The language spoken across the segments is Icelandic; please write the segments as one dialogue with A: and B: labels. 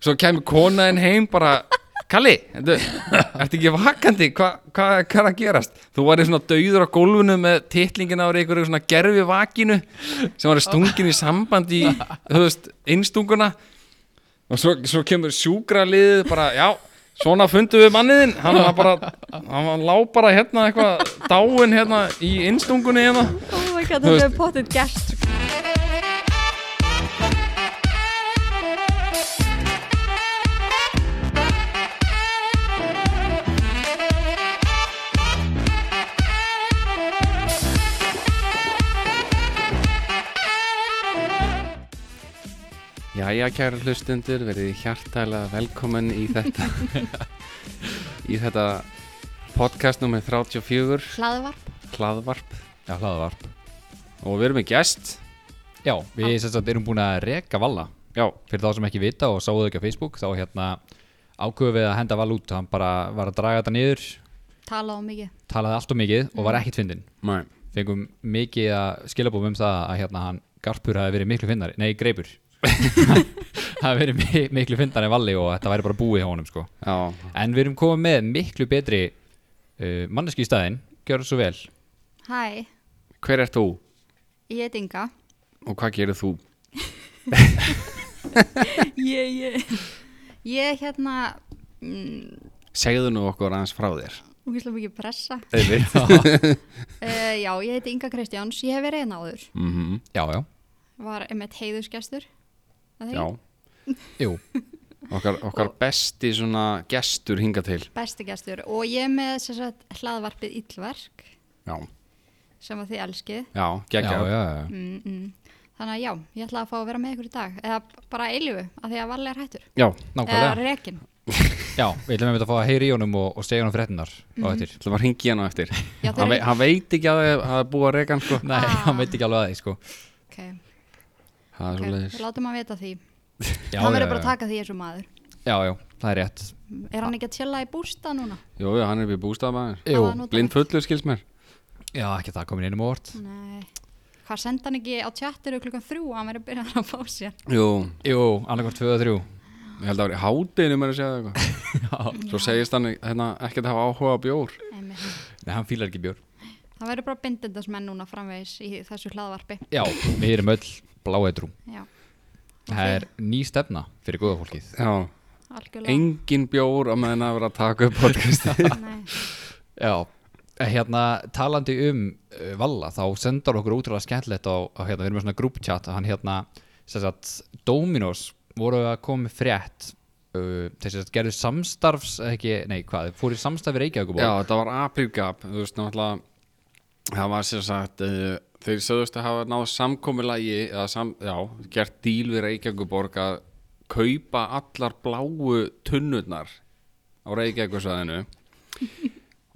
A: svo kemur konaðin heim bara Kalli, ertu ertu ekki vakandi, Hva- hvað hva, er að gerast? Þú varði svona dauður á gólfinu með titlingin á einhverju svona gerfi vakinu sem var stungin í samband í, þú veist, innstunguna og svo, svo kemur sjúkraliðið bara, já, svona fundum við manniðin, hann var bara, hann var lá bara hérna eitthvað dáin hérna í innstungunni hérna
B: Oh my
A: Þú
B: god, þetta
A: veist-
B: er potið gert
C: Jæja, kæra hlustundur, verið hjartæla velkomin í þetta í þetta podcast nummer 34,
B: Hlaðvarp
C: hlaðvarp
D: Já, hlaðavarp
A: og við erum með gest,
D: Já,
C: Ah.
D: við sem sagt erum búin að reka Valla
A: já,
D: Fyrir þá sem ekki vita og sáðu ekki á Facebook Þá hérna ákveðum við að henda Valla út Hann bara var að draga þetta niður
B: Tala á mikið
D: Talaði allt of mikið og
C: Mm.
D: var ekkit fyndin
C: Mæ,
D: Fengum mikið að skilabóðum um það Að hérna hann Garpur hafi verið miklu fyndari Nei, Greipur Hafi verið mi miklu fyndari en Valli og þetta væri bara búið hjá honum sko
C: já,
D: En við erum komið með miklu betri uh, Manneski í staðinn, gjörðu svo vel
B: Hæ,
C: hver ert þú
B: ég er Inga
C: og hvað gerir þú?
B: Ég, ég Ég er hérna mm,
C: Segðu nú okkur aðeins frá þér
B: Úkislega mikið pressa uh,
C: Einmitt
B: Já, ég heiti Inga Kristjáns Ég hef verið hérna áður
C: mm
D: Já, já,
B: Var einmitt heiðusgestur Er það
C: Já,
B: ekki?
D: jú,
C: okkar, okkar besti svona gestur hinga til
B: Besti gestur Og ég er með sem sagt, hlaðvarpið Íllverk
C: Já,
B: sem að þið elskið
C: já,
D: já, já,
C: geggjað
D: já.
B: mm, mm. Þannig að já, ég ætla að fá að vera með ykkur í dag Eða bara eilífu, af því að Valli er hættur
C: Já, Eh,
D: nákvæmlega
B: Eða rekin
D: Já, við ætlum einmitt að fá að heyra í honum og, og segja honum fréttinar á eftir.
C: það var hingi hann á eftir
B: Já, það
C: hann,
B: er
C: vei, hann veit ekki að það það er búið að reka hann sko
D: Nei, hann veit ekki alveg að því, sko.
B: Ok,
C: Það er
B: ok,
C: svo
B: við látum að vita því
D: Já,
B: Hann
D: já,
B: verður bara að
D: já.
B: taka því eins og maður
D: Já, já, það er rétt.
B: Er hann ekki að chilla í bústa núna?
C: Jú, jú, hann er við bústafmaður
D: Jú,
B: Hafa nú-
C: Blind fullur skils mér
D: já, ekki það komin einum á orð.
B: Nei Hvað senda hann ekki á tjattiru klukkan þrjú að hann verður að byrja að fá sér?
C: Jú,
D: Jú, annarkvæmt 2 og 3.
C: Ég held að það var í hátinu mér að segja það eitthvað Svo segist hann hérna, ekkert hafa áhuga á bjór
B: Einmitt.
D: Nei, hann fílar ekki bjór.
B: Það verður bara bindindasmenn núna framvegis í þessu hlaðvarpi.
D: Já, við erum öll bláeitrú.
B: Já,
D: Það er ný stefna fyrir góða fólkið.
C: Já,
B: algjörlega.
C: engin bjór á meðan að vera að taka upp podcasti
B: Nei.
D: Já, eh, hérna talandi um uh, Valla þá sendar okkur ótrúlega skemmtilegt á, á hérna, við erum með svona group chat að hann hérna sem sagt Dominos voru að koma með frétt uh, þess að gerðu samstarfs eh, ekki, nei hvað, fóru í samstarfi
C: Já,
D: Reykjavíkuból
C: þetta var aprilgap Þú veist, náttúrulega Það var sér sagt uh, Þeir sögðust að hafa náð samkomulagi eða sam, Já, gert díl við Reykjavíkuborg að kaupa allar bláu tunnurnar á Reykjavíkusvæðinu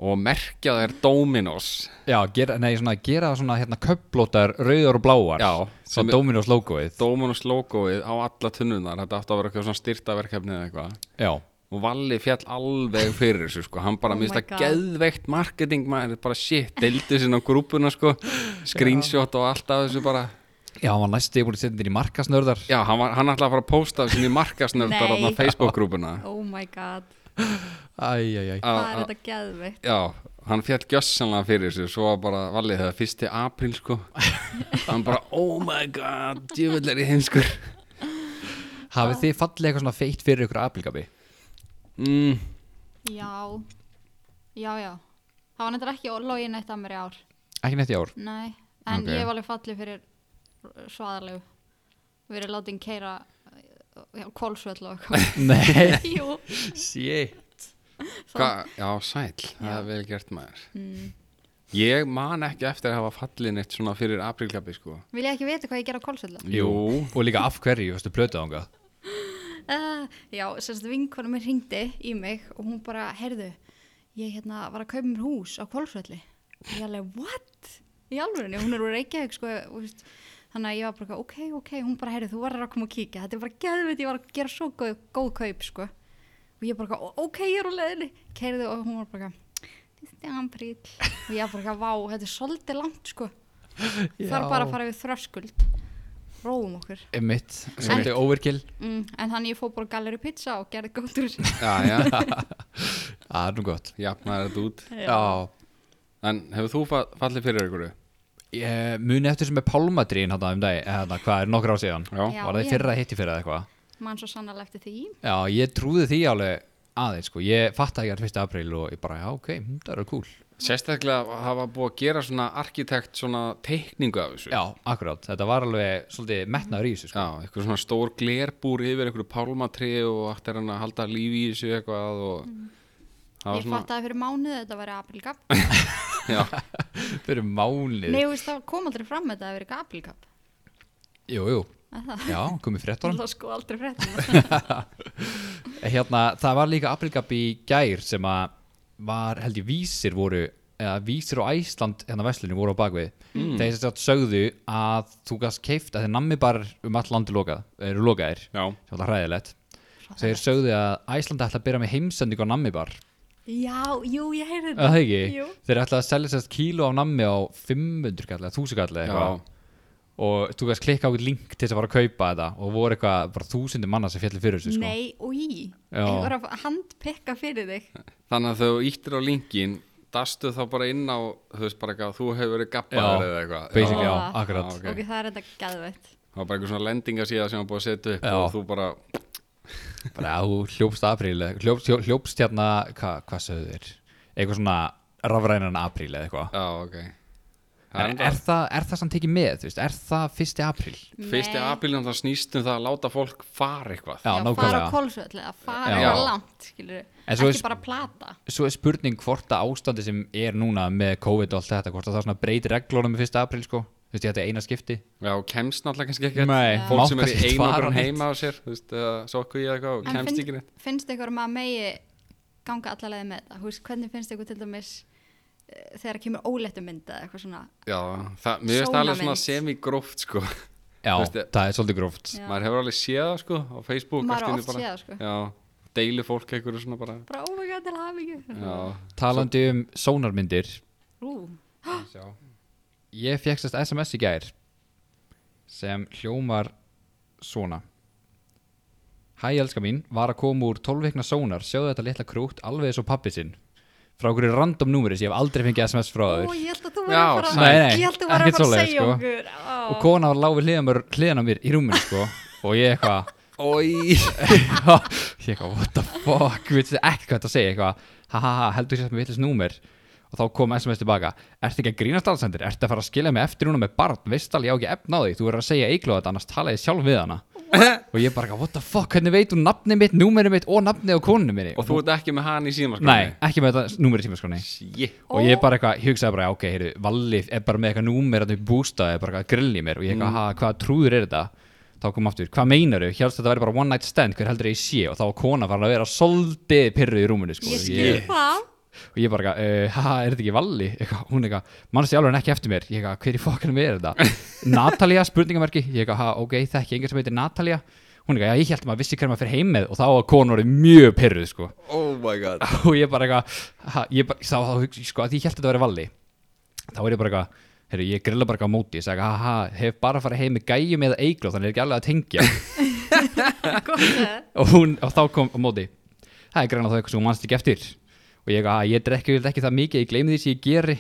C: og merkja þær Dominos
D: Já, gera, nei svona gera svona hérna köplótar rauðar og bláar
C: Já,
D: svo
C: sem-
D: Dominos logoið
C: Dominos logoið á alla tunnurnar Þetta átti að vera eitthvað svona styrtaverkefni eða eitthvað
D: Já,
C: og Valli fjall alveg fyrir þessu sko, hann bara
B: Oh
C: oh
B: my
C: minnst að
B: God.
C: geðveikt marketing maður, bara shit, deildu sinna á grúpuna sko, screenshot og allt af þessu bara,
D: já, hann var næstu búin að setja þetta í markasnörðar
C: já, hann, var, hann ætlaði að fara að posta sinni markasnöfndar
B: Nei.
C: á Facebook grúpuna
B: Oh my god,
D: Æ, æ,
C: Ah.
D: æ
B: hvað er þetta geðvikt?
C: já, hann fjall gjössanlega fyrir þessu svo var bara Valli þegar fyrsti apríl sko, hann bara oh my god, djöfull er ég heimskur
D: Hafið þið fallið eitthvað svona feitt fyrir ykkur apilgabi?
C: mm,
B: Já, já, já. Það var nefndar ekki ólógin eitt af mér í ár.
D: Ekki neitt í ár?
B: Nei, en
C: Ok.
B: ég hef alveg fallið fyrir svaðalegu. Við erum látið keira kólsvöll eh, og eitthvað.
D: Nei
B: Jú.
D: Shit
C: hva, já, sæl, það er vel gert maður
B: Mm.
C: ég man ekki eftir að hafa fallin eitt svona fyrir aprílgabi sko
B: Vil ég ekki vita hvað ég ger á kólsvöllu?
D: Jú, og líka af hverju, veistu, plötuð ángað
B: Uh, já, semst vinkonum mér ringdi í mig og hún bara, heyrðu, ég hérna var að kaupa mér hús á Kvolsvelli. Ég alveg, what? Í alvörinni, hún er úr Reykjavík, sko, og, veist, þannig að ég var bara, eitthvað, ok, ok, hún bara, heyrðu, þú verður að koma og kíkja, þetta er bara geðveit, ég var að gera svo góð, góð kaup, sko. Og ég bara, eitthvað, "Ó- ok, ég er úr leðinni, keirðu og hún var bara, þetta er ambrýll. Og ég bara, eitthvað, vá, þetta er svolítið langt, sko. Þarf bara að fara við þröskuld. róum okkur
D: Emmitt, svolítið overkill
B: mm, en þannig ég fór bara á galleri pizza og gerði góttur
C: Já, já,
D: Það er nú gott
C: jafnaði þetta út
D: Já,
C: En hefur þú fa- fallið fyrir ykkur?
D: ég eh, muni eftir sem er pálmadrín hérna um dag, hérna, hvað er nokkra á síðan
C: Já.
B: Já.
D: Var það í
B: ég-
D: fyrra hitti fyrra eða eitthvað
B: mann svo sannarlega eftir því
D: Já, ég trúði því alveg aðeins sko Ég fatt að ég er 1. apríl og ég bara, já ok, hm, það eru cool
C: Sérstaklega hafa búið að gera svona arkitekt svona teikningu af þessu
D: Já, akkurát, þetta var alveg svolítið metnaður í þessu sko
C: Já, eitthvað svona stór glerbúr yfir einhverju pálmatri og allt er hann að halda lífi í þessu eitthvað og það
B: ég
C: var svona
B: fattaði fyrir mánuð að þetta væri aprilgap
D: Fyrir málið
B: Nei, þú veist, það kom aldrei fram að þetta að vera eitthvað aprilgap
D: Jú, jú, já, komið fréttunum
B: Það er sko aldrei fréttum
D: hérna, það var líka aprilgap í gær sem að var held ég vísir voru eða vísir og Æsland hérna veslunni voru á bakvið mm. þeir sem sagt sögðu að þú gast keift að þeir nammi bara um all landi lokað, eru lokaðir sem
C: Já,
D: var það hræðilegt þeir sögðu að Æsland ætla að byrja með heimsendingu á nammi bar
B: Já, jú, ég heyrði
D: eða það ekki,
B: Jú.
D: þeir ætla að selja sérst kíló af nammi á 500 kalli, 1000 kalli
C: já,
D: eitthvað og þú gast klikka á einhvern link til þess að fara að kaupa þetta og voru eitthvað bara þúsundir manna sem fjallir fyrir þessu sko.
B: Nei, og í
D: Já.
B: Einhver að handpekka fyrir þig
C: þannig að þau íttir á linkin dastu þá bara inn á þú veist bara eitthvað, þú hefur verið gabbaður
D: Já,
C: eða eitthvað
D: basically,
C: Já.
D: já,
B: Ah.
D: akkurat
C: Já,
B: Ok, það er þetta gæðvett
C: það var bara eitthvað svona lendinga síðan sem var búið að setja upp
D: Já.
C: og þú bara,
D: bara að þú hljópst apríl eða- hljópst, hjó- hljópst hérna, hva, hvað sögðu þér eitthvað svona rafrænan apríl eða eitthvað
C: já ok það
D: er, er, það, er það samt ekki með, þú veist, er það fyrsti apríl
C: fyrsti apilin það snýst um það að láta fólk fara eitthvað
D: Já,
B: Já, fara á
D: nákvæmlega.
B: kólsvöll eða fara
D: Já.
B: á langt skilur.
D: En svo
B: ekki
D: er-
B: bara plata
D: svo er spurning hvort að ástandi sem er núna með COVID og allt þetta, hvort að það svona breytir reglunum með fyrsta apríl sko, þú veist, þetta er eina skipti
C: já, og kemst náttúrulega kannski ekki
D: Nei,
C: fólk
D: má
C: sem er
D: kannski
C: í
D: ekki fara
C: einogrun
D: neitt.
C: heima á sér þú veist, uh, sokku í eitthvað og
B: En
C: kemst ekki neitt
B: finnst, finnst ykkur að maður megi ganga allalega með þetta Þú veist, hvernig finnst ykkur til dæmis eh, þegar kemur óléttu mynda eitthvað svona
C: já, það, mér finnst það alveg svona
B: Sólamynd.
C: semigróft sko
D: já,
C: Þú veist,
D: það er svolítið gróft
B: Já.
C: maður hefur alveg séð það sko á Facebook
B: Maður
C: allt í
B: hefur
C: einu
B: oft séð það, sko.
C: já, deilu fólk einhverju svona bara
B: bara ómega til hafingju
C: já,
D: talandi um sónarmyndir
B: Rú,
C: sjá
D: ég fekk sérst SMS í gær sem hljómar svona Hæ elska mín, var að koma úr 12 vikna sónar, sjáðu þetta litla krútt alveg eins og pappi sinn frá okkur random númeri sem ég hef aldrei fengið SMS frá
B: ó,
D: þér
B: ég held að þú
C: Já,
B: verður
D: sæl. Nei, nei,
B: ég held að þú verður
D: ekkert
B: að fara að
D: svoleiðis,
B: segja
D: sko.
B: okkur ó.
D: og kona var láfið hliðan, mér- hliðan á mér í rúminu sko og ég eitthvað
C: Oi.
D: ég eitthvað, what the fuck við veitum ekki hvað þetta segja, eitthvað ha ha ha, heldur sérst með vitlis númer og þá kom SMS tilbaka, ertu ekki að grínast allsendir ertu að fara að skilja mig eftir núna með barn veist alveg ég á ekki efna á því, þú verður að segja eiglóð þetta annars tala ég sjálf við hana og ég bara, eitthvað, what the fuck, hvernig veit hún nafnið mitt númerið mitt og nafnið á konunni minni
C: og þú ert ekki með hann í símaskóni
D: nei, ekki með þetta númerið síma skonni
C: Shit.
D: og ég bara eitthvað, ég hugsaði bara, ok, heyrðu, Valli er bara með eitthvað númer að þau bústaði, bara eitthvað grill í mér og ég eitthvað, mm. hvað trúður er þetta? Þá kom aftur, hvað meinaru? Hjálst þetta væri bara one night stand, hver heldur ég sé? Og þá var kona farin að vera soldið pyrruð í rúminu, sko.
B: ég skil það
D: Og ég bara, eitthvað, uh, haha, er þetta ekki Valli? Eitthvað, hún eitthvað, mannst ég alveg ekki eftir mér. Ég eitthvað, hver í fokkanum er þetta? Natalia, spurningamerki. Ég eitthvað, ha, ok, þekki, engar sem heitir Natalia. Hún eitthvað, já, ég held maður vissi hver maður fyrir heim með og þá var kona orðið mjög pyrruð, sko
C: oh my god
D: og ég bara eitthvað ha, ég bara, þá, þá, hugsa- sko, að því ég held að þetta væri valli þá er ég bara eitthvað heyrðu, ég grilla bara eitthvað á móti, ég sagði, haha, hef bara farið heim með gæjum eða eigló, þannig er ekki alveg að tengja
B: gott það
D: og, hún, og þá kom á móti það er greina þá eitthvað sem hún mannst ekki eftir og ég, að, ég drekki vel ekki það mikið, ég gleymi því sem ég geri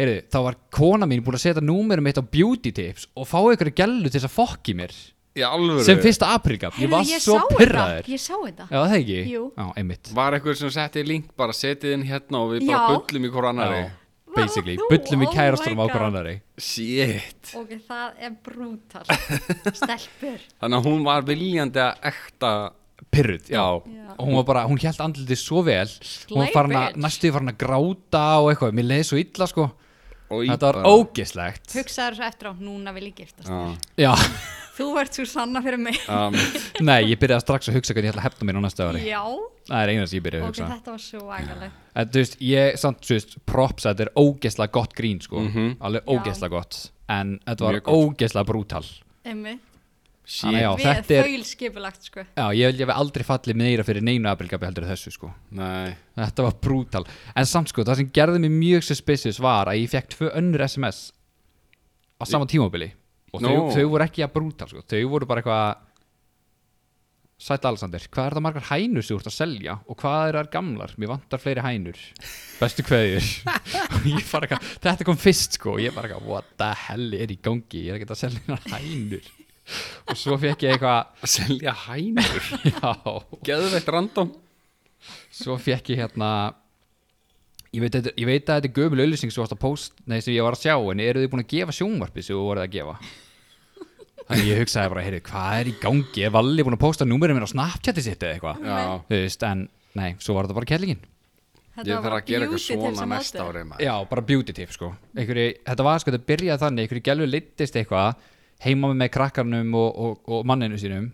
D: heyrðu, þá var kona mín búin að setja númerum mitt á beauty tips og fá einhverju gælu til þess að fokki mér
C: í alvöru
D: sem fyrsta aprílgap, ég
B: Heyrðu,
D: var
B: ég
D: svo
B: sá þetta.
D: pyrraður já,
B: Ég sá þetta
D: það ekki,
B: Jú.
D: já, einmitt
C: var eitthvað sem setti link bara setið inn hérna og við bara
B: Já.
C: bullum í hvora annari
D: Já, basically,
B: þú?
D: bullum í
B: Oh my
D: kærastunum á
B: God.
D: okkur annari
C: shit
B: Ok, það er brútal Stelpur
C: þannig að hún var viljandi að ekta
D: pyrruð, já.
B: Já.
D: og hún var bara, hún held andlitið svo vel hún var farin að,
B: bitch.
D: næstu því farin að gráta og eitthvað, mér leiði svo illa sko
C: og í
D: þetta var
C: bara-
D: ógeslegt
B: Hugsaður svo eftir á, núna vil ég giftast
C: Já.
B: þér
D: já,
B: Þú ert svo sanna fyrir mig
C: Um,
D: nei, ég byrjaði strax að hugsa hvernig ég ætla að hefna mér á næsta ári
B: Já,
D: það er eina sem ég byrjaði að
B: ok,
D: hugsa
B: þetta var svo agalegt
D: en þú veist, ég, samt, þú veist, props að þetta er ógesla gott grín sko alveg
B: Já.
D: ógesla gott en þetta var
C: Mhm. Mjög gott.
D: ógesla brútal
B: Emmi,
D: Þannig já,
C: shit,
B: við
D: þetta er,
B: þaul skipulagt sko
D: já, ég vil ég hef aldrei fallið meira fyrir neinu aprilgabi heldur en þessu sko
C: nei
D: Þetta var brútal En samt sko, það sem gerði mig mjög suspicious var að ég fekk tvö önnur SMS á sama tímabili og
C: Nú.
D: þau, þau voru ekki að brúta sko. þau voru bara eitthvað Sætt Alexander, hvað er það margar hænur sem þú ert að selja og hvað er það gamlar? Mér vantar fleiri hænur Bestu kveðjur Og ég bara eitthvað, Þetta kom fyrst sko og ég bara eitthvað, what the hell er í gangi? Ég er ekki að selja hennar hænur Og svo fekk ég eitthvað
C: Að selja hænur
D: Já,
C: Geðveitt random
D: svo fekk ég hérna ég veit, þetta- ég veit að þetta er gömul auðlýsing sem, þú varst að post, nei, sem ég var að sjá en eru þið búin að gefa sjónvarpið sem þú voruð að gefa þannig ég hugsaði bara heyrðu, hvað er í gangi, er Valli búin að posta númerið minn á Snapchati sitt eða eitthvað
C: Já,
D: þú veist, en nei, svo var þetta bara kellingin
C: ég
B: Þetta var
C: þarf
B: bara
C: að gera eitthvað
B: beauty tips um
C: svona
B: sem
C: næsta
B: átti.
C: ári maður.
D: já, bara beauty tip sko einhverju, þetta var sko, þetta byrjaði þannig einhverju gælu litist eitthvað heima með krakkarnum og, og, og manninu sínum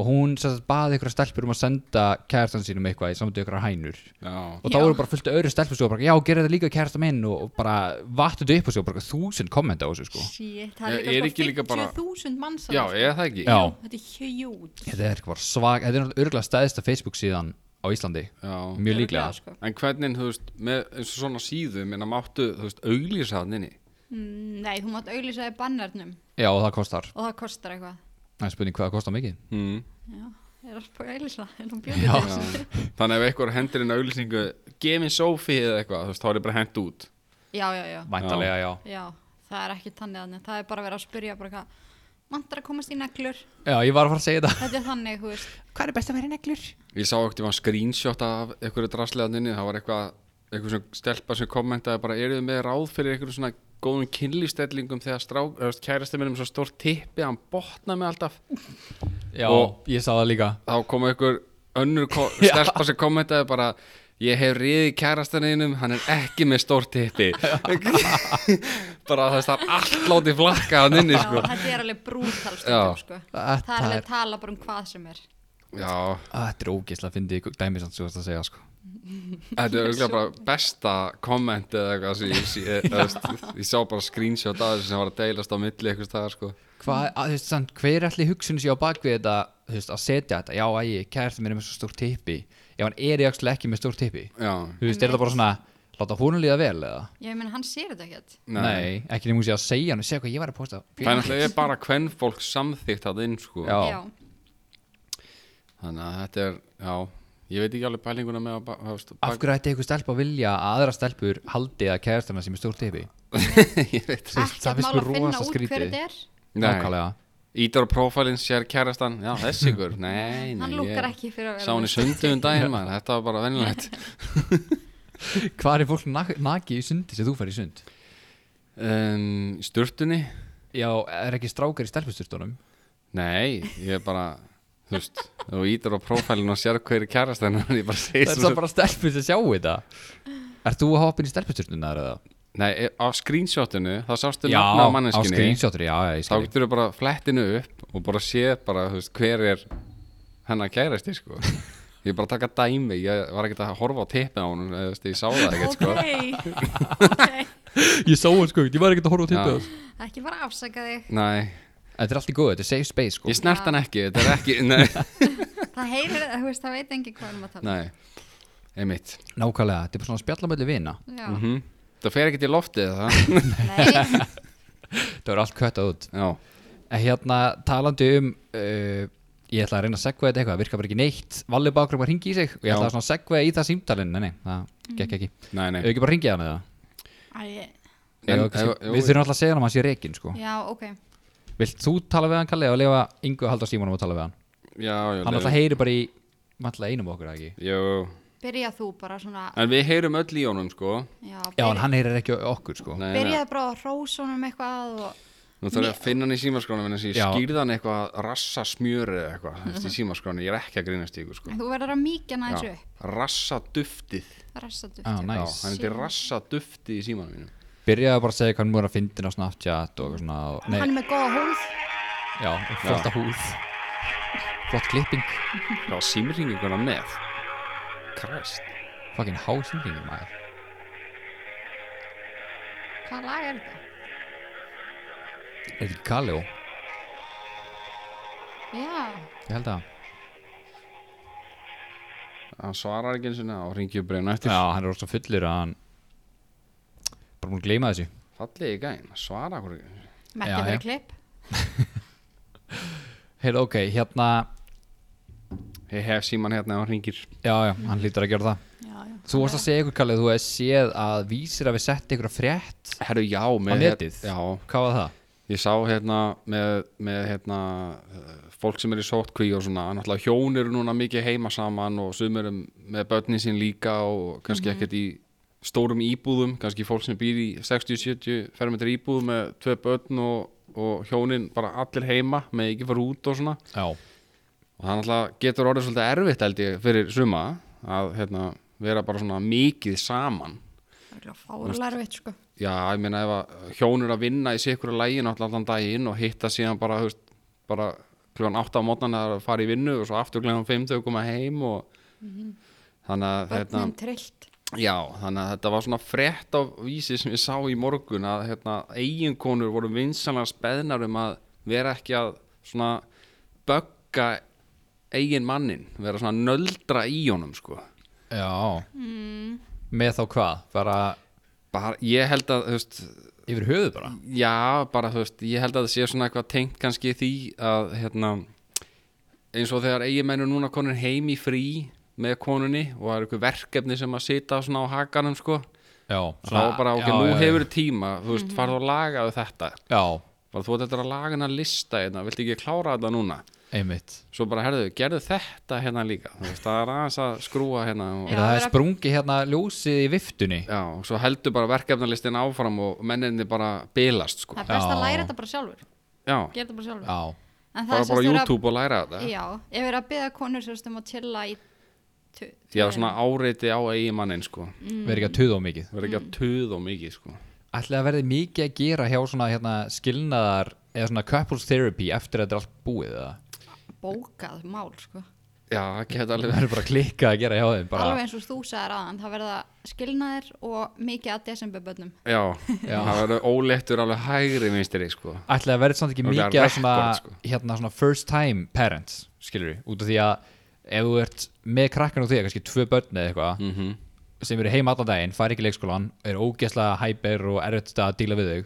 D: og hún sem sagt, baði einhverja stelpur um að senda kærtan sínum eitthvað í samtöku einhverja hænur
C: Já,
D: og þá
B: Já.
D: voru bara fullt af öðru stelpur svo bara, já, gera þetta líka kærasta minn og, og bara vattu þetta upp og svo bara þúsund kommenta á þessu sko
B: Shit, það
C: Er- er
B: er
C: ekki líka
B: líka
C: bara-
B: bara 50.000 manns
C: já
B: þarna,
C: eða það ekki
D: Já.
B: sko. Þetta er hjút
D: þetta er eitthvað bara svag, þetta er náttúrulega örgulega stæðista Facebook síðan á Íslandi,
C: Já.
D: mjög líklega
B: Örugglega, sko.
C: En hvernig, þú veist, með eins og svona síðu minna máttu, þú veist, auglýsa hann inni
B: Mm, Nei, þú mátt auglýsa í bannarnum
D: já, og það kostar,
B: og það kostar eitthvað
D: það er spurning hvað það kostar mikið
C: hmm.
B: Já, það er alltaf auglýsa en hún
D: Já.
B: bjóði
C: Já.
B: þessu
C: Þannig ef eitthvað hendur inn auglýsingu Gefin Sophie eða eitthvað, þú veist, þá er ég bara hent út
B: Já, já, já
D: væntalega, já,
B: Já, það er ekki þannig þannig Það er bara verið að spyrja bara hvað Mantar að komast í neglur
D: já, ég var að fara að segja þetta
B: Þetta er þannig, þú veist
D: hvað er best að vera neglur?
C: Ég sá ekkert um að screenshot af einhverju draslegaðninni, það var eitthvað eitthvað sem stelpa sem kommentaði bara eruðu með ráð fyrir einhverjum svona góðum kynlýstellingum þegar strák, eða, þú veist, kærasti minn er með svo stórt tippi, hann botna mig alltaf
D: já,
C: Og-
D: ég sá það líka
C: þá kom einhver önnur ko- stelpa sem kommentaði bara ég hef riði kærastaninum, hann er ekki með stórt tippi bara þess að allt látið flakka hann inni
B: Já,
C: sko.
B: þetta er alveg brútal
C: Já.
B: stundum, sko
D: Þetta
B: Það er alveg
D: er-
B: að tala bara um hvað sem er
C: já,
D: Að, þetta er ógislega að fyndi dæmis hans, þú veist að segja sko
C: þetta er auðvitað bara besta komment eða eitthvað sem ég, sé, eða, veist, ég sá bara screenshot af þessu sem var að deilast á milli eitthvað staðar sko.
D: hvað, að, þú veist, samt, hver er allir hugsun sér á bakvið þetta, þú veist, að setja þetta já, ægi, kærasta mér er með svo stór tippi ef hann er í axli ekki með stór tippi
C: já,
D: þú veist, er það bara svona, láta húnu líða vel eða?
B: Já, ég menn, hann sér þetta ekkert
C: nei,
D: ekki nefnum sé að segja hann, segja hvað ég var að posta
C: þannig að ég er bara hvern fólk samþýtt að inn sko.
D: Já.
C: þannig að þetta er, já ég veit ekki alveg pælinguna með að ba- þú veist,
D: af hverju ætti einhver stelpa að vilja að aðra stelpur haldi að kærasta mér sem er stór tippi
C: ég veit
D: Þú
B: Ekkert
D: veist, það finnst
B: mál
D: mér
B: að finna út
D: rosa
B: hver
D: skrítið
B: þetta er
C: Nei.
D: nákvæmlega,
C: Ítar á prófælinn sér kærastan Já, þessi ykkur, nei, nei
B: Hann lúkkar ekki fyrir að vera
C: Sá hann í
B: með
C: sundu um daginn, maður, þetta var bara venjulegt
D: hvað er fólk nak- nakið í sundi sem þú fær í sund
C: um, í Sturtunni
D: já, er ekki strákar í stelpusturtunum
C: Nei, ég er bara Þú veist, þú ítar á prófælinn og sér hver er kærastan Ég bara segir
D: það er
C: svo
D: það bara stelpur sem sjáu þetta er þú að hoppa inn í stelpusturtuna eða?
C: Nei, e- á screenshotinu, þá sástu
D: já,
C: nafna á
D: á
C: manneskinni
D: screenshotur, já, já, ég
C: Þá
D: skil
C: getur þú bara flettinu upp og bara séð bara, þú veist, hver er hennar kærasti, sko Ég er bara að taka dæmi, ég var ekkert að horfa á tippið á honum, eða, þú veist, ég sá það ekkert, sko
B: Ok, ok
D: Ég sá hann sko, ég var ekkert að horfa á
C: tippið Já.
D: þess
B: Ekki bara afsaka þig
C: Nei,
D: Þetta er allt í góðu, þetta er safe space sko
C: ég snert hann ekki, þetta er ekki, nei
B: Það heyrir, þú veist, það veit engin hvað við erum að tala um.
C: Nei, einmitt
D: Nákvæmlega, þetta er bara svona spjallamöllu vina
B: Já,
C: mm. Það fer ekkert í loftið það
B: nei,
D: Þetta er allt köttað út
C: Já,
D: En hérna talandi um uh, Ég ætla að reyna að segja þetta eitthvað, það virkar bara ekki neitt Valli bakrum að ringi í sig og ég
C: Já.
D: ætla að svona segja í það símdalinn Nei, nei,
B: Mm.
D: það gekk ekki Þau
C: nei, nei
D: ekki bara ringið hann eða?
B: Æ,
C: En-
D: Eigum við
C: ef-
D: kannski-
C: ef-
D: Við þurfum alltaf að segja hann að hann sé reikin sko
B: já, ok
D: Vilt þú tala við hann Kalli og lefa Ingu að halda símanum og tala við hann?
C: Já, já,
D: Hann
C: leið-
D: alltaf heyri bara í Malla einum af okkur eða ekki
C: Jú,
B: Byrja þú bara svona
C: en við heyrum öll í honum sko
B: Já,
D: Já, en
B: byrja,
D: hann heyrir ekki okkur sko
C: Nei, nei,
B: byrjaði bara að rósa honum eitthvað og
C: nú þarf ég að finna hann í símaskránu en þessi ég
D: Já.
C: skýrði hann eitthvað rassa smjöri eða eitthvað þú veist, í símaskránu, ég er ekki að grínast í ykkur sko
B: þú verður að mýkja hann aðeins upp,
C: Rassa duftið
B: rassatu
D: Já,
C: Já,
D: næs
C: hann heitir rassa duftið í símanum mínum
D: Byrjaði bara að segja hvað hann voru að fyndin á Snapchat og eitthvað svona og- Nei,
B: Hann er með góða húð,
D: Já, og flott að húð Flott klipping
C: Já, símringinguna með Kræst
D: Fucking hásingingum maður
B: hvað lag er þetta?
D: Er þetta ekki Kaleo?
B: Já,
D: Ég held að
C: Hann svarar ekki eins og neða og ringi upp reyna eftir
D: Já, hann er orðið svo fullur að hann Bara múin að gleyma þessu
C: Fallið í gæn, svara okkur ekki
B: merkja
D: Já, já.
B: fyrir klipp
D: heyrðu ok, hérna
C: Ég hef síman hérna og hann ringir
D: já, já, hann lítur að gera það
B: já, já.
D: þú varst að segja ykkur kallið, þú hefði séð að vísir að við sett ykkur að frétt
C: Herru, já,
D: á
C: með
D: netið,
C: Já,
D: hvað var það?
C: Ég sá hérna með, með hérna, eh, fólk sem er í sótkví og svona, náttúrulega hjón eru núna mikið heima saman og sumir eru með börnin sín líka og kannski ekkert í stórum íbúðum, kannski fólk sem býr í 60-70 fermetri íbúðum með tvö börn og, og hjónin bara allir heima með ekki fara út og svona
D: já,
C: og það náttúrulega getur orðið svolítið erfitt held ég fyrir suma að hérna, vera bara svona mikið saman
B: Það er fálarvitt sko.
C: Já, ég meina ef að hjón er að vinna í sikkur lægin allan daginn og hitta síðan bara, þú veist, bara kljóðan 8 á mótnan að fara í vinnu og svo aftur kljóðan 5 þau koma heim og þannig að hérna,
B: Börnin trillt.
C: já, þannig að þetta var svona frett á vísi sem ég sá í morgun að hérna, eiginkonur voru vinsanlega speðnar um að vera ekki að svona bögga eigin mannin, vera svona nöldra í honum sko.
D: já Hmm. með þá hvað, bara
C: Bara, ég held að, þú veist,
D: yfir höfuð bara
C: Já, bara þú veist, ég held að það sé svona eitthvað tengt kannski því að hérna, eins og þegar eiginmennu núna konur heim í frí með konunni og það er eitthvað verkefni sem að sita svona á hakanum sko
D: já,
C: þá er bara, ok,
D: já,
C: nú
D: já,
C: hefur tíma þú
B: Mhm.
C: veist, farðu að laga þetta
D: já,
C: bara þú ættir að laga hennar lista hérna, viltu ekki klára þetta núna
D: einmitt
C: svo bara, herðu, gerðu þetta hérna líka þú veist, það er aðeins að skrúa hérna og,
B: Já,
D: Já, það er
B: vera-
D: sprungi hérna ljósið í viftunni
C: já, og svo heldur bara verkefnalistin áfram og menninni bara bilast sko
B: Það er best að
D: Já.
B: læra þetta bara sjálfur.
C: já,
B: Gera þetta bara sjálfur.
D: Já,
C: bara
B: En það er
C: bara á
B: sérst verið
C: YouTube og læra þetta
B: Já, ég verið að byggja konur sérst um að chilla í tu-
C: Já, svona áreiti á eigimannin sko
D: verið ekki að tuða á mikið
C: verður ekki að töð og mikið sko
D: Ætli að verði mikið að gera hjá svona hérna, skilnaðar eða svona couples therapy eftir að þetta er allt búið eða?
B: bókað mál sko.
C: Já, ekki þetta
D: Það
C: alveg
D: verður bara klikkað að gera hjá þeim bara,
B: Alveg eins og þú sagðir aðan, það verða skilnaðir og mikið að desemberbönnum.
C: Já, það verður óleittur alveg hægri minnstri sko
D: Ætli að verði samt ekki
C: Það verður
D: mikið að
C: rekord,
D: svona,
C: sko.
D: hérna, svona first time parents skilur við, út af því að ef þú ert með krakkan og því, kannski tvö börn eða eitthvað
C: Mhm.
D: sem eru heima allan daginn, fari ekki í leikskólan er ógeðslega hæper og erfitt að díla við þau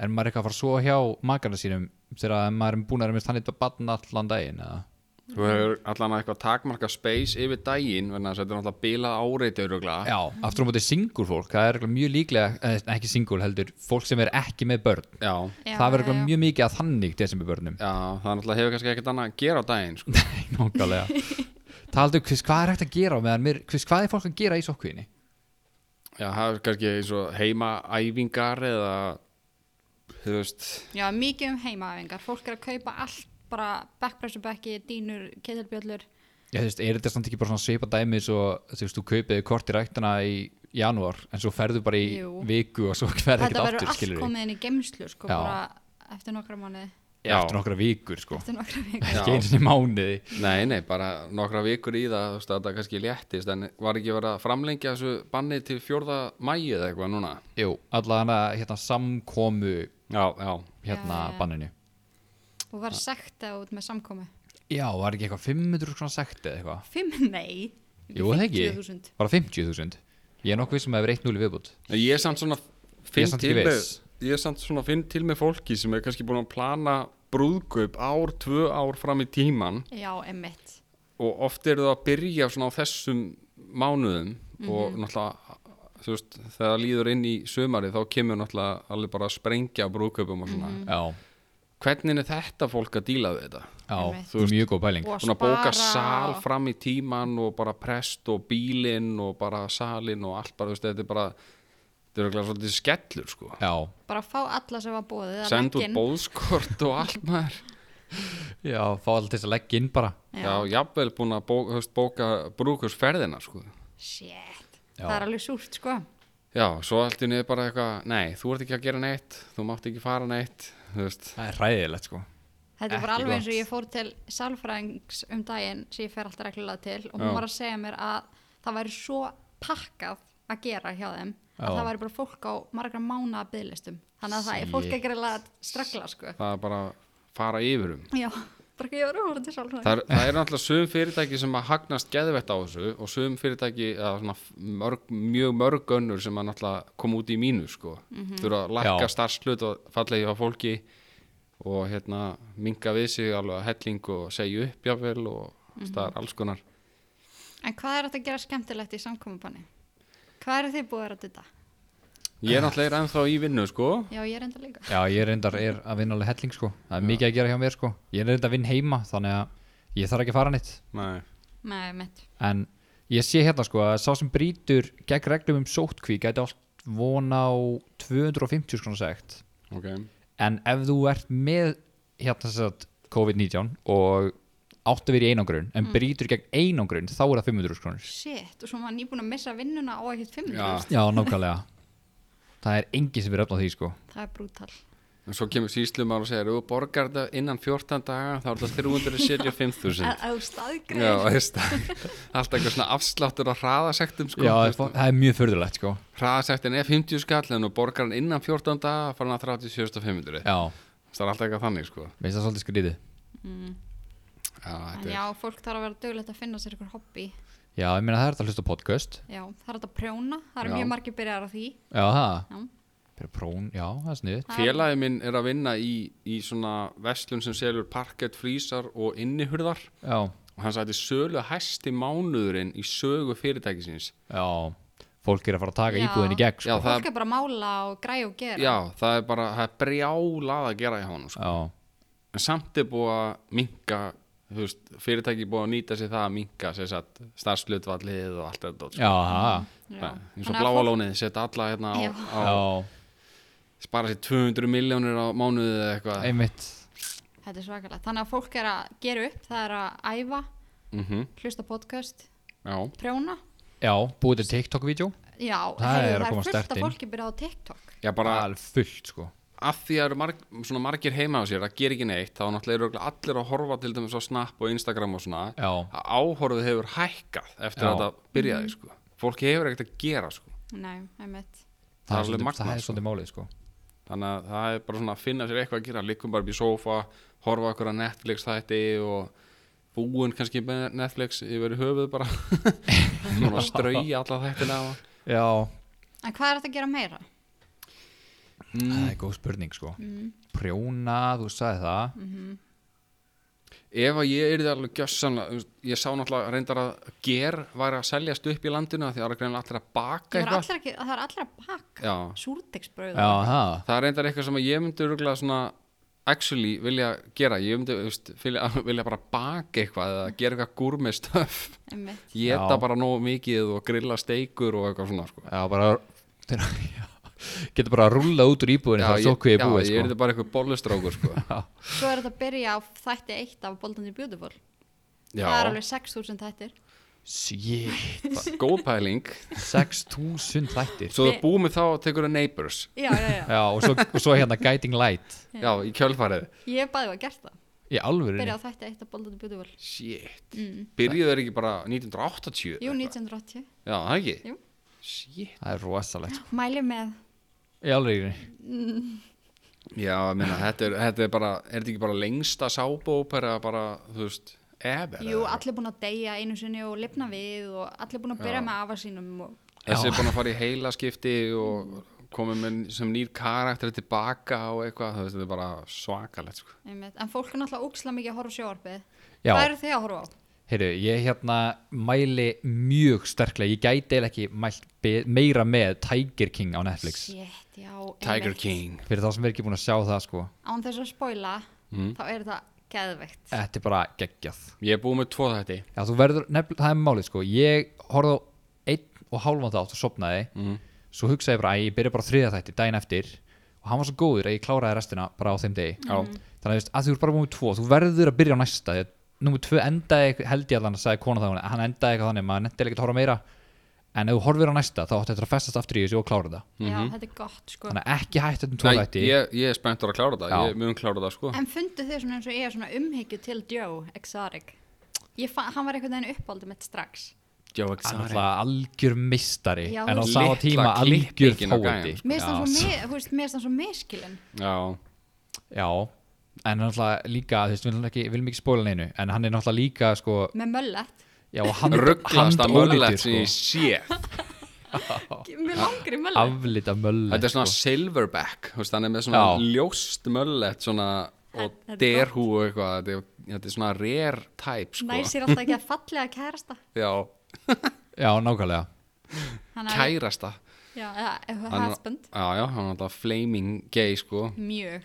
D: en maður er eitthvað að fara svo hjá makarna sínum þegar maður er búin að vera með þannig að batna allan daginn eða?
C: Þú hefur allan að eitthvað takmarka space yfir daginn verðan að þetta er náttúrulega bilað áreiti öruglega
D: Já, aftur á móti singul fólk, það er örugglega mjög líklega, eh, ekki singul heldur, fólk sem er ekki með börn.
C: Já,
B: Já,
D: það
B: já, já.
D: verður örugglega mjög mikið að þannig til þessum börnum.
C: já það er náttúrulega hefur kannski ekkert annað að gera á daginn sko
D: Nei, Nákvæmlega. Taldu, hvers, hvað er hægt að gera á meðan mér, hvers, hvað er fólk að gera í sokkvíðinni?
C: Já, það er kannski eins og heimaæfingar eða þú veist
B: Já, mikið um heimaæfingar. Fólk er að kaupa allt, bara backpressubekki, dínur, ketilbjöllur.
D: Ég þú veist, er þetta samt ekki bara svona svipa dæmi svo, þú veist, þú kaupið kort í ræktana í janúar, en svo ferðu bara í
B: Jú.
D: viku og svo ferðu
B: Þetta
D: ekkert
B: verður
D: aftur,
B: allt
D: skilur við.
B: komið inn í geimslu sko,
D: Já.
B: bara eftir nokkra mánuði.
C: Já.
D: Eftir nokkra vikur, sko.
B: Eftir nokkra vikar.
D: Ekki einu sinni mánuði.
C: Nei, nei, bara nokkra vikur í það þú veist, að þetta kannski léttist en var ekki verið að framlengja þessu banni til 4. mæi eða eitthvað núna
D: Jú, allavega hérna samkomu
C: Já, já
B: Já,
D: hérna
B: já.
D: banninu.
B: Og var sagt að út með samkomi.
D: Já, var ekki eitthvað 500 svona sekt eða eitthvað?
B: Fimm, nei.
D: Jú, það ekki.
B: 50.000.
D: Bara 50.000. Ég er nokkuð vissum að það hefur 1-0 í viðbútt.
C: En Ég er samt svona
D: Ég er
C: finn
D: samt
C: til
D: ekki
C: með
D: viss.
C: Ég er samt svona finn til með fólki sem er kannski búin að plana brúðkaup ár, tvö ár fram í tíman
B: Já, emmitt.
C: og oft eru það að byrja svona á þessum mánuðum og náttúrulega þú veist, þegar það líður inn í sömari þá kemur náttúrulega alveg bara að sprengja á brúðkaupum og svona
D: Já,
C: Hvernig er þetta fólk að díla við þetta?
D: já,
B: Einmitt.
D: þú veist mjög góð pæling.
B: Og
C: Svona bóka
B: spara-
C: sal fram í tíman og bara prest og bílinn og bara salinn og allt bara, þú veist, þetta er bara þetta er örugglega svolítið skellur, sko
D: Já,
B: Bara fá alla sem var bóðið. að
C: send
B: leggja
C: út
B: inn.
C: bóðskort og allt maður
D: já, fá alltaf þess að leggja inn bara.
C: já, jafnvel búin að bóka, höfst, bóka brúkursferðina sko.
B: Shit,
D: Já.
B: það er alveg súrt sko
C: já, svo allt í niður bara eitthvað nei, þú ert ekki að gera neitt, þú mátt ekki fara neitt þú veist,
D: Það er ræðilegt sko.
B: Þetta er bara
D: Ekki
B: alveg eins og
D: gott.
B: ég fór til salfræðings um daginn sem ég fer alltaf reglulega til og
C: Já.
B: hún var að segja mér að það væri svo pakkað að gera hjá þeim
D: Já.
B: að það væri bara fólk á margra mána bygglistum þannig að það er fólk
D: Shit.
B: ekki reyla að strakla sko
C: það er bara að fara yfir um
B: Já, bara ekki ég var að fóra til salfræðing
C: það, er, það er náttúrulega sum fyrirtæki sem að hagnast geðvett á þessu og sum fyrirtæki eða svona f- mörg, mjög mörg önnur sem að náttúrulega koma út í mínu sko. þurfa að
D: Já.
C: lakka starfslut og fallegi á fólki og hérna minga við sig alveg að helling og segja upp jáfnvel og það er alls konar
B: En hvað er þetta að gera skemmtilegt í samkomubanni? Hvað eru þið búið að þetta?
C: ég er náttúrulega ennþá í vinnu sko
B: Já, ég er enda líka.
D: Já, ég reyndar er að vinna alveg helling sko Það er mikið að gera hjá mér sko Ég er reyndar að vinna heima þannig að ég þarf ekki að fara neitt
C: Nei.
B: Nei, mitt.
D: En ég sé hérna sko að sá sem brýtur gegn reglum um sótkví gæti allt vona á 250 skona segt
C: ok,
D: En ef þú ert með hérna þess að COVID-19 og átt að vera í einangrun en brýtur gegn einangrun þá er það 500 skronur
B: Shit, og svo maður nýbúin að missa vinnuna á ekkert fimm
C: Já.
B: minútur.
D: Já, nákvæmlega Það er engin sem er öfn á því sko
B: Það er brútal.
C: en svo kemur síslumar og segir ef þú borgar þetta innan 14 daga þá er það 375.000
B: Að þú staðgreif.
C: Já, veist Alltaf eitthvað svona afsláttur á hraðasektum sko,
D: Já, það er
C: veist.
D: fó- það er mjög förðulegt sko
C: hraðasektin er 50 skall en þú borgar hann innan 14 daga fara hann að 37.500
D: Já,
C: það er alltaf eitthvað þannig sko
D: veist það svolítið skrítið
C: já,
B: En
C: þetta
B: já,
C: er,
B: fólk þarf að vera dögulegt að finna sér ykkur hobby.
D: Já, ég meina það er þetta að hlusta á podcast
B: Já, það er hægt að prjóna. Það eru
C: Já.
B: mjög margir byrjar á því.
D: Já,
B: Já.
D: það Fyrir prón, já, það er sniðið
C: félagi minn er að vinna í, í svona vestlun sem selur parkett, frísar og innihurðar
D: Já,
C: og hann sagði sölu hæsti mánuðurinn í sögu fyrirtækisins
D: já Fólk er að fara að taka
B: Já.
D: íbúðin í gegn
C: Já,
D: sko.
C: það-
B: Fólk er bara að mála og græja og gera.
C: já, það er bara, það er brjálað að gera í honum sko.
D: já,
C: en samt er búið að minka veist, fyrirtæki er búið að nýta sér það að minka starfslutvallið og allt þetta dót, sko.
D: já, það
C: Það- eins og
B: Þannig að
C: bláa
B: fólk-
C: lónið setja alla hérna á,
B: Já.
C: á
D: Já,
C: spara sér 200 miljónir á mánuðið eða eitthvað
D: einmitt
B: Þetta er svakalegt. Þannig að fólk er að gera upp, það er að æfa,
C: mm
B: hlusta á podcast,
C: já,
B: prjóna.
D: Já, búið til TikTok-vídeó
B: Já,
D: Það
B: heyrðu,
D: er að
B: það
D: koma
B: er fullt
D: sterkt
B: af
D: inn.
B: fólki byrjað á TikTok.
C: já bara
D: Alveg fullt sko
C: af því að eru marg, svona margir heima á sér að gera ekki neitt, þá náttúrulega eru örugglega allir að horfa til dæmis á Snap og Instagram og svona
D: Já.
C: að áhorfið hefur hækkað eftir
D: Já.
C: að þetta byrjaði sko fólk hefur ekkert að gera sko
B: Nei, einmitt.
C: Það er
D: Það er
C: alveg
D: svolítið-
C: magnað,
D: það er
C: sko.
D: svolítið málið sko
C: þannig að það er bara svona að finna sér eitthvað að gera liggum bara upp í sófa, horfa okkur að Netflix þætti og búin kannski með Netflix yfir höfuð bara Búin að strauja alla þættina á
D: Já,
B: En hvað er þetta að gera meira?
D: það er góð spurning sko
B: Mm.
D: Prjóna, þú sagði það
C: ef að ég yrði alveg gjössanlega ég sá náttúrulega reyndar að ger var að seljast upp í landinu af því að það er greinilega allir að baka
B: Það er
C: eitthvað
B: allir, ekki, það er allir að baka.
C: Já,
B: Súrdegsbröð.
D: Já, það
C: það er reyndar eitthvað sem að ég myndi rúglega svona actually vilja gera ég myndi þú veist, vilja, vilja bara baka eitthvað eða gera eitthvað gourmet stuff
B: Einmitt.
C: ég
D: Já.
C: geta bara nógu mikið og grilla steikur og eitthvað svona sko.
D: Já, bara Já. Getur bara að rúlla út úr íbúðinu Það er svo
C: ég,
D: er búið
C: ég
D: sko
C: yrði bara eitthvað bollustrákur sko.
B: Svo er þetta að byrja á þætti eitt af Boldandi Beautiful.
C: Já,
B: Það er alveg 6.000 þættir.
D: Shit,
C: það- góð pæling
D: 6000 þættir
C: svo það búið með þá og tekur það neighbors
B: Já, já, já.
D: Já, og svo, og svo hérna Guiding Light
C: já, í kjölfarið
B: Ég bæði var gert það.
D: Í alvöru
B: Byrja á þætti eitt af Boldandi Beautiful.
C: shit, byrjuðu þeir ekki bara 1980
B: Mm. Jú,
C: eitthvað?
B: 1980.
C: Já, það ekki?
B: Jú.
C: Shit.
D: Það er rosalegt sko.
B: Mæli með.
D: Í alvöru
C: Já, ég meina, þetta er, þetta er bara, er þetta ekki bara lengsta sábópera bara, þú veist, ever?
B: Jú,
C: eða?
B: allir búin að deyja einu sinni og lifna við og allir búin að byrja með afa sínum og
C: Þessi er búin að fara í heila skipti og komið með sem nýr karakter tilbaka og eitthvað, þú veist, þetta er bara svakalegt, sko.
B: einmitt. En fólk er náttúrulega ógislega mikið að horfa á sjóarpið.
D: Já.
B: Hvað eru þið að horfa á?
D: Heyrðu, ég hérna mæli mjög sterklega Ég gæti eða ekki mælt be- meira með Tiger King á Netflix
B: Shit, já.
C: Tiger
B: einmitt.
C: King.
D: Fyrir þá sem er ekki búin að sjá það sko
B: Án þess að spoila, þá er þetta geðveikt.
D: Þetta er bara geggjað
C: Ég er búin með tvo þetta.
D: Já, þú verður, nefnilega, það er málið sko Ég horfði á einn og hálfan þátt og sopnaði Svo hugsaði ég bara, æ, ég byrja bara á þriðja þætti daginn eftir Og hann var svo góður að ég kláraði restina bara á þeim degi
C: Mhm.
D: Já. Þannig að, þú veist, að þú eru bara búin með tvo Þú verður að byrja á næsta Þegar Númer tvö endaði, eitthvað- held ég allan að sagði kona það Hann endaði eitthvað þannig, maður netti ekki að horfa meira En ef þú horfir á næsta, þá áttu þetta að festast aftur í þessu og klára það
B: Já, þetta er gott, sko.
D: Þannig að ekki hætt þetta um tvo
C: Nei,
D: þætti
C: ég, ég er spenntur að klára það,
D: Já.
C: ég mun klára það, sko.
B: En fundu þið svona eins og ég er svona umhyggju til Joe Exotic? Ég fann, hann var einhvern veginn uppáldið mitt strax.
C: Joe
D: Hann er alltaf algjör mistari
B: Já,
D: En á
B: þú-
D: sama
C: Litla
D: tíma algjör
C: klippingin á gæjanum, sko.
D: fóti
B: Mér finnst hann svo, mi, þú veist, mér finnst hann svo miskilinn.
C: Já,
D: Já, en hann náttúrulega líka, þú veist, við viljum ekki, við viljum ekki spóla neinu, en hann er náttúrulega líka, sko,
B: Með möllet.
D: já, hand,
C: rugglasta
D: handólítur,
C: möllet sem
D: sko,
C: ég sé.
B: Með langri möllet.
D: aflita möllet,
C: Þetta er svona
D: sko.
C: silverback, þú veist, hann er með svona
D: Já.
C: ljóst möllet, svona og
B: þetta er
C: derhú og eitthvað þetta er, þetta er svona rare type sko.
B: Næsir alltaf ekki að fallega kærasta
C: já,
D: já, nákvæmlega
B: Hann er-
C: kærasta
B: Já, eða eða
C: Hann-
B: husband
C: já, já, hann var alltaf flaming gay sko
B: Mjög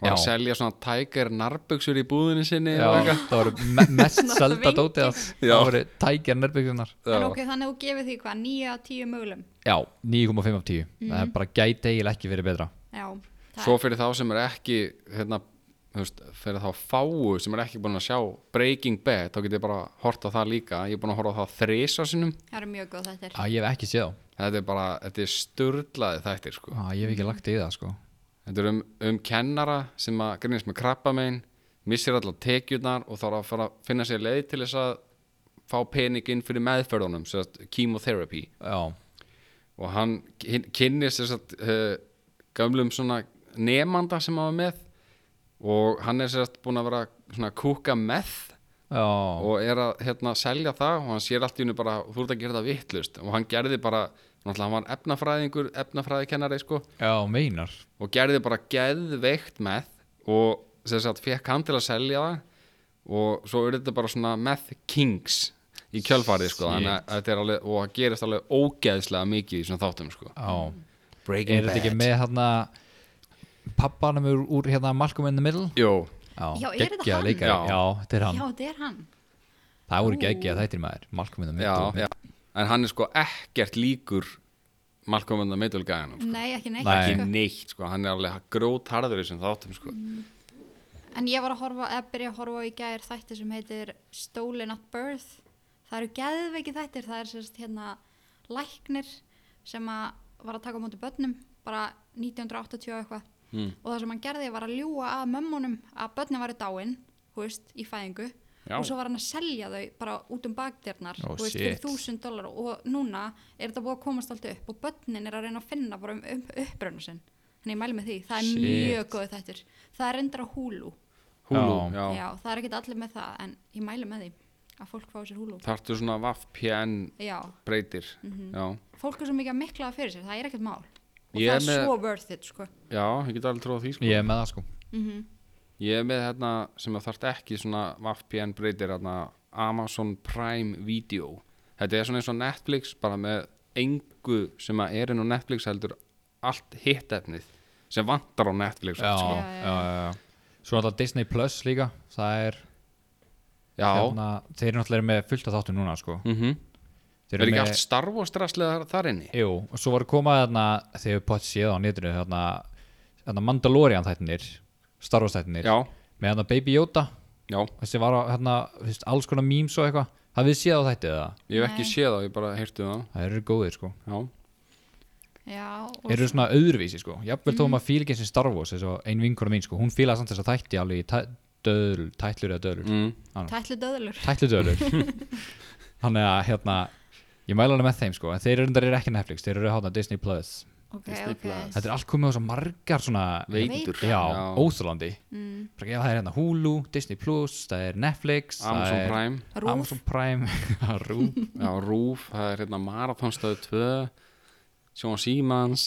C: var að
D: Já.
C: selja svona tiger narbuxur í búðinu sinni
D: já,
C: og eitthvað.
D: það voru me mest
B: Svona
D: selda
B: vinkill.
D: dótið hans.
C: Já.
D: það voru tækjar nærbyggjunar
B: En
C: Já.
B: ok, þannig að þú gefið því hvað, 9 á 10 mögulum
D: já, 9,5 af 10
B: Mhm.
D: það er bara gæti eiginlega ekki verið betra
B: Já, það
C: svo fyrir þá sem er ekki hérna, þú veist, fyrir þá fáu sem er ekki búin að sjá Breaking Bad þá get ég bara hort á það líka ég er búin að horfa á það þrisa sinum
B: það eru mjög góð þetta er
D: að ég hef ekki séð þá
C: þetta er bara, þetta er sturdlaði þættir sko.
D: að ég hef ekki lagt í það sko
C: þetta er um, um kennara sem að grínast með krabbamein missir allar tekjurnar og þá er að fara að finna sér leið til þess að fá peningin fyrir meðferðunum sem sagt chemotherapy
D: já,
C: og hann kynnist þess að uh, gamlum svona nefnanda sem hann var með og hann er sérst búin að vera svona að kúka með
D: já,
C: og er að hérna selja það og hann sér allt í hennu bara þú ert að gera það vittlust og hann gerði bara náttúrulega hann var efnafræðingur, efnafræðikennari sko
D: já, meinar
C: og gerði bara geðveikt með og sem sagt fekk hann til að selja það og svo er þetta bara svona meth kings í kjölfarið sko þannig að þetta er alveg og það gerist alveg ógeðslega mikið í svona þáttum sko
D: já,
C: Breaking
D: er þetta ekki með hérna pappanum úr, úr hérna Malcolm in the Middle
C: Jó,
B: Já, er þetta
D: geggjað
B: hann?
D: leikari.
C: Já.
D: já, þetta er hann
B: Já, þetta er hann
D: það voru geggjað þættir maður Malcolm in the
C: já,
D: Middle
C: já En hann er sko ekkert líkur Malcolm in the Middle gæðanum sko.
B: Nei, ekki neitt
D: Nei.
C: Ekki
B: sko.
C: neitt sko, hann er alveg grótarður í þessum þáttum sko
B: En ég var að horfa, eða byrja að horfa á í gær þætti sem heitir Stolen at Birth. Það eru geðveiki þættir, það er sérst hérna læknir sem að var að taka á móti börnum, bara 1980 og eitthvað.
D: Hmm.
B: Mm. Og það sem hann gerði var að ljúga að mömmunum að börnum væri dáin, hú veist, í fæðingu.
C: Já.
B: Og svo var hann að selja þau bara út um bakdyrnar,
D: Ó,
B: þú veist, fyrir
D: Oh, shit.
B: þúsund dólar og núna er þetta búið að komast allt upp og börnin er að reyna að finna bara um upp, upprönu sinn. Þannig ég mæli með því, það er
D: Shit.
B: mjög góð þættir. Það er reyndar á húlu.
C: Húlu,
B: Já.
C: já,
B: það er ekkert allir með það, en ég mæli með því að fólk fá sér húlu.
C: Þarftu svona VPN
B: Já,
C: breytir Já,
B: fólk er svo mikið að mikla það fyrir sér, það er ekkert mál. Og
C: Ég er
B: það er
C: með-
B: svo worth it, sko.
C: já, ég get alveg tróð því sko
D: ég er með það sko
C: Ég er með hérna sem að þarft ekki svona VPN breytir hérna Amazon Prime Video Þetta er svona eins og Netflix bara með engu sem að er inn á Netflix heldur allt hitt efnið sem vantar á Netflix
D: já,
C: sko.
D: já,
B: já,
D: já, já. svo náttúrulega Disney Plus líka það er
C: já.
D: hérna, þeir eru náttúrulega með fullt af þáttum núna sko.
C: Mm
D: þeir
C: Er
D: eru
C: ekki
D: með,
C: allt Star Wars draslega þar inni?
D: jú, og svo var að koma þarna, þegar við potið séð á nýtrinu þarna, þarna Mandalorian þættinir Star Wars þættinir
C: Já,
D: með þarna Baby Yoda
C: já,
D: þessi var á, hérna, fyrst, alls konar memes og eitthvað hafið þið séð á þættið það,
C: ég hef ekki séð það, ég bara heyrti um það
D: það eru góðir sko
C: Já,
B: Já, og
D: eru svona öðruvísi sko, jafnvel þó að maður fíl ekki sem Star Wars, eins og ein vinkona mín sko hún fílaði samt þess að þætti alveg í tæ- döðl, tætlur eða döðlur,
C: mm.
B: tætlu döðlur.
D: tætlur döðlur þannig að hérna ég mæla hana með þeim sko, en þeir eru reyndar eru ekki Netflix, þeir eru hérna Disney Plus
B: Ok,
C: Disney
B: ok.
C: Plus.
D: þetta er allt komið á svo margar svona
C: Veitur.
D: já, já. óþjólandi
B: Mm.
D: já, það er hérna Hulu, Disney Plus, það er Netflix það
C: Amazon
D: er
C: Prime,
B: Rúf.
D: Amazon Prime Rúf
C: já, Rúf, það er hérna Marathonstöðu 2 Sjón Símans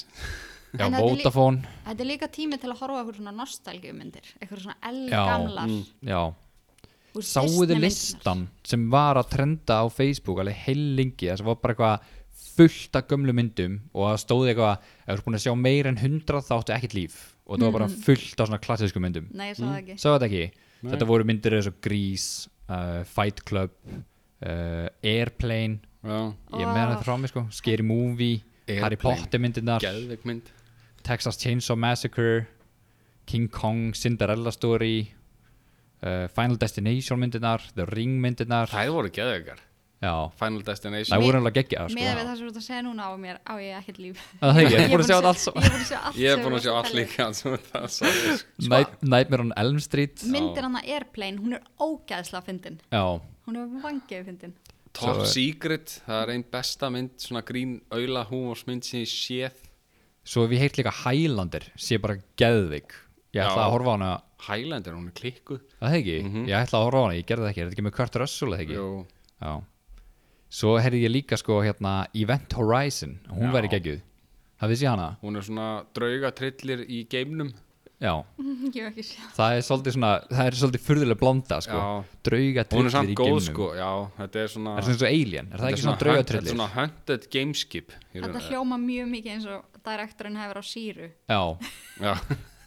D: já,
B: En þetta er lí-
D: Vodafone
B: Þetta er líka tími til að horfa á eitthvað svona nostalgjumyndir, eitthvað svona
D: Já,
B: elgamlar.
D: já,
B: úr
D: sáuðu
B: Disneymyndirnar.
D: listan sem var að trenda á Facebook alveg heilingi, það sem var bara eitthvað fullt af gömlu myndum og það stóði eitthvað, ef þú ert búin að sjá meira en 100 þá áttu ekkert líf og það var bara fullt af svona klassísku myndum
B: Nei, ég sá það ekki.
D: Sáðu þetta ekki? Þetta voru myndir eins og Grís, uh, Fight Club, uh, Airplane,
C: Já,
D: ég er með þetta frá mig sko, Scary Movie, Harry
C: Airplane.
D: Potter myndirnar,
C: geðveik mynd
D: Texas Chainsaw Massacre, King Kong, Cinderella Story, uh, Final Destination myndirnar, The Ring myndirnar,
C: Það voru geðveikar
D: já,
C: Final Destination
D: það voru alveg geggjaðar
B: Meðan við
D: sko.
B: það sem þú ert að segja núna á mér, á ég ekkert líf.
D: Það er ekki, ég er búin að sjá
B: búin
D: þetta allt saman.
B: Ég er búin
C: Ég er búin að
B: að sjá allt. sem þú
C: sjá
B: varst
C: allt
B: tala um.
C: líka sem það sagði Sko,
D: Night- Nightmare on Elm Street,
B: Myndin hann að Airplane, hún er ógæðslega fyndin.
D: já,
B: Hún er vangeðu fyndin.
C: Top
D: Svo-
C: Secret, það er einn besta mynd svona grín auðla húmorsmynd sem ég séð
D: svo hef ég heilt líka Highlander, sé bara geðvig, ég ætla
C: Já.
D: að horfa á hana
C: Highlander, hún er klikkuð
D: Það er ekki, ég ætla að horfa á hana, ég gerði það ekki, er þetta ekki með Kurt Russell eða ekki?
C: Mhm. Jú.
D: Já. Svo heyrði ég líka sko hérna Event Horizon, hún
C: Já.
D: væri geggjuð. Hafið þið séð hana?
C: Hún er svona draugatrillir í geimnum
D: já,
B: Ég hef ekki séð.
D: það er svolítið svona það er svolítið furðulega blanda sko
C: Já.
D: drauga
C: Hún er
D: trillir
C: samt
D: í
C: góð
D: geimnum
C: sko, já, þetta er svona
D: það er svona eins og alien, er það
C: þetta
D: ekki svona
C: hunt-
D: drauga
C: Þetta er
D: trillir
C: svona hunted gameskip
B: Þetta hljóma mjög mikið eins og direktorinn hefur á síru.
D: já,
C: Já,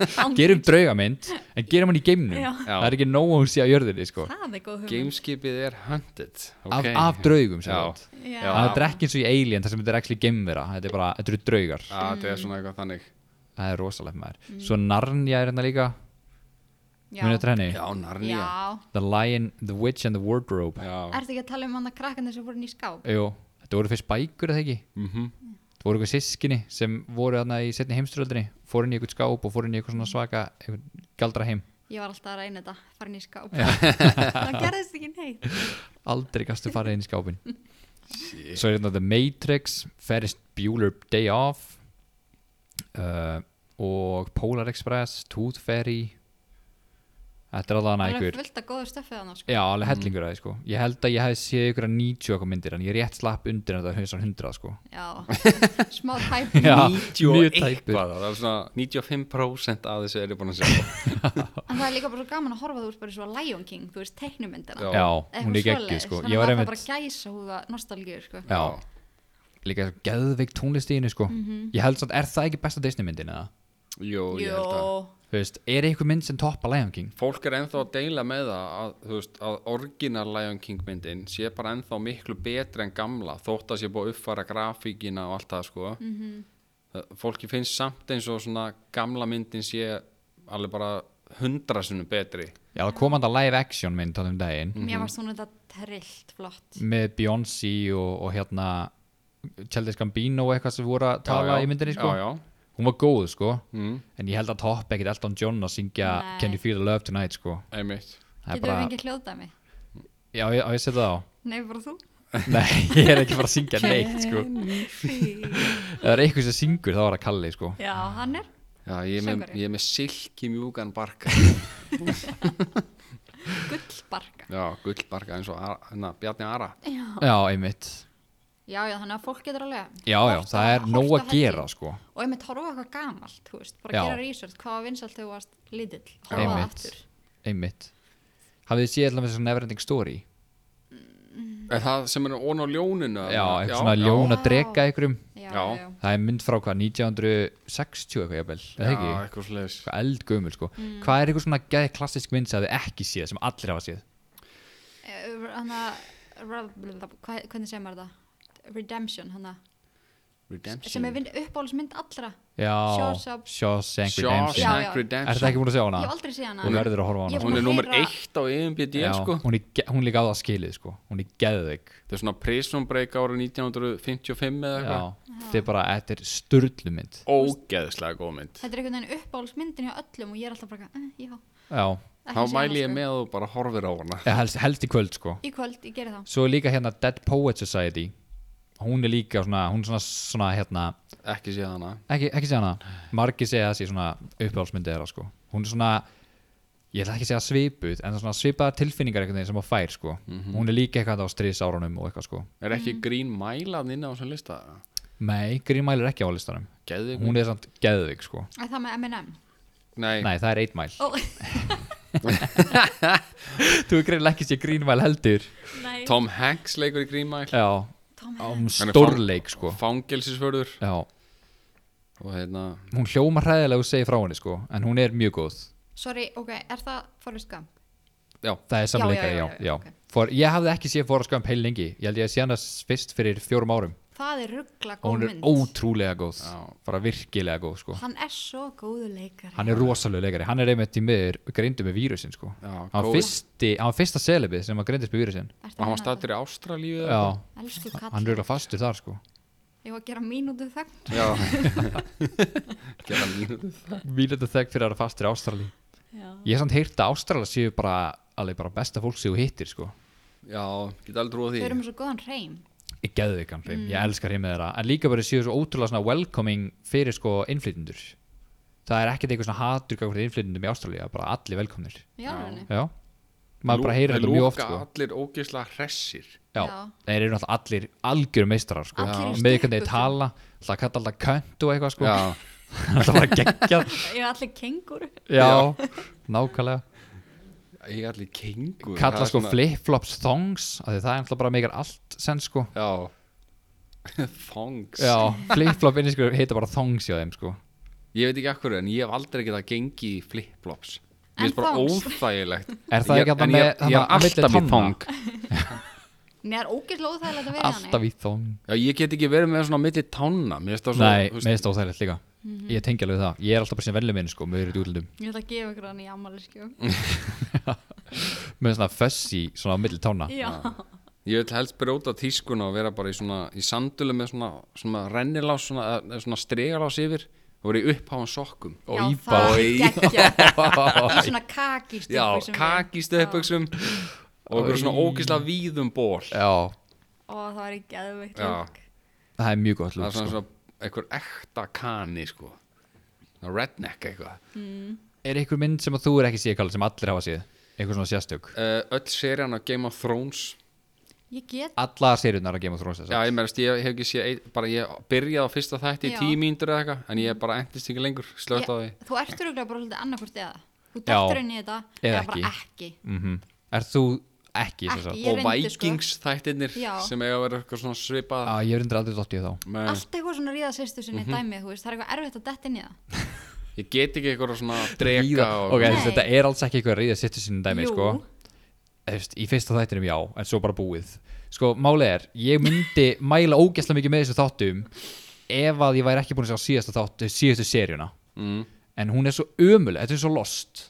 D: gerum draugamynd en gerum hann í geimnum
B: Já.
C: Já.
D: það er ekki nóg að hún sé á jörðinni sko
B: Það er góð hugmynd.
C: gameskipið er hunted
D: af,
C: ok.
D: af draugum sem
C: Já,
D: sagt.
B: Já.
D: það er ekki eins og í alien þar sem þetta er ekki geimvera þetta er bara, þetta eru draugar
C: Já, þetta er svona eitthvað þannig
D: það er rosalegt maður svo Narnia er hérna líka
B: Mm. Já.
D: munið þetta henni
C: Já, Narnia
B: Já.
D: The Lion, The Witch and the Wardrobe
C: Já,
B: Ertu ekki að tala um hann að krakkan sem voru inn í skáp?
D: Jú, þetta voru fyrst bækur eða ekki mm
C: Mhm.
D: -hmm. þetta voru eitthvað sískinni sem voru þarna í setni heimströldinni fór inn í eitthvað skáp og fór inn í eitthvað svona svaka eitthvað galdra heim,
B: Ég var alltaf að reyna þetta, fara inn í skáp. það gerðist ekki neitt.
D: aldrei gastu farið inn í skápin svo er þetta The Matrix Ferris Bueller Day Off uh, og Polar Express Tooth Fairy þetta er allavega
B: Það
D: einhver
B: er fullt að góðu stöfið hann, sko.
D: Já,
C: Mm.
D: alveg hellingur að það sko Ég held að ég hef séð ykkur að 90 og eitthvað myndir en ég rétt slapp undir en þetta er 100 sko
B: Já. Smá tæpum.
D: Já,
C: 90 og
D: mjög tæpur.
C: eitthvað það er svona 95% af þessu er ég búin að sjá
B: En það er líka bara svo gaman að horfa þú veist bara svo Lion King, þú veist,
C: Já.
B: teiknumyndina.
D: Já,
B: Eitthvað
D: hún er
B: svoleiðis,
D: geggið sko
B: Þannig
D: Ég var
B: að það bara
D: einmitt,
B: gæsa húða nostalgíu, sko.
D: já Líka geðveik tónlist í henni sko
B: Mhm.
D: Ég held samt, er það ekki besta Disney myndin eða?
C: Jú, ég held að
B: Jó.
D: Þú veist, er einhver mynd sem toppa Lion King?
C: Fólk er ennþá að deila með það að, þú veist, að orginal Lion King myndin sé bara ennþá miklu betri en gamla þótt að sé búið að uppfara grafíkina og allt það sko
D: Mhm.
C: -hmm. Fólki finnst samt eins og svona gamla myndin sé alveg bara hundra sinnum betri
D: Já, það kom hann að live action mynd þannig um daginn
B: Mér varst hún þetta trillt flott.
D: með Beyoncé og, og hérna Childish Gambino og eitthvað sem voru að tala
C: já.
D: í myndinni sko
C: Já, já. Mm,
D: Hún var góð sko En ég held að toppa ekkit Elton John að syngja
B: Nei.
D: Can you feel the love tonight sko
C: Einmitt
D: Það er
B: Getur við fengið hljóðdæmi?
D: Já, ég, á ég setja það á
B: Nei, bara þú.
D: Nei, ég er ekki bara að syngja neitt sko Ef það er eitthvað sem syngur þá er það Kalli sko
B: Já, hann er.
C: Já, ég er með,
B: Söngvari.
C: ég er með silki mjúkan barka
B: Gullbarka.
C: Já, gullbarka eins og Ara- hérna, Bjarni Ara
D: Já, einmitt
B: Já, já, þannig að fólk getur alveg
D: Já, já,
B: horft
D: það
B: á-
D: er
B: horft
D: nóg
B: á
D: að
B: helling.
D: gera sko
B: Og einmitt horfa á eitthvað gamalt, þú veist, bara
D: Já.
B: gera research, hvað var vinsalt þegar þú varst lítill, horfa það
D: Einmitt,
B: aftur
D: einmitt Hafið þið séð allavega svona Neverending Story?
C: Er það sem er ón á ljóninu?
D: Já, eitthvað svona ljón að drega einhverjum
B: Já,
C: Já.
B: já,
D: Það er mynd frá hvað, 1960 eitthvað jafnvel, eða
C: Já,
D: ekki?
C: eitthvað slags
D: Eitthvað eldgömul sko
B: Mm.
D: Hvað er eitthvað svona geði klassisk mynd sem þið ekki séð, sem allir hafa séð?
B: Þannig að, hvað- hvernig segir maður það? Redemption, hann að, sem er vin- uppáhaldsmynd allra
D: Já,
B: Shawshank-
D: Shawshank Redemption
B: Já, já.
C: Shawshank Redemption
D: Er það ekki búin að sjá hana?
B: Ég hef aldrei séð hana
D: Þú verður að horfa á hana.
B: Ég
C: Hún er
B: búin að
C: nummer
B: heyra-
C: eitt á EMBD
D: Já,
C: sko
D: hún, er, ge- hún líka á það skilið sko Hún er geðveik
C: Þetta er svona Prison Break ára 1955 eða eitthvað
D: Já, þetta er bara, þetta er störlumynd
C: Ógeðslega góð mynd
B: Þetta er einhvern veginn uppáhaldsmyndin hjá öllum og ég er alltaf bara, eitthvað, eh, já
D: Já,
B: ekki
C: Þá
B: séð
C: mæli
B: hana,
C: ég
B: sko.
C: með að þú bara horfir á hana
D: eða helst, helst í kvöld sko
B: Í kvöld, ég geri það
D: Svo er líka hérna Dead Poet Society Hún er líka svona, hún er svona, svona hérna
C: Ekki séð hana
D: Ekki, ekki segja hana, margir segja þessi svona uppáhaldsmyndi þeirra sko Hún er svona, ég ætla ekki að segja svipuð En það er svona svipaðar tilfinningar einhvern veginn sem hún fær sko
C: Mhm.
D: Hún er líka eitthvað á stríðsárunum og eitthvað sko
C: Er
B: Mm.
C: ekki Green Mile að nýna á þessum lista?
D: Nei, Green Mile er ekki á listanum
C: Geðið
D: Hún er samt geðvig sko
B: Er það með M&M?
C: Nei,
D: Nei, það er 8 Mile
B: Ó,
D: Þú er greinilega ekki sé Green Mile heldur
B: nei
C: Tom Hanks leikur í Green Mile
D: Já,
B: Tom
D: á
B: Hanks.
C: Hann er
D: stórleik sko
C: Fangelsisförður
D: Já,
C: Og hérna
D: hún hljóma hræðilega og segir frá henni sko en hún er mjög góð
B: Sorry, ok, er það Forrest Gump?
C: Já,
B: Já,
D: það er
B: já,
D: samleikari,
B: já,
D: já,
B: já,
D: já,
B: ok.
D: For, ég hafði ekki séð Forrest Gump heil lengi ég held ég að sé hann að fyrst fyrir fjórum árum
B: Það er ruggla
D: og
B: góð
D: hún er
B: mynd
D: ótrúlega góð
C: Já.
D: bara virkilega góð sko
B: Hann er svo góðu leikari
D: hann er rosalega leikari, hann er einmitt í miður greindu með vírusin sko
C: Já,
D: hann,
C: góð.
D: var fyrsti, hann var fyrsta selebið sem var greindist með vírusin
B: Ertu
C: og hann var
B: með
C: stættur í Ástralíu eða
D: já,
B: þetta? Elsku kall
D: hann er örugglega fastur þar sko
B: Ég var að gera mínútu þögn
C: eitthvað? Já Gerða mínu
D: Vílita þegg fyrir að vera fastur í Ástrali
B: Já.
D: ég hef samt heyrt að Ástrali séu bara, alveg bara besta fólk sem þú hittir sko
C: Já, geta aldrei trúið því
B: Þau eru með svo góðan hreim
D: ég geðu ekki hann þeim, ég
B: Mm.
D: elskar heim með þeirra en líka bara séu svo ótrúlega svona welcoming fyrir sko innflytundur það er ekkert eitthvað svona hatur gafur innflytundum í Ástralíu, bara allir velkomnir
B: Já, já.
D: já, maður bara heyrir þetta mjög oft sko.
C: allir ógeðslega hressir
D: já,
B: Já.
D: þeir eru alltaf allir algjör meistrar sko.
B: Allir í
D: með hvernig þeir
B: stökkubuxum.
D: tala alltaf að kalla alltaf könt og eitthvað sko.
C: Já.
D: Það var geggjað
B: Ég er allir kenguru
D: Já, nákvæmlega
C: Ég er allir kengur
D: Kalla sko flip-flops thongs af því Það er alltaf bara meikar allt sen sko
C: Já Thongs
D: Já, flip-flop inni sko heita bara thongs hjá þeim sko
C: Ég veit ekki akkur en ég hef aldrei getað gengi í flip-flops
B: En
C: Mér finnst bara
B: thongs?
C: óþægilegt
D: Er það
C: Ég-
D: ekki þarna
C: en
D: með-
C: ég- Ég
D: þarna á
C: er
D: milli
C: alltaf í
D: tanna?
C: thong
B: Nei, það er ógeðslega óþægilegt að vera í
D: Alltaf í thong
C: Já, ég get ekki verið með svona milli tanna Mér finnst það svona
D: Nei,
C: þú veist-
D: meðist óþægilegt líka Ég tengi alveg við það, ég er alltaf bara sem velum minn sko Með verið útlundum,
B: Ég ætla að gefa ykkur hann í sko. ammaliskjum
D: Mm. með svona fössi Svona á milli tána
B: Já,
C: Ég vil helst brjóta tískuna og vera bara í svona í sandölu með svona, svona rennilás svona, eða svona stregalás yfir og vera í uppháðan sokkum
D: Og
B: já
D: í
B: það
D: bara-
B: er geggjað Í
D: Já,
B: svona kakist
C: Já, kaki stöðböksum og einhver svona ógisla víðum ból
B: Ó, það var ekki geðveikt
C: Já.
B: lúk
D: það er mjög
C: það
D: gott
C: er
D: lúk
C: svona,
D: sko.
C: svona einhver ekta kani sko Svona redneck eitthvað
D: Er einhver mynd sem að þú er ekki séð kallið sem allir hafa séð? Einhver svona sérstök?
C: uh, Öll serían á Game of Thrones
B: Ég get,
D: Allar seriunar að Game of Thrones þess
C: Já, ég meðast, ég hef ekki sé bara ég byrjaði á fyrsta þætti í
B: Já.
C: tíu mínútur eða eitthvað en ég bara endist ekki lengur, slögt á því
B: ég, þú ertur auðvitað bara hluti annarkvort eða Þú
D: Já.
B: dættur inn í þetta
D: Eða
B: bara ekki
D: Er Mhm. þú ekki
B: Ekki,
D: þess að?
B: Ég
C: og
B: reyndi, sko.
C: Vikings þættirnir
B: Já.
C: sem eiga að vera eitthvað svona svipað
D: Já, ég er undir aldrei dótt í þá
C: með,
B: Allt eitthvað svona ríða sýstu sinni
D: Mhm.
B: dæmi, þú veist, það er eitthvað erfitt að detta inn í það
C: Ég get ekki eitthvað svona drega
D: Ríða-
C: og
D: Ok,
B: Nei.
D: þess, þetta er alls ekki eitthvað að ríða sittu sinni dæmi
B: Jú.
D: sko. Efst, Í fyrsta þættinum já, en svo bara búið Sko, málið er, ég myndi mæla ógæslega mikið með þessu þáttum ef að ég væri ekki búin að sjá síðasta þáttu síðastu seríuna
C: mm,
D: En hún er svo ömuleg, þetta er svo lost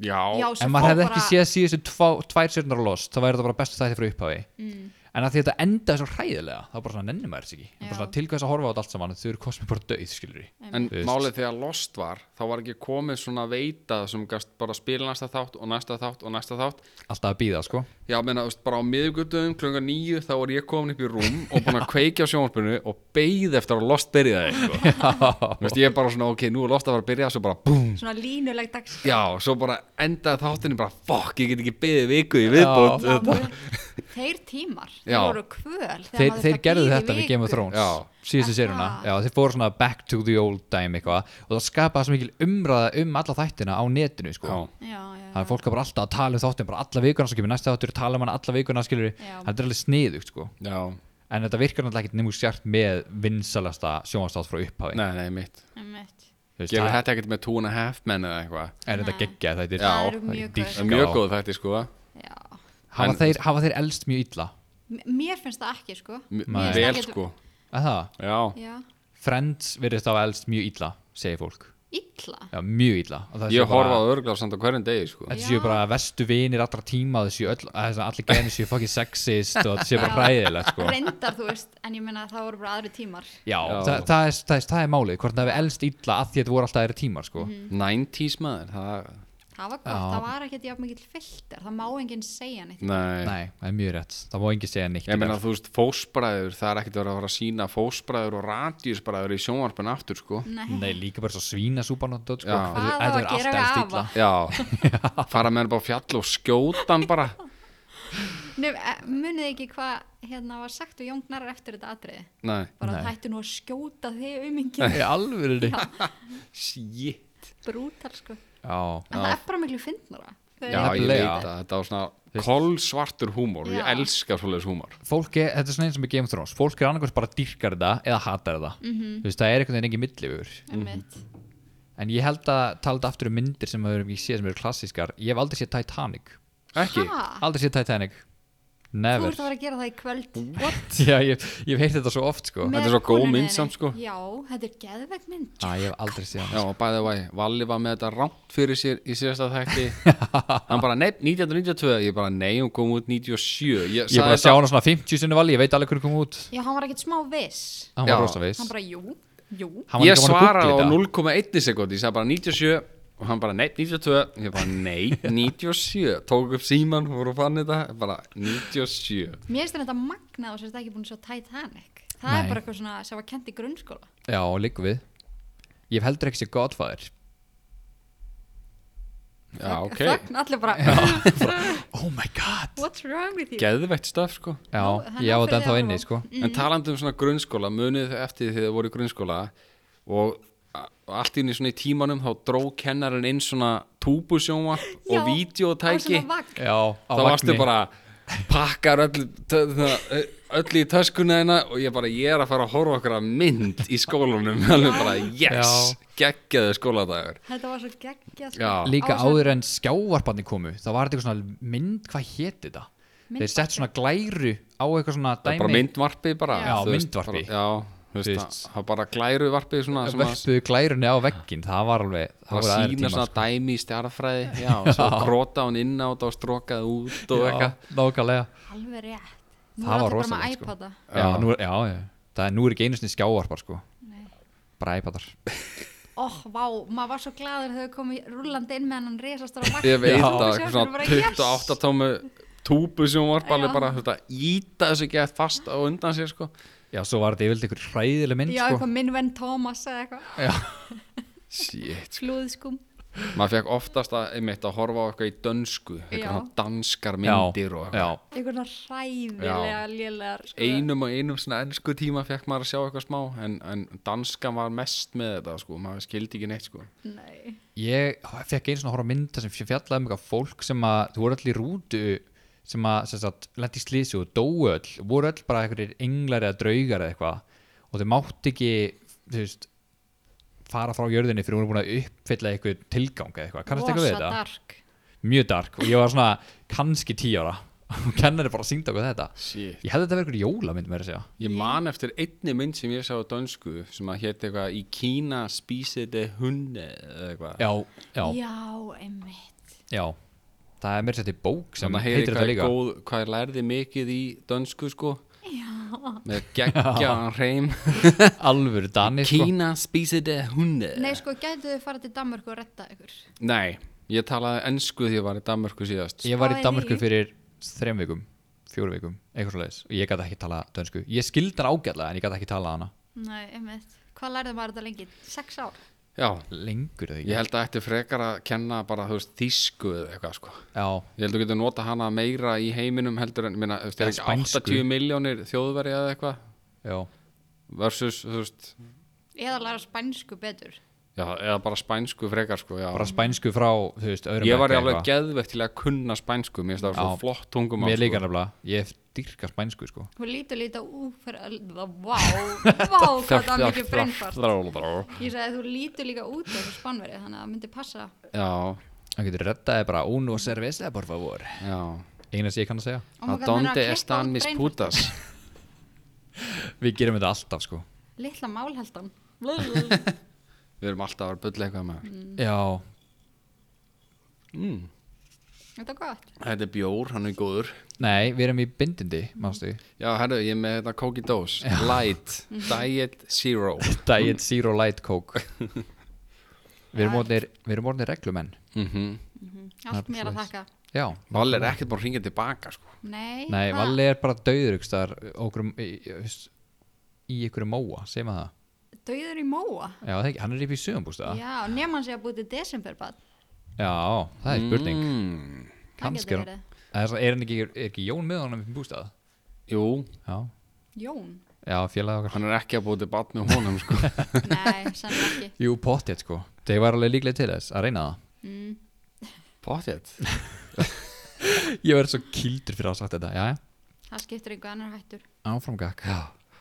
C: Já,
B: Já,
D: En
B: sem fá
D: maður hefði
B: bara-
D: ekki séð síðustu tvá, tvær sérnar lost þá væri þetta bara bestu þætti frá upphafi mm. en að því þetta endaði svo hræðilega þá bara svona nennir maður þess ekki Bara
B: Já.
D: svona, til hvers að horfa á þetta allt saman þau eru kosmið bara döið skilur
C: en
D: Þú veist.
C: málið þegar Lost var þá var ekki komið svona veita sem gast bara spila næsta þátt og næsta þátt og næsta þátt
D: alltaf að býða sko
C: Já, meina, þú veist, bara á miðgutum klunga nýju þá var ég komin upp í rúm og búin að kveikja á sjónvarpinu og beið eftir að Lost byrjaði eitthvað Þú veist, ég er bara svona, ok, nú er Lost að fara að byrja svo bara, búm
B: Svona línuleg dags
C: Já, svo bara endaði þáttinu bara, fuck, ég get ekki beðið viku í viðbót
B: Já, mjög- þeir tímar, þeir
C: Já.
B: voru kvöl
D: þeir, þeir gerðu þetta við Game of Thrones
C: Já.
D: síðustu
B: Er
D: séruna
B: það?
D: já, þeir fóru svona back to the old time eitthvað og það skapaði svo mikil umræða um alla þættina á netinu sko
C: Já.
B: já, já,
D: það er fólk að bara alltaf að tala um þáttum bara alla vikuna sem kemur næsta þáttur tala um hann alla vikuna skilur
B: Já.
D: þetta er alveg sniðugt sko
C: Já,
D: en þetta virkar náttúrulega ekki nefnum sjart með vinsalasta sjónvastátt frá upphafi
C: nei, nei, mitt
B: einmitt.
D: Þú veist,
C: Gerðu
D: það-
C: þetta ekkert með two and a half menn eða eitthvað
D: er þetta geggjað þetta er
B: Það eru mjög góð.
C: Það er Mjög góð þetta sko
B: já.
D: hafa,
C: En-
D: þeir, hafa þeir elst mjög illa
B: M- mér finnst það ekki sko
C: M-
B: Nei.
C: Vel
B: Ekkert-
C: sko
D: að það,
C: Já,
B: já,
D: Friends virðist hafa elst mjög illa segir fólk,
B: illa
D: já mjög illa Og það séu
C: ég
D: bara-
C: horfa á örgla samt á hverjum degi sko
D: þetta séu bara vestu vinir allra tíma þessu öll, að þessi allir genið séu fucking sexist og þetta séu bara hræðilegt sko.
B: reyndar þú veist, en ég meina að það voru bara aðri tímar
D: já,
C: Já.
D: Það, það, er, það, er, það er málið hvort það hefur elst illa að því að þetta voru alltaf þeirra tímar sko.
B: Mhm.
C: 90s maður, það,
B: það var gott,
D: Já.
B: það var ekkert jafn mikill fylter það má enginn segja neitt
C: nei,
D: nei, það er mjög rétt, það má engi segja neitt
C: Ég meina þú veist, fósbræður, það er ekkert að vera að fara að sína fósbræður og radíusbræður í sjónvarpin aftur sko
D: nei, líka bara svo svínasúpan og dót, sko.
C: Já.
D: Þetta-
B: Hvað á að
D: þetta er
B: gera
D: alltaf
B: við
D: elst illa.
B: afa?
C: Já, fara með hann bara á fjall og skjóta hann bara
B: Nef, e, munið þið ekki hvað hérna var sagt og jóngnar eftir þetta atriði
C: Nei,
B: bara
D: Nei.
B: Nei. hættu nú að skjóta þig um enginn
D: í alvöru
C: shit
B: brútal sko en
D: já,
B: það er bara miklu fyndnara
C: Já,
B: Þegar-
C: ég
D: Nefnilega.
C: veit að þetta var svona kolsvartur húmor,
B: Já.
C: ég elska svoleiðis húmor
D: fólk er, þetta er svona eins og með Game of Thrones fólk er annarkvæmst bara dýrkar þetta eða hatar þetta
B: Mhm.
D: Þú veist, það er einhvern veginn engin millifur
B: einmitt.
D: en ég held að tala þetta aftur um myndir sem maður hefur ekki séð sem eru klassískar ég hef aldrei séð Titanic
C: mm, Ekki?
B: Ha?
D: aldrei séð Titanic
B: þú
D: never
B: ert að vera að gera það í kvöld
D: já, ég, ég hef heyrt þetta svo oft sko
B: Með
C: Mm. er svo góð
B: konunni
C: mynd
B: þinni.
C: samt, sko.
B: já, þetta er geðvegg mynd
D: að ég hef aldrei séð
C: Já,
D: hana
C: og bæðið væ, Valli var með þetta rámt fyrir sér í síðasta þætti Hann bara, nei, 1992 Ég bara, nei, hún kom út 97 Ég,
D: ég
C: sagði
D: er bara að sjá
C: þetta-
D: hana svona 50 sinni vali ég veit alveg hvernig kom út
B: já, hann var ekkert smá viss
D: hann
C: Já.
D: var rosa viss
B: hann bara, jú, jú
D: Hann var
C: Ég
D: líka búinn að
C: svaraði
D: googla
C: á 0,1
D: þetta.
C: sekund Ég sagði bara 97 og hann bara, nei, 92 Ég bara, nei, 97 Tók upp síman, voru að fann þetta Bara, 97
B: mér finnst þetta magnað og sérst ekki búin að sjá Titanic það
D: Nei.
B: er bara eitthvað svona sem var kent í grunnskóla
D: já, líka við ég hef heldur ekki séð Godfather
C: Já, ok
B: þögn allir bara,
D: oh my god
B: what's wrong with you
C: Geðveitt stöf, sko
D: já,
B: Nó, hann
D: ég á
B: á fyrir
D: þetta ennþá
B: þér
D: inni
B: og-
D: sko
C: En talandi um svona grunnskóla Munið þið eftir því þið voru í grunnskóla Og allt inn í svona í tímanum þá dró kennarinn inn svona túbusjónvarp
B: Já,
C: og vídeotæki
B: á svona vagn.
D: Já, á
C: þá varstu
D: vagni.
C: bara pakkar öll, tö- þa- öll í töskuna þeina og ég bara, ég er að fara að horfa okkur að mynd í skólanum alveg bara, yes, geggjaðu skóladagur
B: Þetta var svo sko. geggja
C: Já.
D: líka áður en skjávarparni komu þá var þetta eitthvað svona mynd, hvað héti þetta? Þeir sett svona glæru á eitthvað svona dæmi
C: bara myndvarpi bara
D: Já,
C: þú veist, bara,
D: myndvarpi.
C: já, þú
D: Þú
C: veist,
D: veist.
C: það- það bara glæru varpi svona, sem að
D: Vöppuðu glærunni á veggin, það var alveg það
C: Það
D: var aðri
C: sína
D: tíma
C: svona dæmi í stjarafræði Já, og svo króta hún inn á þetta og strokaði út og eitthvað
D: Nákvæmlega
B: Alveg rétt. Nú er
D: Það var
B: allir bara með
D: rosalegt, sko.
B: iPada.
D: Já, nú er, já, já. Það er, nú er ekki einu sinni skjávarpar sko Bara iPadar
B: Óh, Oh, vá, maður var svo gladur þegar þau komið rúlandi inn með hennan resastóra vagn.
C: Ég veit
B: Já.
C: að
B: Sjá,
C: eitthvað svona
B: bara, yes!
C: 28 tómu túbu sem hún var alveg
B: Já.
C: bara þetta, íta þessu ekki fast á undan sér sko.
D: Já, svo var þetta yfirleitt ykkur hræðileg mynd
B: Já,
D: sko
B: eitthvað minn venn Thomas eða eitthvað, sko.
C: Shit,
B: slúðskum.
C: maður fekk oftast að, einmitt, að horfa á eitthvað í dönsku eitthvað
B: Já.
C: svona danskar myndir og
D: já,
C: eitthvað.
B: Eitthvað svona hræðilega, lélegar. sko.
C: einum og einum svona ennsku tíma fekk maður að sjá eitthvað smá en, en danskan var mest með þetta sko, maður skildi ekki neitt sko.
B: Nei.
D: Ég fekk einu svona horf á mynd þar sem fjallaði um eitthvað fólk sem að þú voru öll í rútu sem að sem sagt, lendi í slísu og dóu öll voru öll bara einhverjir englar eða draugar eða eitthvað og þau mátt ekki þú veist fara frá jörðinni fyrir hún er búin að uppfylla eitthvað tilgang eða eitthvað, kannast eitthvað við
B: Rosa
D: þetta?
B: dark.
D: Mjög dark og ég var svona kannski tí ára og kennari bara síndi okkur þetta
C: Shit.
D: Ég hefði þetta verið eitthvað jólamynd með þessi
C: Ég man eftir einni mynd sem ég sá á dönsku sem að hétt eitthvað í Kína spísið de hunne eða eitthvað.
D: Já, já, já,
B: Já, einmitt.
D: Það er meira sér til bók sem
C: Sem að
D: heitir
C: heyri
D: þetta
C: hvað, er
D: líka
C: góð, hvað ég lærði mikið í dönsku sko. Já. Með geggjaðan hreim.
D: Alvöru Dani sko.
C: Kína spísið de hunne.
B: Nei, sko, gætu þau farið til Danmörku og retta ykkur?
C: Nei, ég talaði ensku því ég var í Danmörku síðast.
D: Ég var í
B: Spáði
D: Danmörku
B: því.
D: fyrir þrem vikum, fjóru vikum, eitthvað svo leiðis og ég gæti ekki tala dönsku. Ég skildi hana ágætlega en ég gæti ekki tala hana
B: Nei, einmitt. Hvað lærðu maður þetta lengi? Sex ár?
C: Já,
D: lengur eða ekki.
C: ég held að eftir frekar að kenna bara, þú veist, þýsku eða eitthvað sko.
D: Já,
C: Ég held að þú getur nota hana meira í heiminum heldur en, minna, þú veist,
D: Eða
C: er ekki
D: spænsku.
C: 80 miljónir þjóðverja eða eitthvað
D: já,
C: versus, þú veist,
B: Eða læra spænsku betur?
C: Já, eða bara spænsku frekar sko, já.
D: bara spænsku frá, þú veist, öðrum
C: Ég var
D: bekk
C: alveg
D: eitthvað.
C: geðvegt til að kunna spænsku, mér finnst það svo
D: Já.
C: flott sko. tungum
D: Mér líka nefnilega, ég dyrka spænsku sko.
B: Hún lítur líta út fyrir öllu, vá, vá, hvað það var mikið brennfart.
C: brennfart.
B: Ég sagði að þú lítur líka út þessu spánverið, þannig að það myndi passa.
C: Já,
D: Það getur rettaði bara un og cerveza por favor.
C: já.
D: Eina sem ég kann að segja.
B: Oh my God, hún er að
C: Adonde
B: klippa út
C: estan mis
B: brennfart.
C: putas.
D: Við gerum þetta alltaf sko.
B: Litla málheldan.
C: Við erum alltaf að byrja eitthvað með.
B: Mm.
D: Já,
B: Þetta er gott.
C: Þetta er bjór, hann er góður.
D: nei, við erum í bindindi, mástu.
C: Já, herru, ég er með þetta kóki dós. Light, Diet Zero.
D: Diet Zero Light Coke. við erum orðnir- við erum orðinir reglumenn. Mhm.
B: Allt mér að þakka.
D: Já.
C: Val er ekkert búin að ringa tilbaka, sko.
B: Nei,
D: Nei,
B: ha?
D: Valli er bara döður ykstar, okkur, um- í, í- í ykkur móa, segjum að það
B: Dauður í móa?
D: Já, það er ekki, hann er upp í sögumbústa Já,
B: Já, nema hann sé að búið til desemberbad.
D: það er spurning mm,
C: Mm.
D: Kannski er, hann- er, er, hann ekki, er ekki Jón með honum upp í bústað?
C: Jú,
D: Já,
B: Jón?
D: já félag okkar
C: hann er ekki að búið til batn með honum, sko.
B: Nei, sannlega ekki.
D: Jú, pottið sko, þeir var alveg líklega til þess að reyna það
B: Mm,
C: Pottet.
D: Ég verð svo kildur fyrir að hafa sagt þetta, já, já,
B: Það skiptir einhver annar hættur.
D: áfram gakk Já,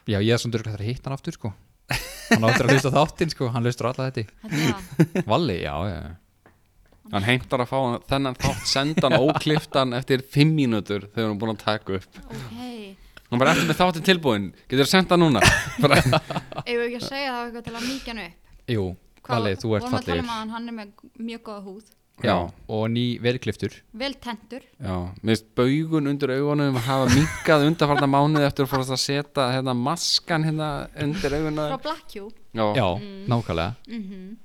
D: já ég er svona dörglega að hitta hann aftur sko Hann áttur að hlusta á þáttinn sko, hann hlustur á alla þetta
B: Þetta er það.
D: Valli, já, já, já
C: Hann heimtar að fá hann- þennan þátt sendan ókliftan eftir fimm mínútur þegar hann er búin að taka upp.
B: Ok.
C: Hann bara eftir með þáttin tilbúin, getur þú senda núna? Bara,
B: Eigum við ekki að segja það eitthvað til að mýkja hann upp?
D: Jú, Valli, þú ert
B: Vorum við að tala
D: fallegur
B: um að hann- hann er með mjög góða húð.
D: Já, og ný velkliftur
B: Vel tentur.
C: já, minnst baugun undir augunum hafa minkað undarfarta mánuð eftir að fórast að setja hérna maskan hérna undir auguna.
B: Frá Black Cube.
C: Já,
D: Já,
B: Mm.
D: nákvæmlega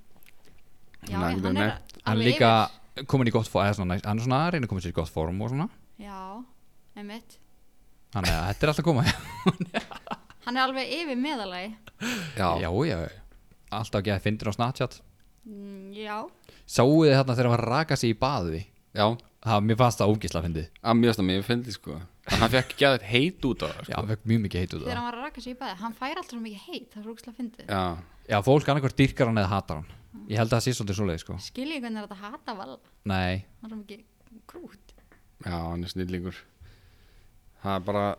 B: Já,
C: Nei,
B: hann
C: nei.
B: er
D: hann er
B: alveg
D: líka komin í gott form eða svona, næst- hann er svona að reyna að koma sér í gott form og svona
B: yfir. Já, einmitt.
D: þannig að þetta er alltaf að koma
B: Hann er alveg yfir meðalagi.
C: já.
D: já, já, alltaf ekki að fyndir á Snapchat
B: Mm, Já,
D: sáu þið þarna þegar hann var að raka sig í baði
C: já.
D: það, mér fannst það ógisla að fyndið
C: Að mjögst að mér finnst sko hann fekk ekki að þetta heit út á það
D: Já,
C: sko.
D: hann fekk mjög mikið heit út af
B: þegar
D: það
B: hann var að raka sig í baði hann fær alltaf svo mikið heit, það er rúkslega fyndið
C: já,
D: Já, fólk annarkvært dýrkar hann eða hatar hann Ég held að það sé svolítið svoleið, sko
B: skilji hvernig er þetta að hata val
D: Nei,
B: hann er svo mikið krút
C: já, hann er snillingur það er bara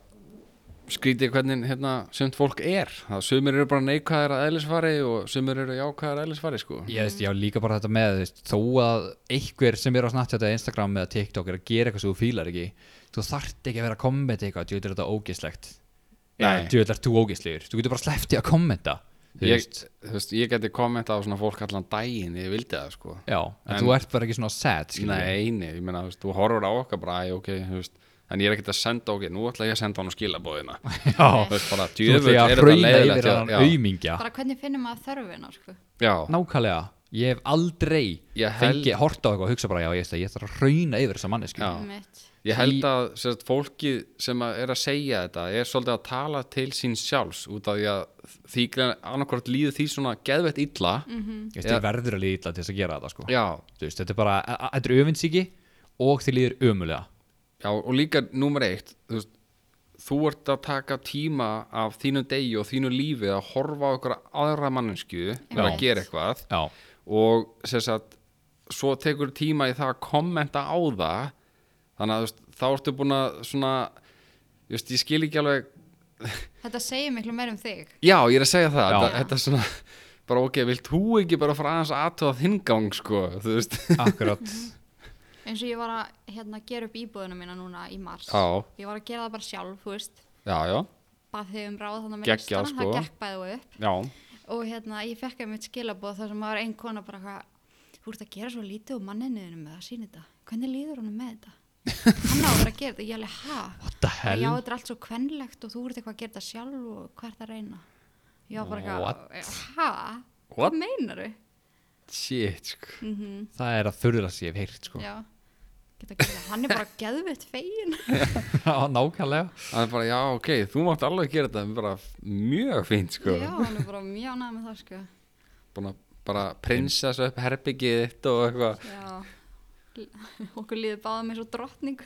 C: skrítið hvernig hérna sumt fólk er það sumir eru bara neikvæðir að eðlisfari og sumir eru jákvæðir að eðlisfari sko.
D: ég veist, já, líka bara þetta með þú veist, þó að einhver sem er á Snapchat eða Instagram eða TikTok er að gera eitthvað sem þú fílar ekki þú þarft ekki að vera að kommenta eitthvað þú veitir þetta ógislegt
C: Nei.
D: þú veitir þú ógislegur, þú getur bara sleppti að kommenta þú
C: ég,
D: veist,
C: þú veist, ég geti kommenta á svona fólk allan daginn ef ég vildi það sko.
D: já, en,
C: En-
D: þú ert bara ekki svona sad, skilur við.
C: Nei, nei, ég meina, þú veist, þú horfur á okkar bara, æ, ok, þú veist, en ég er ekkert að senda ok, nú ætla ég að senda hann og skila bóðina
D: já,
C: þú veist, bara,
D: þú ert því
C: djöfull,
D: að
C: er þetta
D: hrauna
C: leiðilegt
D: yfir
C: já,
D: hann
C: já,
D: auðmingja,
B: bara hvernig finnum maður þörfina sko.
C: já,
D: nákvæmlega ég hef aldrei
C: Ég held-
D: fengið hort á eitthvað og hugsa bara, já, ég veist það, ég þarf að hrauna yfir þessa manneski,
C: Já.
B: Einmitt.
C: ég held að sérst, fólkið sem að er að segja þetta er svolítið að tala til sín sjálfs út af því að því annarkvort líður því svona geðvett illa
D: ég veist, ég verður að líða til þess að gera þetta, sko
C: já,
D: Þú veist, þetta er bara, a- a- þetta er öfinsíki og þið líður ömulega
C: já, og líka númer eitt, þú veist þú ert að taka tíma af þínu degi og þínu lífi að horfa á okkur aðra mannsku vera
B: Einmitt.
C: að gera eitthvað
D: Já,
C: og sem sagt, svo tekur tíma í það að kommenta á það þannig að þú veist, þá ertu búin að svona, ég, veist, ég skil ekki alveg
B: þetta segir miklu meir um þig
C: já, ég er að segja það
D: Já.
C: þetta, þetta er svona, bara ok, vilt þú ekki bara fara aðeins aðtöða þinn gang sko, þú veist
D: akkurat
B: eins og ég var að hérna, gera upp íbúðuna mína núna í mars
C: Já.
B: ég var að gera það bara sjálf þú veist.
C: já, já,
B: bað þig um ráð þannig með
C: Geggjað,
B: listana,
C: sko.
B: það gekk bæðu upp
C: já
B: og hérna, ég fekk einmitt skilabóð þar sem maður ein kona bara hvað, þú ert að gera svo lítið og manninuðinu með að sína þetta hvernig líður honum með þetta? hann á að vera að gera þetta, ég alveg ha
D: What the
B: já,
D: hell?
B: þetta er allt svo kvenlegt og þú ert eitthvað að gera þetta sjálf og hvað er það að reyna? já, bara eitthvað, ha?
C: What?
B: hvað meinaru?
C: shit, sko
B: Mm
D: Það er að þurðast ég hef heyrt sko
B: já, geta að gera það hann er bara geðvitt fegin
D: Já, nákvæmlega
C: það er bara, já, ok, þú mátt alveg gera þetta bara mjög fínt, sko
B: já, hann er bara mjög næð með það sko
C: búin að bara prinsessa upp herbyggið þitt og eitthvað
B: já okkur líður báðum eins og drottning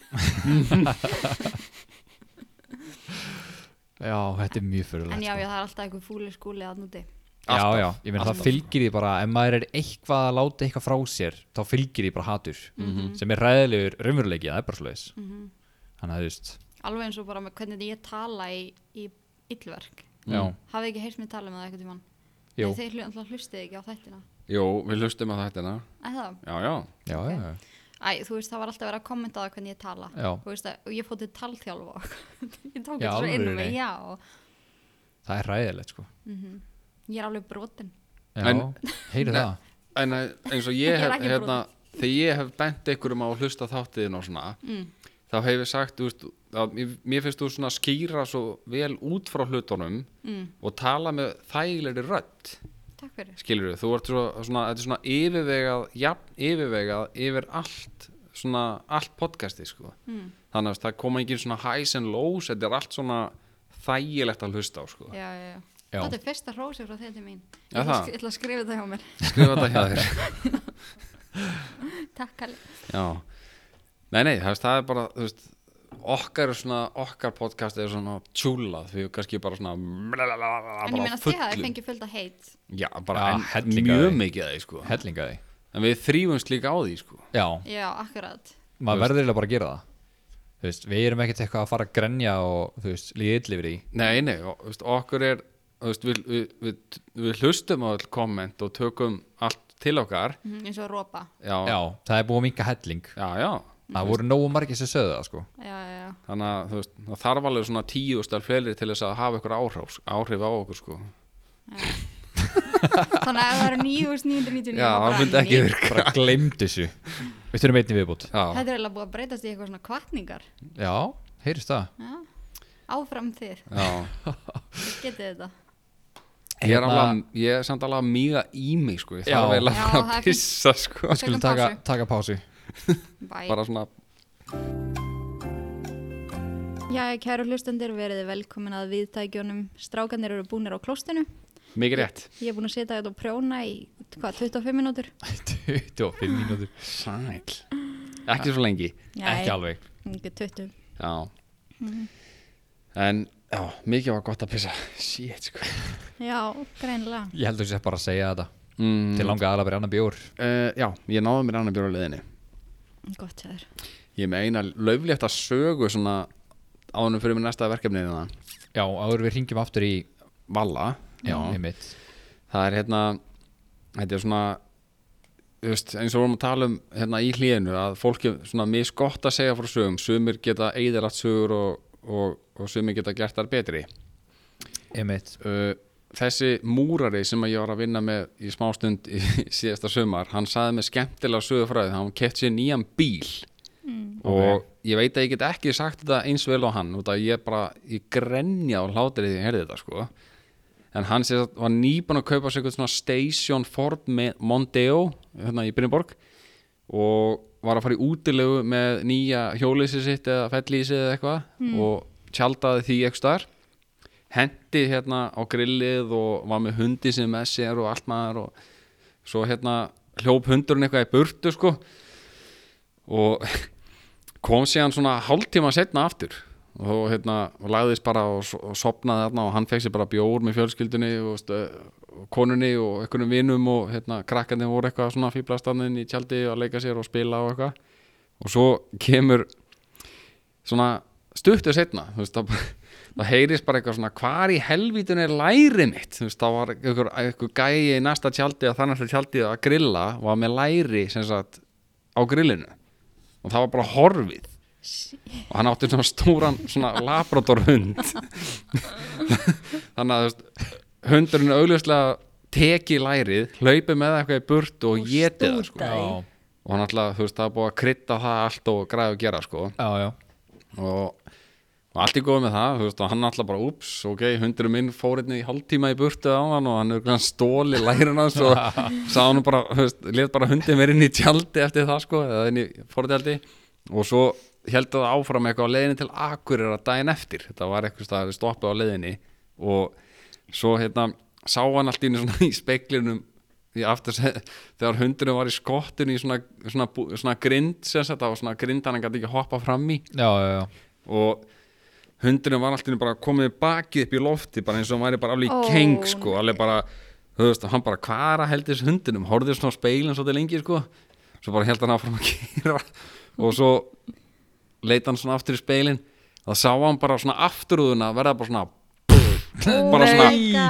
D: Já, þetta er mjög
B: en
D: fyrirlega
B: já, já,
D: sko.
B: það er alltaf einhver fúli skúli að núti
D: já,
C: Alltaf,
D: já, ég meina það fylgir því bara ef maður er eitthvað að láta eitthvað frá sér þá fylgir því bara hatur
B: Mhm.
D: sem er ræðilegur raunveruleiki, það er bara slags Þannig að þú veist
B: alveg eins og bara með hvernig ég tala í, í illverk
C: Mhm.
D: Já,
B: hafið ekki heyrt mér tala með það eitthvað tímann
D: Jú.
B: þeir hlu- alltaf hlustið ekki á þættina
C: jú, við hlustum að þetta
B: Æ, það,
C: já, já,
D: já, já, já.
B: æ, þú veist það var alltaf verið að kommenta á það hvernig ég tala
D: Já.
B: Þú veist, að, og ég fótið talþjálfa og eitthvað. ég tók
D: Já,
B: þetta svo inn
D: alvörunni.
B: með já, og
D: það er ræðilegt sko
B: ég er alveg brotin
D: Já,
C: En-
D: heyri
C: Nei.
D: það
C: en eh, eins og
B: Ég
C: ég
B: er
C: hef
B: ekki
C: hérna, þegar ég hef bent einhverjum á að hlusta þáttiðin og svona þá hef ég sagt þú veist, að, mér- mér finnst þú svona skýra svo vel út frá hlutunum mm. og tala með þægilegri rödd
B: takk fyrir
C: skilur þú, þú ert svo, svona, þetta er svona yfirvegað, jafn yfirvegað yfir allt svona, allt podcasti sko. mm. þannig að það koma engin svona highs and lows, þetta er allt svona þægilegt að hlusta á sko.
B: já, já, já.
D: Já.
B: þetta er fyrsta hrósi frá þetta mín ég
C: Já,
B: ætla
C: það.
B: að sk- ég ætla að skrifa þetta hjá mér
C: skrifa þetta hjá þér
B: takk Kalli
C: Já, nei, nei, það, veist, það er bara þú veist, okkar, er svona, okkar podcast er svona tjúlað því við kannski bara svona
B: en ég meina
C: bara
B: þið hafið fengið fullt að heit
C: Já, bara
D: Já,
C: en,
D: helling af
C: mjög
D: því.
C: mikið af því sko.
D: Hellinga því
C: en við þrýfumst líka á því sko.
D: Já,
B: já, akkurat
D: maður verður eiginlega bara að gera það Þú veist, við erum ekkert eitthvað að fara að grenja og þú veist, líðið yllifir í
C: Nei, nei, og, þú veist, okkur er þú veist, við, við, við, við hlustum á all komment og tökum allt til okkar
B: Mhm, eins og ropa
C: Já, já,
D: Já, það er búið að minka helling
C: já,
D: Það voru nógu margir sem sögðu það sko
B: já, já, já
C: Þannig að þú veist, það þarf alveg svona tíu stel fleiri til þess að hafa ykkur áhrif, áhrif á okkur sko.
B: Þannig að ef það eru 9999
C: Já,
B: þá bara
C: það myndi ekki
B: ný-
C: virka
D: bara gleymd þessu við þurfum einni viðbútt
C: Já,
B: Þetta er eiginlega búið að breytast í eitthvað svona kvartningar
D: já, heyrist það
B: Já. Áfram þið,
C: já
B: þið getið þetta
C: Ég er,
D: Hérna-
C: alveg, ég er samt alveg að míga í mig sko, ég þarf
D: Já.
C: eiginlega
B: Já,
C: bara
B: það
C: að
B: er fínt.
C: pissa sko,
D: skulum
B: Tökum
D: taka,
B: pásu.
D: taka pásu
B: Bæ
C: bara svona
B: Já, kæru hlustendur, verið þið velkomin að viðtækjunum Strákanir eru búnir á klóstinu
C: mikið rétt.
B: Ég er búin að setja þetta og prjóna í, hvað, 25 mínútur
D: 25 mínútur
C: Sæl. Ekki svo lengi.
D: ekki alveg
B: Ekki 20
C: Já.
B: Mm.
C: en já, mikið var gott að pissa shit sko
B: Já, greinilega.
D: Ég heldur sér bara að segja þetta
C: mm,
D: Til langa aðla verið annar bjór
C: Eh, já, ég náði mér annar bjóra leðinni
B: Gott hjá þér.
C: ég meina löflétta sögu svona ánum fyrir mér næsta verkefni þarna.
D: Já, áður við ringjum aftur í
C: Valla
D: Já, einmitt
C: það er hérna þetta er svona þú veist, eins og vorum að tala um hérna í hlíðinu að fólki svona misgott að segja frá sögum sumir geta eiðirætt sögur og, og, og sumir geta gert þar betri
D: Einmitt
C: uh, þessi múrari sem að ég var að vinna með í smástund í síðasta sömar hann saði með skemmtilega sögufræði hann kett sér nýjan bíl og ég veit að ég get ekki sagt þetta eins vel á hann út að ég bara, ég grenja á hlátrið því ég heyrði þetta sko en hann sér að var nýbúin að kaupa sér eitthvað svona Station Ford með Mondeo hérna í Brynborg og var að fara í útilegu með nýja hjólísi sitt eða fellísi eða eitthvað og tjaldaði því eitthvað staðar hendi hérna á grillið og var með hundi sem með sér og allt maður og svo hérna hljóp hundurinn eitthvað í burtu sko og kom síðan svona hálftíma setna aftur og hérna og lagðist bara og, so- og sopnaði þarna og hann fekk sér bara bjór með fjölskyldunni og, stö- og konunni og einhvernum vinum og hérna krakkandi voru eitthvað svona fýblastaninn í tjaldi að leika sér og spila og eitthvað og svo kemur svona stuttur setna þú veist, það, bara- það heyrist bara eitthvað svona hvar í helvítun er lærið mitt þú veist, það var einhver, einhver gæi í næsta tjaldi að þannig að tjaldi að grilla var með læri sem sagt á grillinu og það var bara horfið og hann átti svona stóran svona labradorhund þannig að þú veist, hundurinn augljóslega teki lærið, hlaupi með það eitthvað í burt
B: Mm.
C: og, og getið það sko.
B: stúta.
D: Já,
C: og hann alltaf, þú veist, það er búið að krydda það allt og græða að gera sko
D: já, já
C: og, og allt í góð með það þú veist, og hann alltaf bara, ups, ok, hundurum minn fór einnig í hálftíma í burtu á hann og hann er grann stóli lærin hans og sá hann bara, þú veist, lef bara hundin verið inn í tjaldi eftir það sko, eða inn í fórtjaldi og svo held það áfram eitthvað á leiðinni til Akurir að daginn eftir, þetta var eitthvað staðar við stoppið á leiðinni og svo hérna sá hann allt í einu svona í speiklinum í aftur þegar hundurinn var í skottinu í svona, svona, bú- svona grind sem sagt, það var svona grind hann gæti ekki hoppa fram í
D: Já, já, já
C: og hundurinn var alltaf bara komið bakið upp í lofti bara eins og hann væri bara alveg í
B: Ó,
C: keng sko, alveg bara, þú veist, hann bara kvara heldis hundinum, horfðið svona á speilin svolítið lengi sko, svo bara held hann áfram að kýra og svo leit hann svona aftur í speilin það sá hann bara svona afturúðuna verða bara svona Bara svona-
B: svona,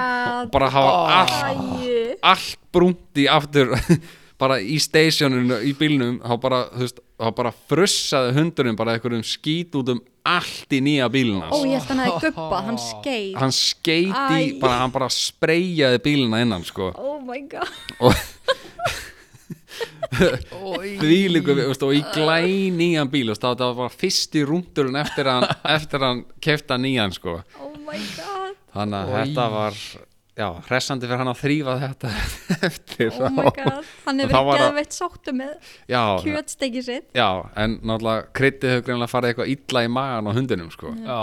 C: bara hafa allt, allt brúnt í aftur bara í stationinu, í bílnum þá bara, þú veist, þá bara frussaði hundurinn bara einhverjum skít út um allt í nýja bílina
B: Ó, ég held hann að guppa, hann skeið.
C: hann skeiti,
B: Æ.
C: bara, hann bara spreyjaði bílina innan sko
B: Oh my god.
C: og því líku og í glæn nýjan bíl þú veist, það var bara fyrsti rúndurinn eftir að hann, eftir að hann kefta nýjan sko
B: Oh my god.
C: þannig að þetta var já, hressandi fyrir hann að þrýfa þetta eftir
B: Oh my
C: á-
B: god. Hann
C: Þá
B: hefur
C: var að-
B: geðveitt sáttu með
C: já,
B: kjötstegi sitt.
C: já, en náttúrulega kryddið hefur greinlega farið eitthvað illa í magan á hundinum sko
D: Já,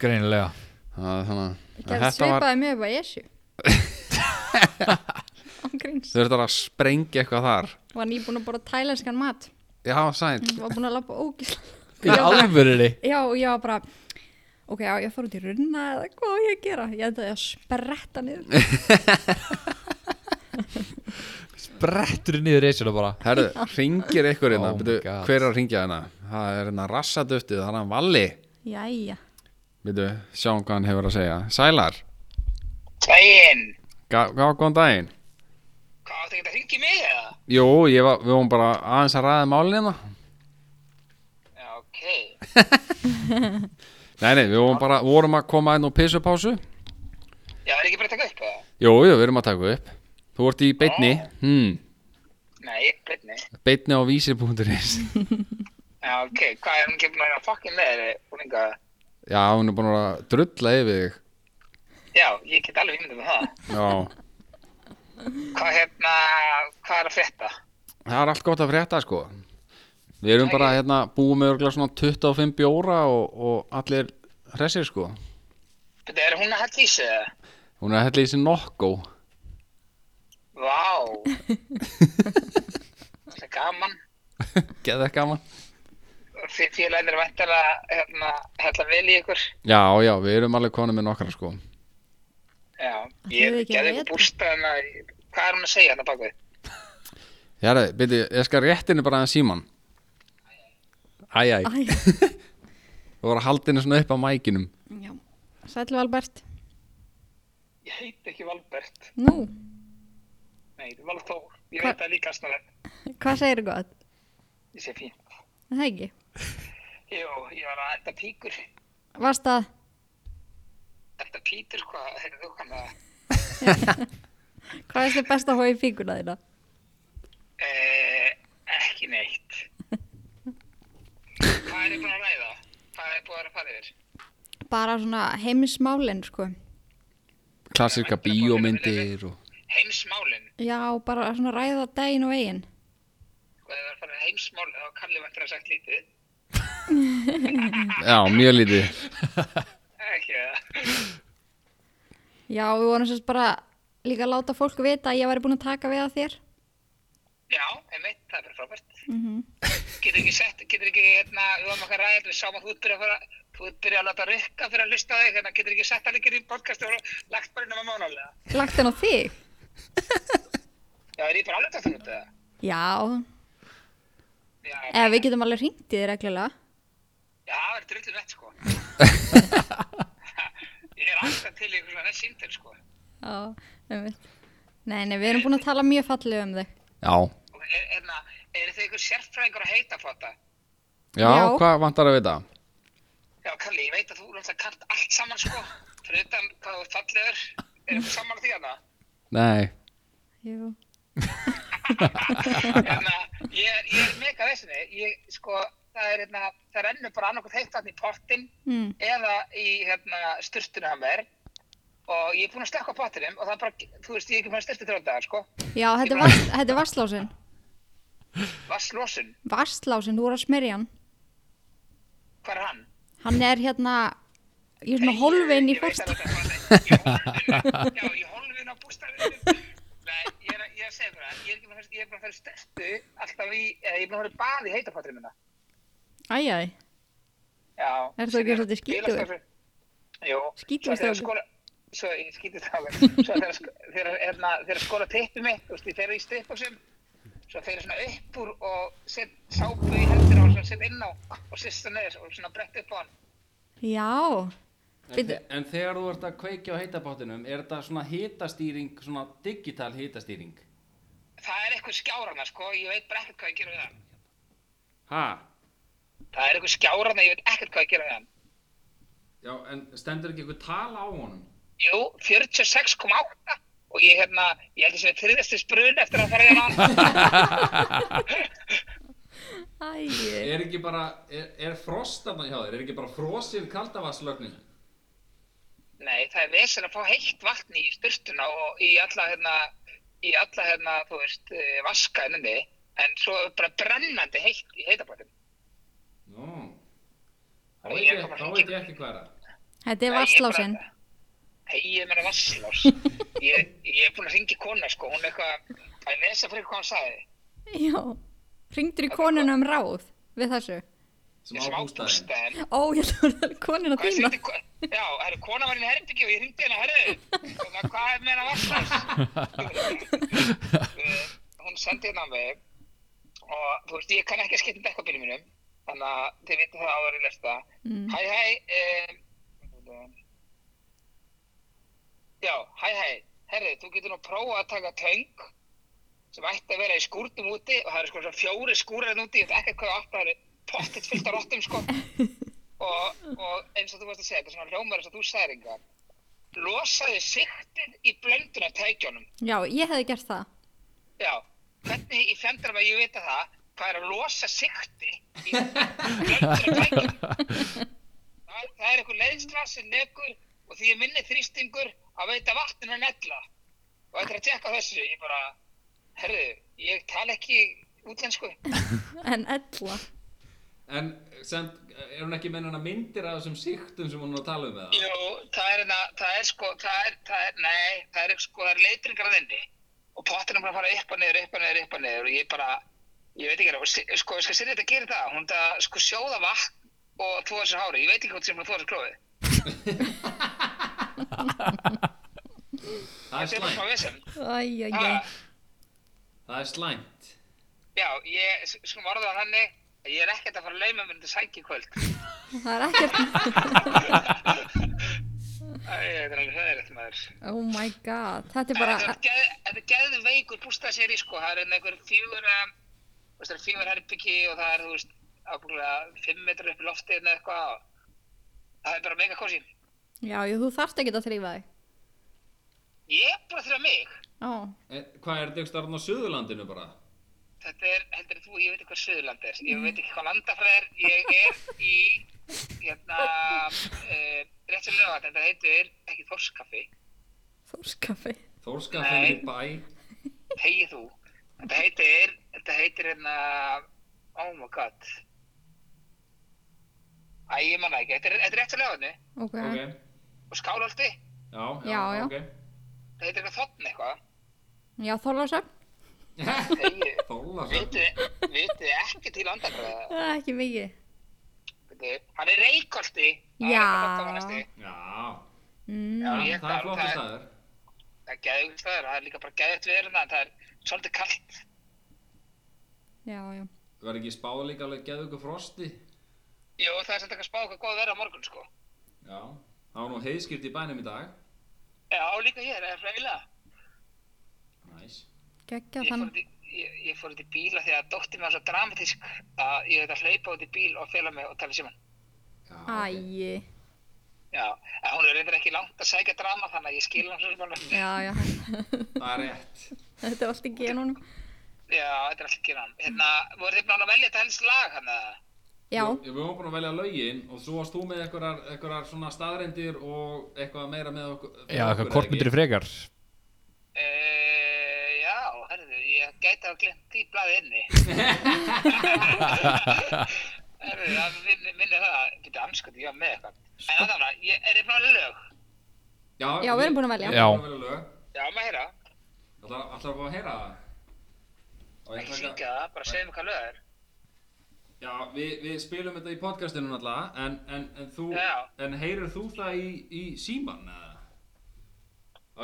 D: greinilega
C: Það- þannig að
B: Gerð
C: þetta var
B: svipaði mjög bara Jesu. Ángríns.
C: þau eru þetta að sprengja eitthvað þar
B: Var nýbúin að borða tælenskan mat.
C: já, sæl
B: Var búin að lappa ógislega.
D: Í alvörinni
B: Já, og ég var bara, ok, já, ég fór út í runna eða hvað á ég að gera? Ég ætlaði að spretta niður.
D: Brettur niður reisinu bara
C: Herðu, ringir ykkur hérna
D: Oh my
C: Byrju,
D: God.
C: Hver er að ringja hérna? Það er hérna rassaduftið, það er hann Valli
B: Jæja.
C: Byrju, sjáum hvað hann hefur að segja Sælar,
E: Dæin,
C: gá, gá, góðan daginn
E: hvað áttu ekki að hringja í mig eða?
C: Jú, ég var, við vorum bara aðeins að ræða málin hérna
E: Já, ok.
C: Nei, nei, við vorum bara, vorum að koma einn og pissupásu
E: Já, er ekki bara að taka upp eða?
C: Jú, jú, við erum að taka upp Þú ert í beitni hmm,
E: Nei, byrni.
C: Beitni á vísir.is
E: Já, ok, hvað er hún ekki búin að vera fucking með þeirri? Hún enga,
C: Já, hún er búin að vera að drulla yfir þig
E: já, ég get alveg ímyndað með það.
C: Já,
E: Hvað hérna, hvað er að frétta?
C: það er allt gott að frétta sko Við erum bara hérna búið með örgulega svona 25 bjóra og, og allir hressir sko
E: Byrni, er hún að hætt lýsa eða?
C: Hún er að hella í sig nokkó.
E: Vá. Það er gaman.
C: Geða gaman.
E: félagin er væntanlega hérna, hella vel í ykkur.
C: Já, já, við erum alveg konum með nokkra sko
E: Já,
B: Það
E: ég
B: þýðir ekki að
E: gerði
B: vita.
E: ykkur bústaðina, í- hvað er hún að segja hérna bakvið?
C: Hérðu, byrju, ég skal réttinu bara að síman Æ, æ,
B: Æ,
C: þú voru að halda henni svona upp á mækinum
B: já. Sætlu Albert.
E: Ég heiti ekki Valbert,
B: Nú,
E: nei, þetta er Valþór, ég
B: Hva-
E: veit það líka snarlega,
B: hvað segir þú gott?
E: ég sé fínt.
B: Er Það ekki.
E: Jú, ég var að enda píkur,
B: Varst að,
E: enda pítur hvað, heyrðu þú hérna. hann að,
B: hvað er þið best að hóa í fíkuna þína?
E: e, ekki neitt. Hvað er ég búin að ræða? Hvað er búin að vera að fara yfir?
B: Bara svona heimismálin, sko.
C: Klassika bíómyndir og
E: Heimsmálin,
B: Já, bara svona ræða daginn og veginn.
E: hvað er að fara yfir heimsmálin, þá kallið væntur að sagt lítið,
C: Já, mjög lítið
E: ekki það.
B: Já, við vorum sérst bara líka að láta fólk vita að ég væri búin að taka við að þér.
E: Já, einmitt, það er bara frábært. Getur ekki sett, getur ekki, hérna, við varum okkar ræðið, við sáum að þú ert byrjað að fara, þú ert byrjað að láta rikka fyrir að hlusta á þig, hérna, getur ekki sett hann ekki í podcast og lagt bara inn um að mánalega.
B: Lagt henn á þig?
E: Já, er ég bara alveg að þú út eða?
B: Já,
E: Já,
B: eða við getum alveg hringt í þig reglulega.
E: já, það er drullið vett, sko. ég er alltaf til í einhvern veginn síndir, sko.
B: Já, einmitt. Nei, nei, við erum búin að tala mjög fallega um þig.
C: Já,
E: Og er- Hérna, eru þið einhver sérfræðingur að heita fóta?
C: já,
B: Já.
C: hvað vantar að vita?
E: Já, Kalli, ég veit að þú náttúrulega kannt allt saman, sko. Fyrir utan hvað þú ert fallegur, er eitthvað saman á því hana?
C: Nei,
B: Jú.
E: hérna, ég, er- ég er mega vesinni, ég, sko, það er, hérna, það rennur bara annarkoð heitt hann í pottin
B: Mm.
E: eða í, hérna, sturtunum hann verð og ég er búinn að slekka á pottinum og það er bara, þú veist, ég er ekki búinn að styrta þrjóðdagar, sko,
B: Já, þetta er, vas, þetta er vasslásin.
E: vasslósun,
B: Vasslásin, þú voru að smyrja hann.
E: hvað er hann?
B: Hann er hérna, ég er svona
E: Nei,
B: holvin í
E: ég veit
B: fórst.
E: alveg hvað það er. Í hólfinu, um. Já, í holvin á bústafinu. Nei, ég er, að- ég er að segja þér það, ég er ekki búinn að, ég er búinn að fara í sturtu alltaf í, eða ég er búinn að fara í bað í heita pottinum minna.
B: Æjæj,
E: Já.
B: Er þú ekki
E: Síðan
B: svolítið skítugur?
E: bílastæður- Jú.
B: Skítugur
E: Svo þegar
B: strákur.
E: skóla- Svo ég skítið strákur. Svo þegar sk- þegar hérna, þegar skóla tippi mitt, þú veist, ég fer í stuðbóksum, svo fer ég svona upp úr og set sápu í hendur og svona set inn á og sista neður og svona brett upp á hann.
B: já.
C: En,
B: Bíddu.
C: en þegar þú ert að kveikja á heitabottinum, er þetta svona hitastýring, svona digital hitastýring?
E: Það er eitthvað skjárana, sko, ég veit bara ekkert hvað ég gera við hann.
C: Ha?
E: Það er eitthvað skjárana, ég veit ekkert hvað ég gera við hann.
C: Já, en stendur ekki eitthvað tala á honum?
E: Jú, 46,8 og ég hérna, ég held ég sem er þriðasti sprun eftir að fara í hana.
B: Æjæj.
C: Er ekki bara, er, er frost af það hjá þér? Er ekki bara frosið kaldavasslögnin?
E: Nei, það er vesen að fá heitt vatn í styrtuna og í alla hérna, í alla hérna, þú veist, eh, vaska henni, en svo er bara brennandi heitt í heitabotnum.
C: Nú, þá
E: Nei,
C: veit
E: ég er
C: ég,
E: bara
C: þá
E: ekki-
C: veit ég ekki hvað er það.
B: Þetta er
E: Nei, ég bara-
B: vasslásin.
E: Nei, ég meina vasslás. Ég, ég er búin að ringi kona, sko, hún er eitthvað, það er vesen fyrir hvað hann sagði.
B: Já. Ringdur í konuna um ráð við þessu.
E: Ég
C: Sem á bústæðin.
E: bústaðinn.
B: Ó, ég ætla að konuna
E: Hvað
B: þína.
E: sýndi, já, herru, kona var inn í herbyggju og ég ringdi henni, herru, hérna, hvað er meina vasslás? eh, hún sendi hérna á mig og þú veist, ég kann ekki að skipta um dekkabílum mínum, þannig að þið vitið það áður í lesta.
B: Mm.
E: Hæ, eh, hæ, um, já, hæ, hæ, herru, þú getur nú prófað að taka töng sem ætti að vera í skúrtum úti og það eru sko svona fjóri skúrarinn úti, ég veit ekki hvað átt, það eru pottitt fullt af rottum, sko og, og eins og þú varst að segja, þetta er svona hljómar eins og þú sagðir enga losaði sigtið í blönduna tækjónum
B: Já, ég hefði gert það.
E: já, hvernig í fjandarum að ég vita það hvað er að losa sigti í blönduna tækjónum það, það er einhver leiðsla sem nekur og því ég minni þrýstingur að veita vatninu en ella og þetta er að tekka þessu ég bara, herðu, ég tala ekki útlensku
B: En ella.
C: En sem, er hún ekki með hennar myndir af þessum siktum sem hún er að tala um með það?
E: Jú, það er, hérna, það er sko, það er, það er, nei, það er sko, það er leitringar að inni og pottinum bara að fara upp og niður, upp og niður, upp og niður og ég bara, Ég veit ekki alveg, og Si- sko, skal Sirrið þetta gera það? Hún það, sko, sjóða vatn og þóa sér hári. Ég veit ekki hvort sem hún þóa sér klófið.
C: Það er
E: Þetta er bara
C: slæmt
E: smá vesen.
B: Æj, æj,
E: Ha,
B: æj.
C: Það er slæmt
E: Já, ég, s- sko, orðaði hann hannig, að ég er ekkert að fara að lauma mér undir sæng í kvöld.
B: Það er ekkert,
E: Æ, Þetta er alveg hræðilegt maður.
B: oh my god, þetta er
E: En Þetta
B: bara,
E: er geð- þetta er geðu veikur bústaðseri, sko. Það er hérna einhver fjögur, um, þú veist, það er fjögur herbyggi og það er, þú veist, ábúinlega fimm metrar upp í loftið eða eitthvað. og Það er bara mega kósi.
B: já, jú, þú þarft ekki að þrýfa þig.
E: Ég er bara að þurfa mig.
B: Ó,
C: En Hvað er þetta ekki starfn á Suðurlandinu bara?
E: Þetta er, heldur þú, ég veit ekki hvað Suðurland er, ég veit ekki hvað landafræð er, ég er í, hérna, uh, rétt sem lögat, en það heitir ekki Þorskaffi,
B: þórskaffi.
C: Þórskafan í
E: Nei.
C: bæ
E: tegið þú, þetta heitir, þetta heitir hérna, oh my god, æ, ég manna ekki, þetta er, þetta er rétt sem lögatni,
B: Ok,
C: Ok,
E: og Skálholti,
C: já, já,
B: Já, já.
C: ok
E: það heitir eitthvað þotn eitthvað,
B: já, þórlásöfn,
E: tegið,
C: Þórlasöfn
E: vitið, vitið ekki til landafræða,
B: ekki mikið.
E: hann er Reykholti, það er
B: Já.
E: eitthvað þokkavænasti.
C: Já,
B: Mm,
E: Já,
C: það
E: ég-
C: er flottur
E: það-
C: staður
E: það er geðvögt staður, það er líka bara geðvögt við hérna, en það er svolítið kallt.
B: já, já,
C: Var ekki spáð líka alveg geðvöku frosti?
E: Jú, það er samt eitthvað spá eitthvað góð verið á morgun, sko.
C: Já, það var nú heiðskýrt í bænum í dag
E: Já, líka hér, það er fræðilega.
C: Næs
B: geggja
E: Ég fór
B: þannig.
E: út í, ég, ég fór út í bíla því að dóttir mér var svo dramatísk að ég veit að hlaupa út í bíl og fela mig og tala síman.
C: Já, ok.
B: Æj,
E: Já, en hún er reyndar ekki langt að sækja drama þannig að ég skil hann svo sem hann.
B: já, já,
C: Það er rétt
B: þetta er allt í genunum.
E: Já, þetta er alltaf ekki hann. Hérna, voru þið búin að velja þetta helst lag hann eða?
B: Já,
C: Við við vorum búin að velja lögin og svo varst þú með einhverjar, einhverjar svona staðrendir og eitthvað meira með okkur
D: Já,
C: okkur,
D: eitthvað
C: eða
D: kortmyndir
C: ekki?
D: frekar
E: E, já, herðu, ég gæti að glemt því blaði inni. herðu, það minni, minni það að, getur anskoði, ég var með eitthvað. En þannig að, ég er ég búin að velja lög.
B: Já, við erum búin að velja.
C: við erum búin að velja lög
E: Já, maður heyra.
C: Ætlar ætlar að fá að heyra það? Á ég
E: Ekki
C: taka-
E: syngja það, bara segja mér hvað lög það er.
C: Já, við, við spilum þetta í podcastinu náttúrulega en, en, en, þú,
E: Já.
C: en heyrir þú það í, í síman?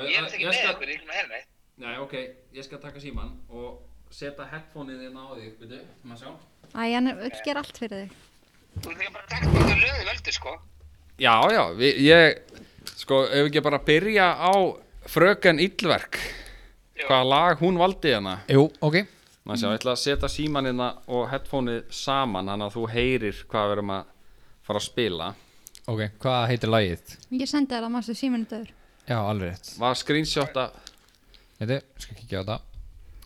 E: Ég er ekki með ykkur, ég er ekki með að heyra neitt.
C: Nei, ok, ég skal taka síman og setja headphoneið inn á þig, veitu, maður sjá
B: æj, hann er- vill gera allt fyrir þig.
E: Þú ert ekki bara að taka þetta lög þið völdu, sko.
C: Já, já, við, ég, sko, ef ekki bara byrja á fröken Yllverk
E: Já.
C: Hvaða lag hún valdi hérna
D: Jú, ok
C: maður sjá, ég ætla að setja símanina og headphoneið saman Þannig að þú heyrir hvað við erum að fara að spila
D: Ok, hvað heitir lagið?
B: Ég sendi þér að maður stu síminu döður.
D: Já, alveg rétt
C: Var screenshot að
D: Þetta, skal kíkja á þetta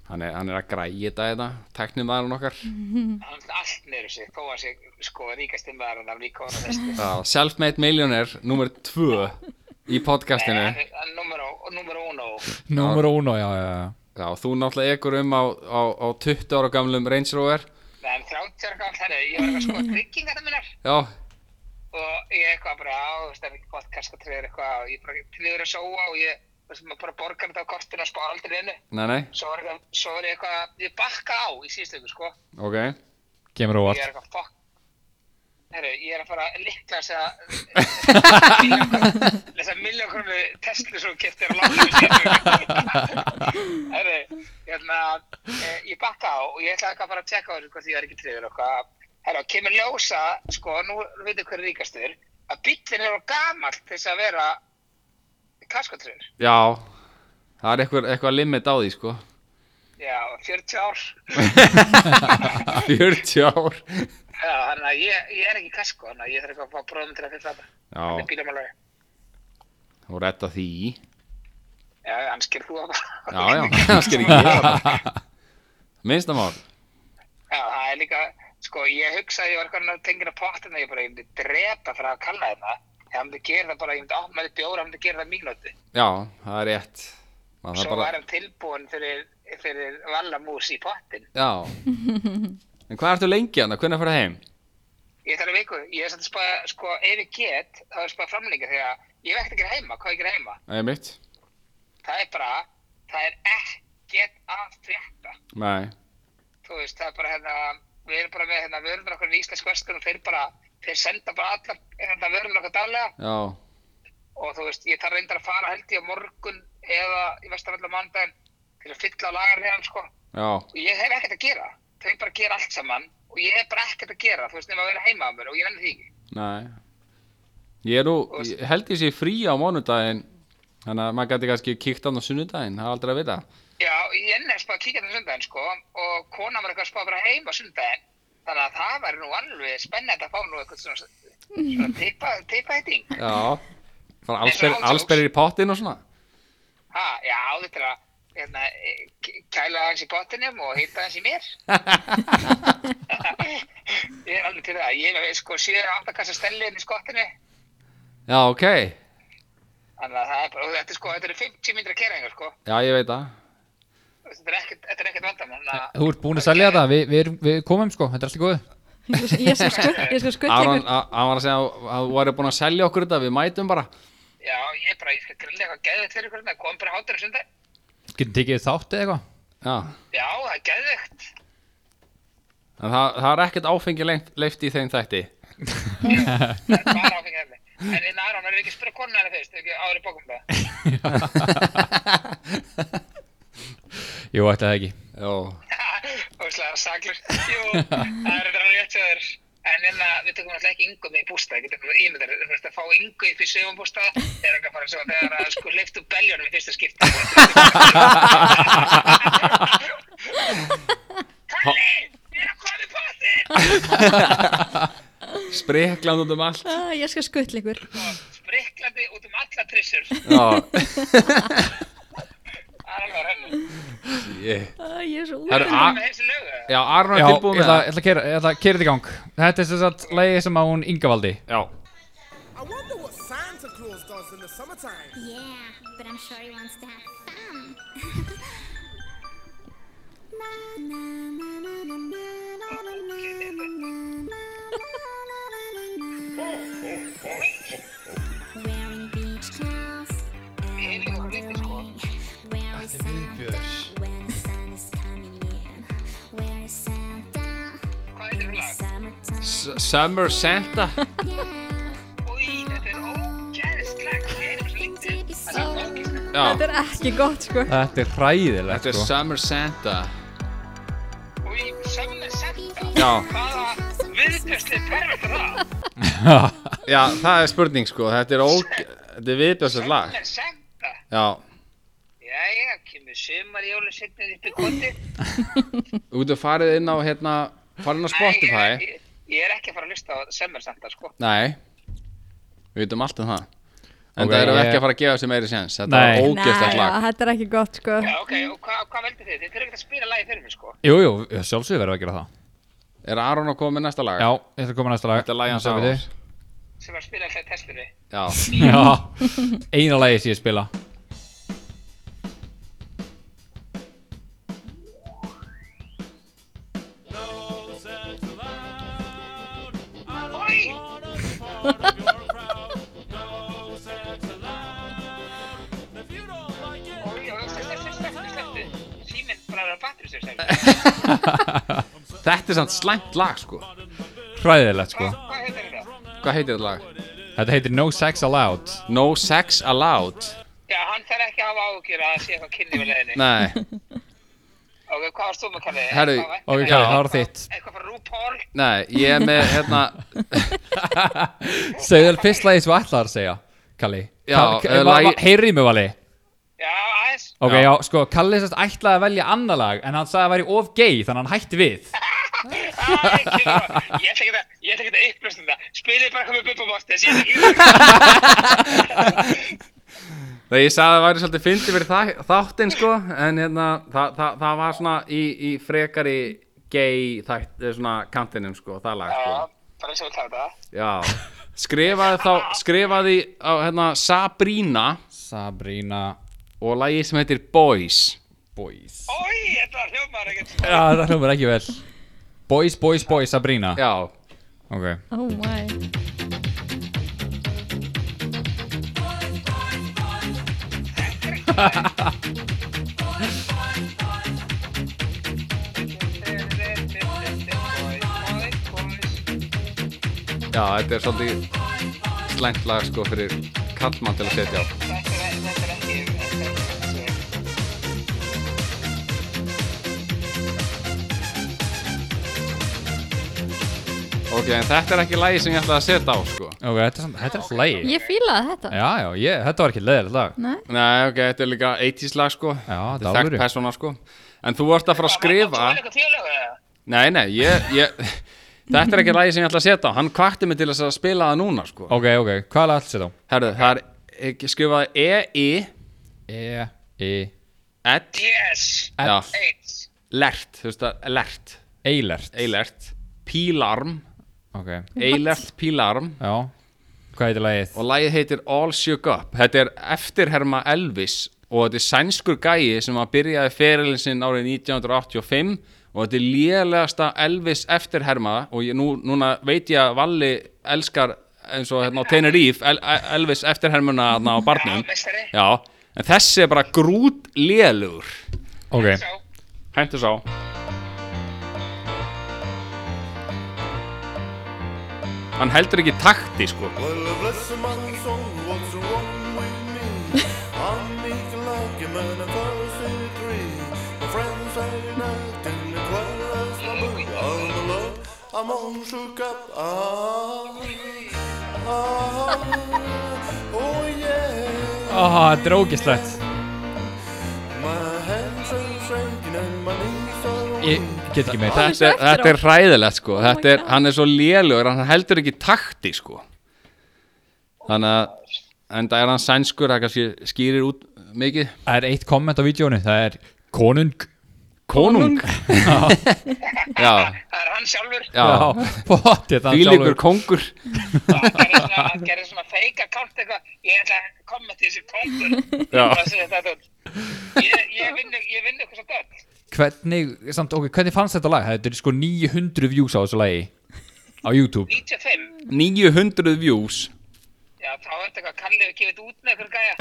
C: hann er, hann er að græja þetta þetta, teknimaðurinn okkar
E: Hann er allt neyru sig, þó að sig, sko, ríkast immaðurinn af líkóna vesti.
C: Já, Selfmade Millionaire, nummer 2 í podcastinu
E: Hann er nummer uno.
D: Númer uno, já, já, já
C: Já, þú náttúrulega ekur um á, á, á 20 ára gamlum Range Rover
E: Nei, hann þrjáttur gammal, herru, ég var eitthvað sko tryggingar það minnar.
C: Já,
E: Og ég eitthvað bara, á, þú veist, það er ekki podcast að treyður eitthvað, og ég bara treyður að sóa og ég, þú veist, maður bara borgar þetta á kortinu og spara aldrei innu.
C: nei, nei,
E: Svo var eitthvað, svo var ég eitthvað, ég bakka á í síðustu ykkur, sko.
C: ok
D: Kemur á
E: Ég
D: óvart
E: er eitthvað fokk Herru, ég er að fara að líkla þess að þess að miljón krónu Tesla svo keftir að láta Herru, hérna eh, ég bakka á og ég ætla eitthvað bara að tjekka á þessu hvort ég er ekki treyður og hvað Herru, kemur ljósa, sko, nú veitum hver er ríkastur að bíllinn er á gamall til þess að vera kaskotreyður
C: Já, það er eitthvað, eitthvað limit á því, sko
E: Já, 40 ár
C: 40 ár
E: Já, þannig að ég, ég er ekki kasko þannig að ég þarf eitthvað að fá bróðum til að fyrir það
C: Já,
E: bílamálari
C: þú retta því
E: Já, hann skilur þú að
C: Já, já, það sker ekki gera það Minnstamál
E: Já, það er líka, sko, ég hugsaði ég var eitthvað tengin að pottina, ég bara, ég myndi drepa fyrir að kalla þetta. Ég myndi gera það bara, ég myndi opna þið bjóra, ég myndi gera það mínúti.
C: Já, það er rétt Maður
E: Svo
C: þarf bara
E: var hann tilbúin fyrir, fyrir vallamús í pottin.
C: Já En hvað ertu lengi hann, hvernig að fara heim?
E: Ég tala viku, ég er satt að spara, sko, ef ég get, þá er spara framlengi þegar ég veit ekki heima, hvað ég gera heima.
C: Nei, mitt
E: Það er bara, það er ekkert að frétta.
C: Nei,
E: Þú veist, það er bara hérna, við erum bara með hérna vörður okkur í Íslensk verslun og þeir bara, þeir senda bara allar hérna vörður okkur daglega
C: já,
E: og þú veist, ég þarf reyndar að fara held ég á morgun eða í vestarallu mandaginn til að fylla á lagar hérna, sko.
C: já,
E: Og ég hef ekkert að gera, þau bara gera allt saman og ég hef bara ekkert að gera, þú veist, nema að vera heima á mér og ég nenni því ekki.
C: nei Ég er nú, ég held ég sé frí á mánudaginn Þannig að maður gæti kannski kíkt án á sunnudaginn, það er aldrei að vita
E: Já, ég enn er spáð að kíkja þetta sundaginn sko og kona var eitthvað spáð að fara heim á sundaginn þannig að það væri nú alveg spennandi að fá nú eitthvað svona, svona teipa, teipa hitting
C: Já, fara
E: Nei,
C: allsber,
E: það er
C: allsberir í pottin og svona
E: ha, Já, þetta er að hérna, eh, k- kæla aðeins í botninum og hita aðeins í mér Ég er alveg til það ég hef sko síðan aftakassa stelliðin í skottinu
C: Já, ok,
E: þannig að það er bara, og þetta er sko, þetta eru 50 myndra kæringar sko
C: já ég veit það
E: þetta er ekkert, þetta er ekkert vandamál þannig að-
D: Þú ert búin að selja það, við, við, erum- við komum sko, þetta er allt í góðu
B: Ég skal- ég skal skutt- ég skal skutta
C: Aron,
B: ykkur.
C: a- hann var að segja að- að þú væri búin að selja okkur þetta, við mætum bara
E: Já, ég bara, ég skal grilla eitthvað geðveikt fyrir ykkur hérna, kom bara hátur á sundaginn
D: Getum tekið þátt eða eitthvað
C: Já,
E: Já, það er geðveikt
C: en það, það er ekkert áfengi leift, leift í þeim þætti
E: bara áfengi hefni en inn Aron verður ekki að spyrja konuna henni fyrst ekki áður í bókum það
D: Jú, ætlaði það ekki
C: Jó,
E: óslega saklur jú, það er þetta rétt hjá þér en inn að við tökum alltaf ekki yngu með í bústað getur þú ímyndar þú veist að fá yngu upp í sögum bústað er ekki að fara svo þegar að sko leiftu beljónum í fyrsta skipti Kalli, ég er að koma í pottin
C: sprekland út um allt
B: Ah, Ég skal skuttla ykkur.
E: spriklandi út um alla trissur
C: Já,
E: það er alveg á hennu
C: ég
B: Ah, Ég er svo
C: Það eru
B: útunum.
C: a-
E: með þessi lögu
C: Já, Aron er
D: Já, ég
C: tilbúin með
D: ætla,
C: það
D: ég ætla að keyra- ég ætla að kera þetta í gang Þetta er sem sagt lagi sem að hún Ingavaldi
C: Já,
F: I wonder what Santa Claus does in the summertime.
G: Yeah, but I'm sure he wants to have fun. Wearing beach towels and all the rain.
E: sko.
G: Where is Santa when the sun is coming in? Where is Santa?
E: hvað er þetta fyrir lag?
G: Summertime.
C: S- Summer Santa
E: Új, þetta er ógeðslegt, ég er um svo lítið. Það er ógeðslegt.
C: Já,
B: Þetta er ekki gott, sko.
D: Þetta er hræðilegt
C: þetta er
D: sko.
C: Summer Santa
E: Új, sömna senda.
C: Já,
E: Hvaða viðbjörslega pervert er það?
C: já, það er spurning sko, þetta er óg Þetta er viðbjörslega lag
E: Sömna senda.
C: Já,
E: Jæja, kemur sumar jólusetnið upp í koti.
C: þú getur farið inn á hérna, farið inn á Spotify
E: Ég, ég er ekki að fara að hlusta á sömna senda, sko.
C: Nei, við veitum allt um það En
D: Ok,
C: það erum við
D: ég-
C: ekki að fara að gefa þessi meiri séns Þetta
D: Nei.
C: var
B: Nei,
C: ógæstlegt
B: já,
C: lag
B: þetta er ekki gott, sko.
E: Já, ok, og hva, hvað veldur þið? Þið þurfum ekki að spila lagi fyrir mig, sko.
D: Jú, jú, sjálfsögur verður að gera það
C: Er Aron að koma með næsta lag?
D: Já, ég ætla að koma næsta lag
C: Þetta er lagið hans
D: Sjá við
C: Arons.
E: Sem var að spila alltaf í testinu.
C: Já,
D: þig. Já, eina lagi sem ég spila
E: Új! Új, og slepptu, slepptu, slepptu, slepptu. Síminn bara er að battery sér, slepptu.
C: þetta er samt slæmt lag sko
D: Hræðilegt sko
E: Hvað hvað heitir þetta?
C: Hvað heitir þetta lag?
D: Þetta heitir No Sex Allowed
C: No Sex Allowed
E: Já, hann þarf ekki að hafa áhugjur að það sé eitthvað kynni við leiðinni.
C: Nei,
E: Ok, hvað varst þú með kallið?
C: Herru,
D: ok, Kalli, það var þitt.
E: Eitthvað frá RuPaul?
C: nei, ég er með hérna
D: Segðu þér fyrst lagi sem þú ætlar að segja Kalli
C: Já,
D: Ka- ka-
C: eh,
D: va- va-
C: lagi-
D: Heyrðu í mig vali
E: Já, aðeins.
D: Ok,
C: Já.
D: já, sko, Kalli sérst ætlaði að velja annar lag En hann sagði að væri of gay, þannig að hann hætti við
E: Æ, ekki það. Ég ætla ekki að, ég ætla ekki að upplösta þetta. Spilið bara hvað með Bubba Mortis. Ég ætla ekki að...
C: Nei, ég sagði að það væri svolítið fyndið fyrir þa þáttinn sko En hérna, það, það, það var svona í, í frekari gay þætt, eh, svona kantinum sko, það lag
E: Já,
C: sko
E: bara eins og við tala þetta.
C: Já, skrifaði þá, skrifaði á hérna Sabrina
D: Sabrina
C: og lagið sem heitir Boys
D: Boys
E: Ói, þetta var hljómar ekkert.
D: Já, það hljómar ekki vel Boys, boys, boys, Sabrina
C: Já,
D: Ok
B: Oh my.
E: Þetta
C: Já, þetta er svolítið slæmt lag sko fyrir kallmann til að setja á
E: Þetta er þetta er ekki þetta er- þetta er-
C: Ok, en þetta er ekki lagi sem ég ætlaði að setja á sko
D: Ok, þetta er, samt- þetta er flægi
B: Ég fílaði þetta.
D: Já, já, ég, þetta var ekki leðilegt lag
B: Nei,
C: Nei, ok, þetta er líka 80s lag sko þetta
D: Já, þetta
C: er
D: er
C: þekkt
D: alvöru.
C: persóna sko En þú ert að fara að
E: Þú
C: skrifa
E: er eitthvað félög eða?
C: Nei, nei, ég, ég Þetta er ekki lagi sem ég ætla að setja á Hann kvatti mig til þess að spila það núna sko
D: Ok, ok, hvað er allt sér þá?
C: Herðu, það er ekki skrifaði E-I
D: E,
C: L
D: E,
C: E
E: Yes
C: Já,
E: Eins
C: lert, þú veist E að lert
D: Eilert
C: Eilert Pílarm
D: Ok,
C: Eilert Pílarm
D: já Hvað heitir lagið?
C: Og lagið heitir All Shook Up Þetta er eftirherma Elvis Og þetta er sænskur gæi sem að byrjaði ferilin sinn árið 1985 Og þetta er lélegasta Elvis eftirherma Og ég, nú, núna veit ég að Valli elskar eins og hérna á Tenerife El, Elvis eftirhermuna hérna á barnum
E: Já, meistari.
C: Já, en þessi er bara grút lélugur
D: Ok,
E: Sá
C: Hentu sá Hann heldur ekki takti sko
H: Well, a bless man song, what's wrong with me? I'm meek like a man of thirty-three. My friends are not in the quarrels, my mood. I'm alone, I'm all shook up. Ah, ah, oh yeah.
D: Ah, þetta er ógislegt
H: My hands are shaking and my knees are
D: Ég get ekki meir
C: þetta, er,
B: svo eftir á. Oh
C: þetta er hræðilegt sko
B: my
C: þetta er,
B: God.
C: hann er svo lélugur, hann heldur ekki takti sko þannig að en það er hann sænskur, það kannski skýrir út mikið,
D: Það er eitt komment á vídjónu, það er Konung
C: konung já,
E: Það er hann sjálfur
C: já,
D: Potið það
C: fílíkur kongur
E: Það gerði svona- hann gerði svona feika kátt eitthvað Ég ætla að koma til þessi kongur
C: Já.
E: Það sé þetta út. Ég ég vinn ég vinn ykkur svo dögt
D: Hvernig, samt, ok, hvernig fannst þetta lag? Þetta er sko 900 views á þessu lagi Á YouTube
E: 95
C: 900 views
E: Já, þá er þetta eitthvað kallið að gefa þetta út með ykkur gæja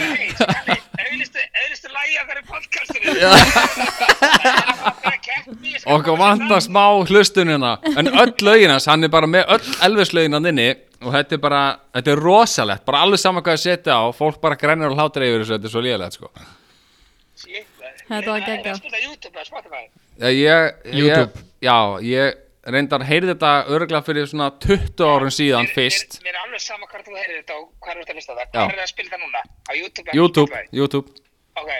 E: Nei, Kalli, auðlistu, auðlistu lægi okkar í podcastinu Já
C: okkur vantar smá hlustunina en öll löginans, hann er bara með öll elvislöginan inni og þetta er bara þetta er rosalegt, bara alveg sama hvað að setja á fólk bara grænir og hlátur yfir þessu, þetta er svo lélega sko.
E: Þetta
B: Þetta var geggjað.
E: Það er spilað YouTube eða Spotify
C: Já, Eh, ég,
D: YouTube.
C: ég, já, ég reyndar heyrði þetta örgla fyrir svona 20 árum síðan
E: Mér-
C: fyrst
E: Mér mér er alveg sama hvar þú heyrðir þetta og hvar þú ert að hlusta á það
C: Já.
E: Hvar er það að spila það núna? Á YouTube? eða
C: YouTube,
E: Spotify?
C: YouTube,
E: Ok,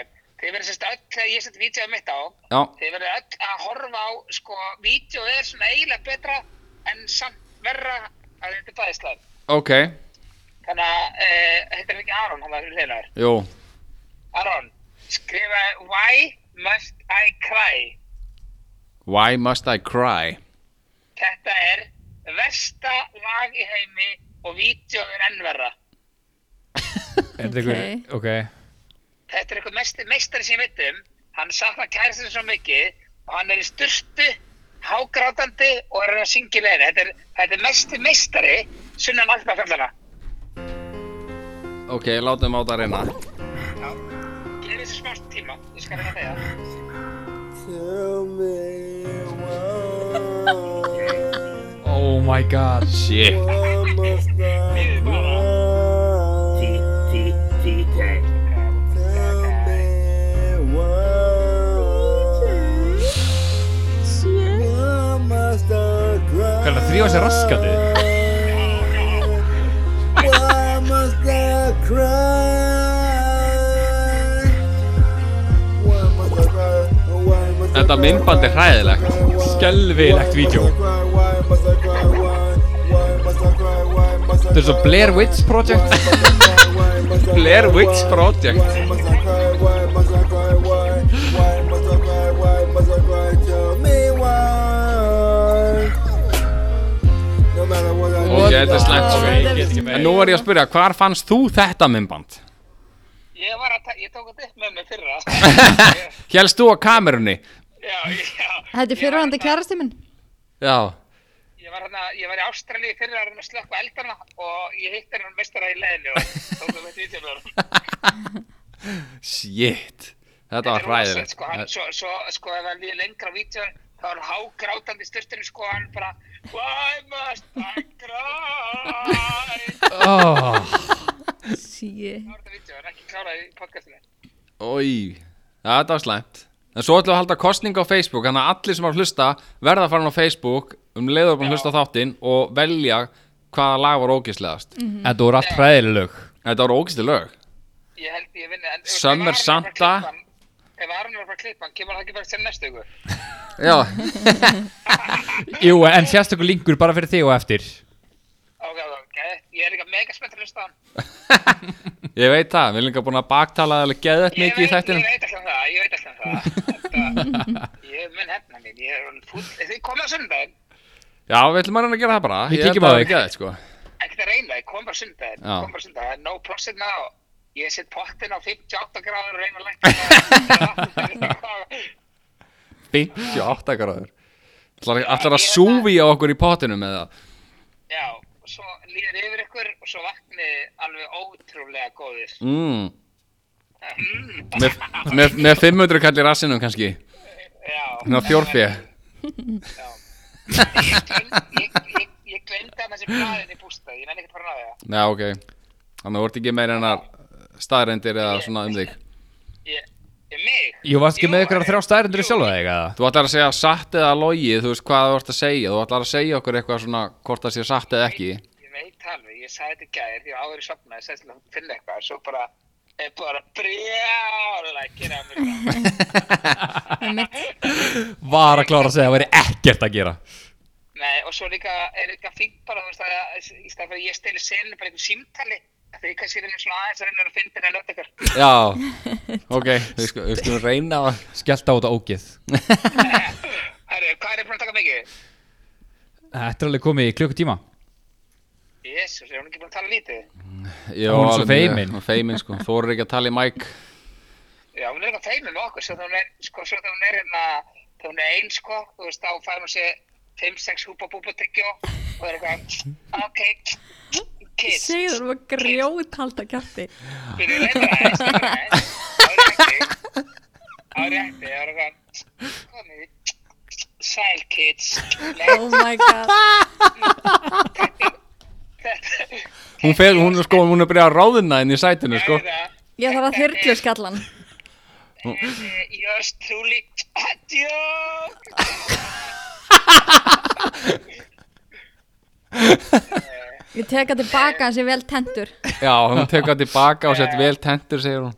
E: þið verður sérst öll þegar ég sett vídeoð mitt á
C: já,
E: Þið verður öll að horfa á sko, vídeoð er svona eiginlega betra en samt verra að þetta er bæðislega
C: ok,
E: Þannig að eh, þetta er ekki Aron, hann var fyrir hliðar
C: jú,
E: Aron, skrifa Why must I cry?
C: Why Must I Cry,
E: Þetta er versta lag í heimi og vídeoð er ennverra
D: Er þetta ykkur, ok
E: Þetta er eitthvað mest, meistari sem ég veit um. Hann saknar kæristinu svo mikið og hann er í styrtu, hágrátandi og er að reyna að syngja í leiðinu. Þetta er, þetta er mesti meistari sunnan alltaf fjallana.
C: ok, látum á það reyna
E: Gerir þessu smást tíma, ég skal reyna að segja það.
H: Tell me why,
D: Oh my god
C: Shit,
H: why must I
E: Bíðið bara.
H: Tell me why, why must I cry?
D: Hvernig þrjóða sér raskandi
H: Why must I cry? Why must I cry? Why must I
C: Þetta
H: cry?
C: myndband er hræðilegt.
H: Why must I cry?
D: Skelfilegt
H: Why
D: vídeó.
H: must I cry? Why must I cry? Why- why must I cry? Why must I
D: Þetta er svo
H: cry?
D: Blair Witch Project.
H: Why must I cry? Why must I cry?
C: Blair Witch
H: Why-
C: Project.
H: Why must I cry? Why must I cry? Why? Why must I cry? Why must I cry? Tell me why. No matter what I
C: ok,
H: do,
C: þetta er slæmt
B: Wow,
C: sko
B: þetta er-
C: En nú er ég að spyrja, hvar fannst þú þetta myndband?
E: Ég var að, ta- ég tók þetta upp með mig fyrra.
C: Hélst þú á kamerunni?
E: já, já. hérna-
B: þetta er fyrirhandi kærasti minn.
C: Já,
E: Ég var, hana, ég var í Ástralíu fyrir að reyna að slökka eldana og ég hitti hennar mestara í leiðinu og tók þetta vídeo með honum.
C: shit, þetta var
E: Þetta er rosalegt,
C: hræðilegt
E: sko, hann, svo, svo, sko, ef hann líður lengra á vídeo þá er hann hágrátandi styrtinu sko hann bara Why must I cry? Það
D: oh,
B: Sýi.
E: var þetta vídeo, hann er ekki klárað í podcastinu
C: Ói, þetta var slæmt En svo ætlum við að halda kostning á Facebook Þannig að allir sem var að hlusta verða að fara inn á Facebook Um leiður búin að hlusta á þáttinn Og velja hvaða lag var ógislegast
E: Mm.
D: Þetta voru allt hræðileg lög
C: Þetta var ógisleg lög
E: Ég held ég vinni en,
C: Summer
E: ef Aron er að fara að
C: Santa.
E: klippa hann- Ef Aron er að fara að klippa hann, kemur hann ekki bara sem næstu ykkur
C: Já,
D: Jú, en sérstakur linkur bara fyrir þig og eftir
E: Ok, ok, ok, ég er líka mega spennt að hlusta á hann
C: ég veit það, við erum líka búin að baktala alveg geðvett mikið
E: Ég
C: í
E: veit, ég
C: þættinum
E: veit ekki um það, ég veit ekki um það Þetta- Ég mun hefna mín, ég er hann fúll Þið komið á sundaginn,
C: Já, við ætlum að reyna að gera það bara
D: Við
C: Ég held
D: kíkjum
C: að
D: á
C: það
D: þig.
C: er geðveikt, sko.
E: ekkert að reyna, ég kom bara á sundaginn
C: Já.
E: Kom bara á sundaginn, það er no process now Ég set pottin á 58 gráður og reyna að lækka það.
C: 58 gráður Ætlar ætlar að súfi á okkur í pottinum eða
E: Já, og svo líður yfir ykkur og svo vaknið alveg ótrúlega góðir
C: mm,
E: Mm,
C: með, með, með 500 kallir rassinum kannski
E: Já,
C: Ná fjórfið
E: já. Ég gleym- Ég ég- ég glemdi að þessi blæðin í bústað, ég nenni ekki að fara að ná það
C: Já, ok. Þannig að þú ert ekki meira en að staðrendir eða svona um þig.
E: Ég, ég mig
D: Jú, varst ekki með
E: Jú,
D: ykkur að þrjá staðarindur í sjálfa þig eða?
C: Þú ætlar að segja satt eða logið, þú veist hvað þú ert að segja. Þú ætlar að segja okkur eitthvað svona hvort það sé satt eða ekki.
E: Ég veit alveg, ég sagði þetta í gær, ég var áður í sopna, ég sagði til að finna eitthvað, svo bara, ég bara brjála að gera mér það.
D: Var að klára að segja að það væri ekkert að gera
E: Nei, og svo líka, er líka fínt bara, þú veist, að að- í stað fyrir að ég steli seninu bara einhver símtali, þegar ég kannski reynir svona aðeins að reyna að finna þennan lönd ykkur.
C: Já, ok. Við skulum- við skulum reyna að...
D: Skellt á þetta ógið
E: Herru, hvað er ég búin að taka mikið?
D: Þetta er alveg komið í klukkutíma
E: Jésus, er hún ekki búin að tala lítið?
C: Jó,
D: Hún er svo
C: alveg-
D: feimin.
C: Hún er feimin, sko. Þú eru ekki að tala í mæk.
E: Já, hún er eitthvað feimin með okkur, svo þegar hún er, sko, svo þegar hún er hérna, þegar hún er eins, sko, þú veist, þá fær hún sér 5-6 húpa búpa tyggjó og er eitthvað, ok, kids,
B: Segðu það var grjóthalda kjátti.
E: byrju að leita aðeins, leita aðeins, á rétti, á rétti, það er eitthvað, komið, sæl kids,
B: Oh my god.
E: þetta,
C: Hún, fer, hún, er, sko, hún er byrjað að ráðina inn í sætinu, sko.
B: Ég þarf að þyrlu skallan.
E: eh, Yours truly, adjó,
B: Ég teka tilbaka hans ég vel tentur.
C: Já, hún tekur það tilbaka og sett vel tentur, segir hún.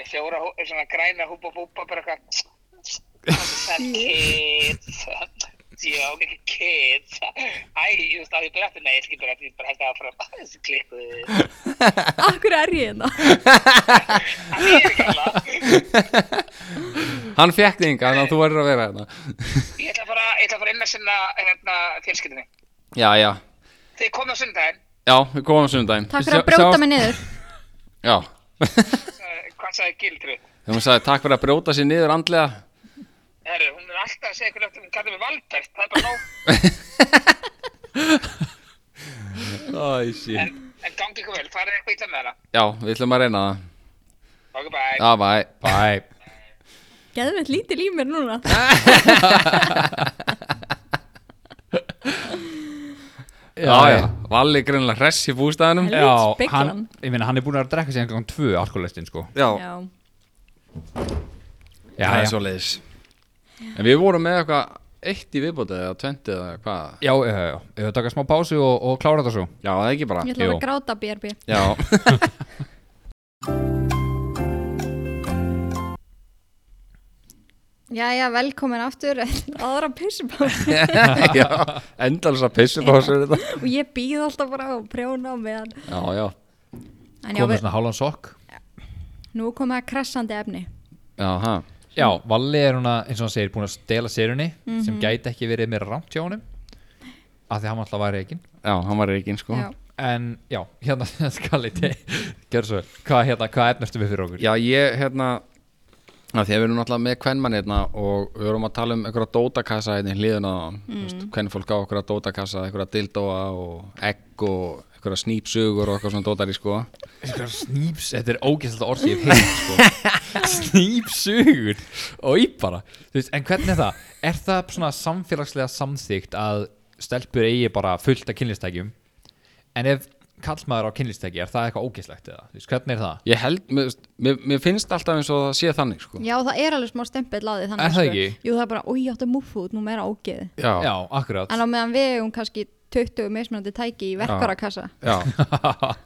E: Með fjóra hú- svona græna húpa búpa bara eitthvað Sæl kids Jók ekki kids Æ, ég veist á ég byrja aftur Nei, ég skil byrja aftur, ég bara held að áfram Þessi klikku
B: Akkur er ég hérna?
C: Hann fekk þig inga, þannig að þú verður að vera hérna.
E: Ég ætla að fara, ég ætla að fara inn að sinna hérna, fjölskyldinni
C: Já, já.
E: Þið komið á sundaginn
C: Já, við komum sundaginn.
B: Takk fyrir að bróta mig niður.
C: Já,
E: eh, Hvað sagði Gildru?
C: þegar hún sagði takk fyrir að brjóta sér niður andlega
E: Herru, hún er alltaf að segja eitthvað Hún kallar mig Valbert, það er bara nóg
C: Æ, sí
E: En, en gangi ykkur vel, farið eitthvað illa með hana
C: Já, við ætlum að reyna það
E: Ok, bye
C: Já, bæ
D: Bæ
B: Geðum við lítil í mér núna.
C: Já, já, Valli grunlega hress í bústæðinum
B: Helvítis speglan.
D: hann, ég meina, hann er búin að drekka sér einhverjum tvö alkoholistin sko
C: Já,
B: Já.
D: Já,
C: það
D: já.
C: er svo leiðis En við vorum með eitthvað eitt í viðbótið eða tventið eða hvað
D: Já, já, já, já, ég vil taka smá pásu og, og klára þetta svo
C: Já, það er ekki bara
B: Ég ætla að
D: Jú.
B: vera gráta BRB.
C: Já,
B: Jæja, velkomin aftur. Aðra pissubáð.
C: já, endalsa pissur á sér þetta
B: Og ég býð alltaf bara á prjóna á meðan.
C: Já, já,
B: En já,
D: Komið
B: við,
D: svona hálfan sokk
B: nú komið að kressandi efni.
C: já, hæ
D: Já, Valli er hún að, eins og hann segir, búin að stela sérunni sem
B: Mhm.
D: gæti ekki verið meira rámt hjá honum af því hann alltaf væri ekki
C: Já, hann var reikinn sko
B: Já.
D: En, já, hérna skali Gjör svo, vel. hvað hérna, hvað efnastu við fyrir okkur?
C: Já, ég, hérna að því að við erum náttúrulega með kvennmann hérna og við erum að tala um einhverja dótakassa hérna í hliðina á hann, mm. hvern fólk á einhverja dótakassa, einhverja dildóa og egg og einhverja snýpsugur og eitthvað svona dótar í sko
D: Snýps, þetta er ógæslega orðið ég hef heyrt, sko. Snýpsugur Og bara Þú veist, En hvernig er það? Er það svona samfélagslega samþygt að stelpur eigi bara fullt af kynlistækjum En ef kallmaður á kynlistæki Er það eitthvað ógæslegt eða? Þú veist, Hvernig er það?
C: Ég held, mér, mér, mér finnst alltaf eins og það sé þannig sko
B: Já, það er alveg smá stempill á því þannig
D: Er
B: sko.
D: það ekki?
B: Jú, það er bara, oi, áttu múfút, nú meira ágeð
D: Já, akkurat
B: En á meðan við eigum kannski 20 mismunandi tæki í verkvarakassa
C: Já,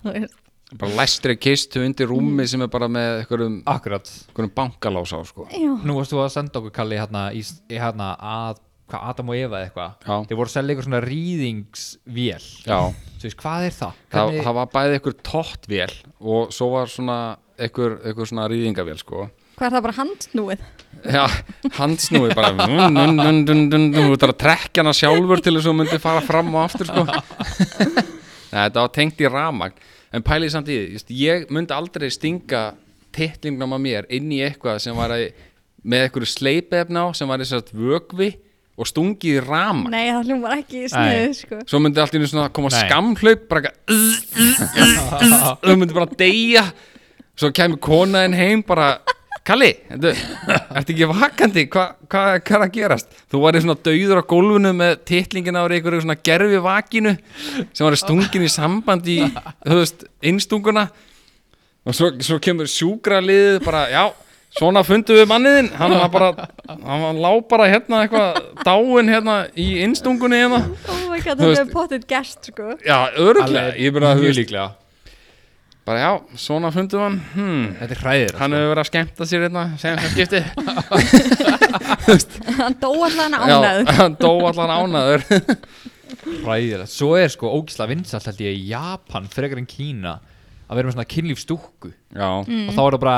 B: Þú veist.
C: bara læstri kistu undir rúmi sem er bara með einhverjum,
D: Akkurat
C: einhverjum bankalás á sko
B: Já,
D: Nú varst þú að senda okkur Kalli hérna, í, í hérna að hvað Adam og Eva eða
C: Já.
D: eitthvað Þeir voru að selja eitthvað svona rýðingsvél
C: Já.
D: Þú veist, hvað er það?
C: það, það var bæði einhver tottvél og svo var svona einhver, einhver svona rýðingavél sko
B: hvað er það bara handnúið?
C: Já, handsnúi bara nun, nun, nun, nun, nun, nun, Þú þarf að trekkja hana sjálfur til þess að hún myndi fara fram og aftur sko. Nei, þetta var tengt í ramagn En pælið samt í því just, Ég myndi aldrei stinga tittlingnum að mér inn í eitthvað sem var að, með einhverju sleipefna á sem var þess að vögvi og stungið í ramagn
B: Nei, það hljómar ekki snið, sko
C: Svo myndi allt í einu svona koma
D: Nei.
C: skamhlaup bara eitthvað þau myndi bara deyja svo kemur konaðin heim bara Kalli, þetta, ertu ekki vakandi hvað hva, hva er að gerast þú varði svona dauður á gólfinu með titlingina á einhverju svona gerfi vakinu sem var stungin í samband í þú veist, innstunguna og svo, svo kemur sjúkraliðið bara, já, svona fundum við manniðin hann var bara, hann var lá bara hérna eitthvað, dáin hérna í innstungunni hérna
B: Oh my
C: Þú
B: god, það
C: veist-
B: er potið gerst, sko
C: Já, öruglega, ég byrja að
D: mjög
C: hugst
D: líklega
C: Bara já, svona fundum hann hmm,
D: Þetta er sko. hræðir
C: Hann hefur verið að skemmta sér hérna sem sem skipti
B: Hann dó allan
C: Já,
B: ánæður
C: hann dó allan ánaður
D: hræðir Svo er sko ógislega vinsalt held ég í Japan frekar en Kína að vera með svona kynlífsdúkku
C: Já,
D: og þá
B: Mm.
D: er það bara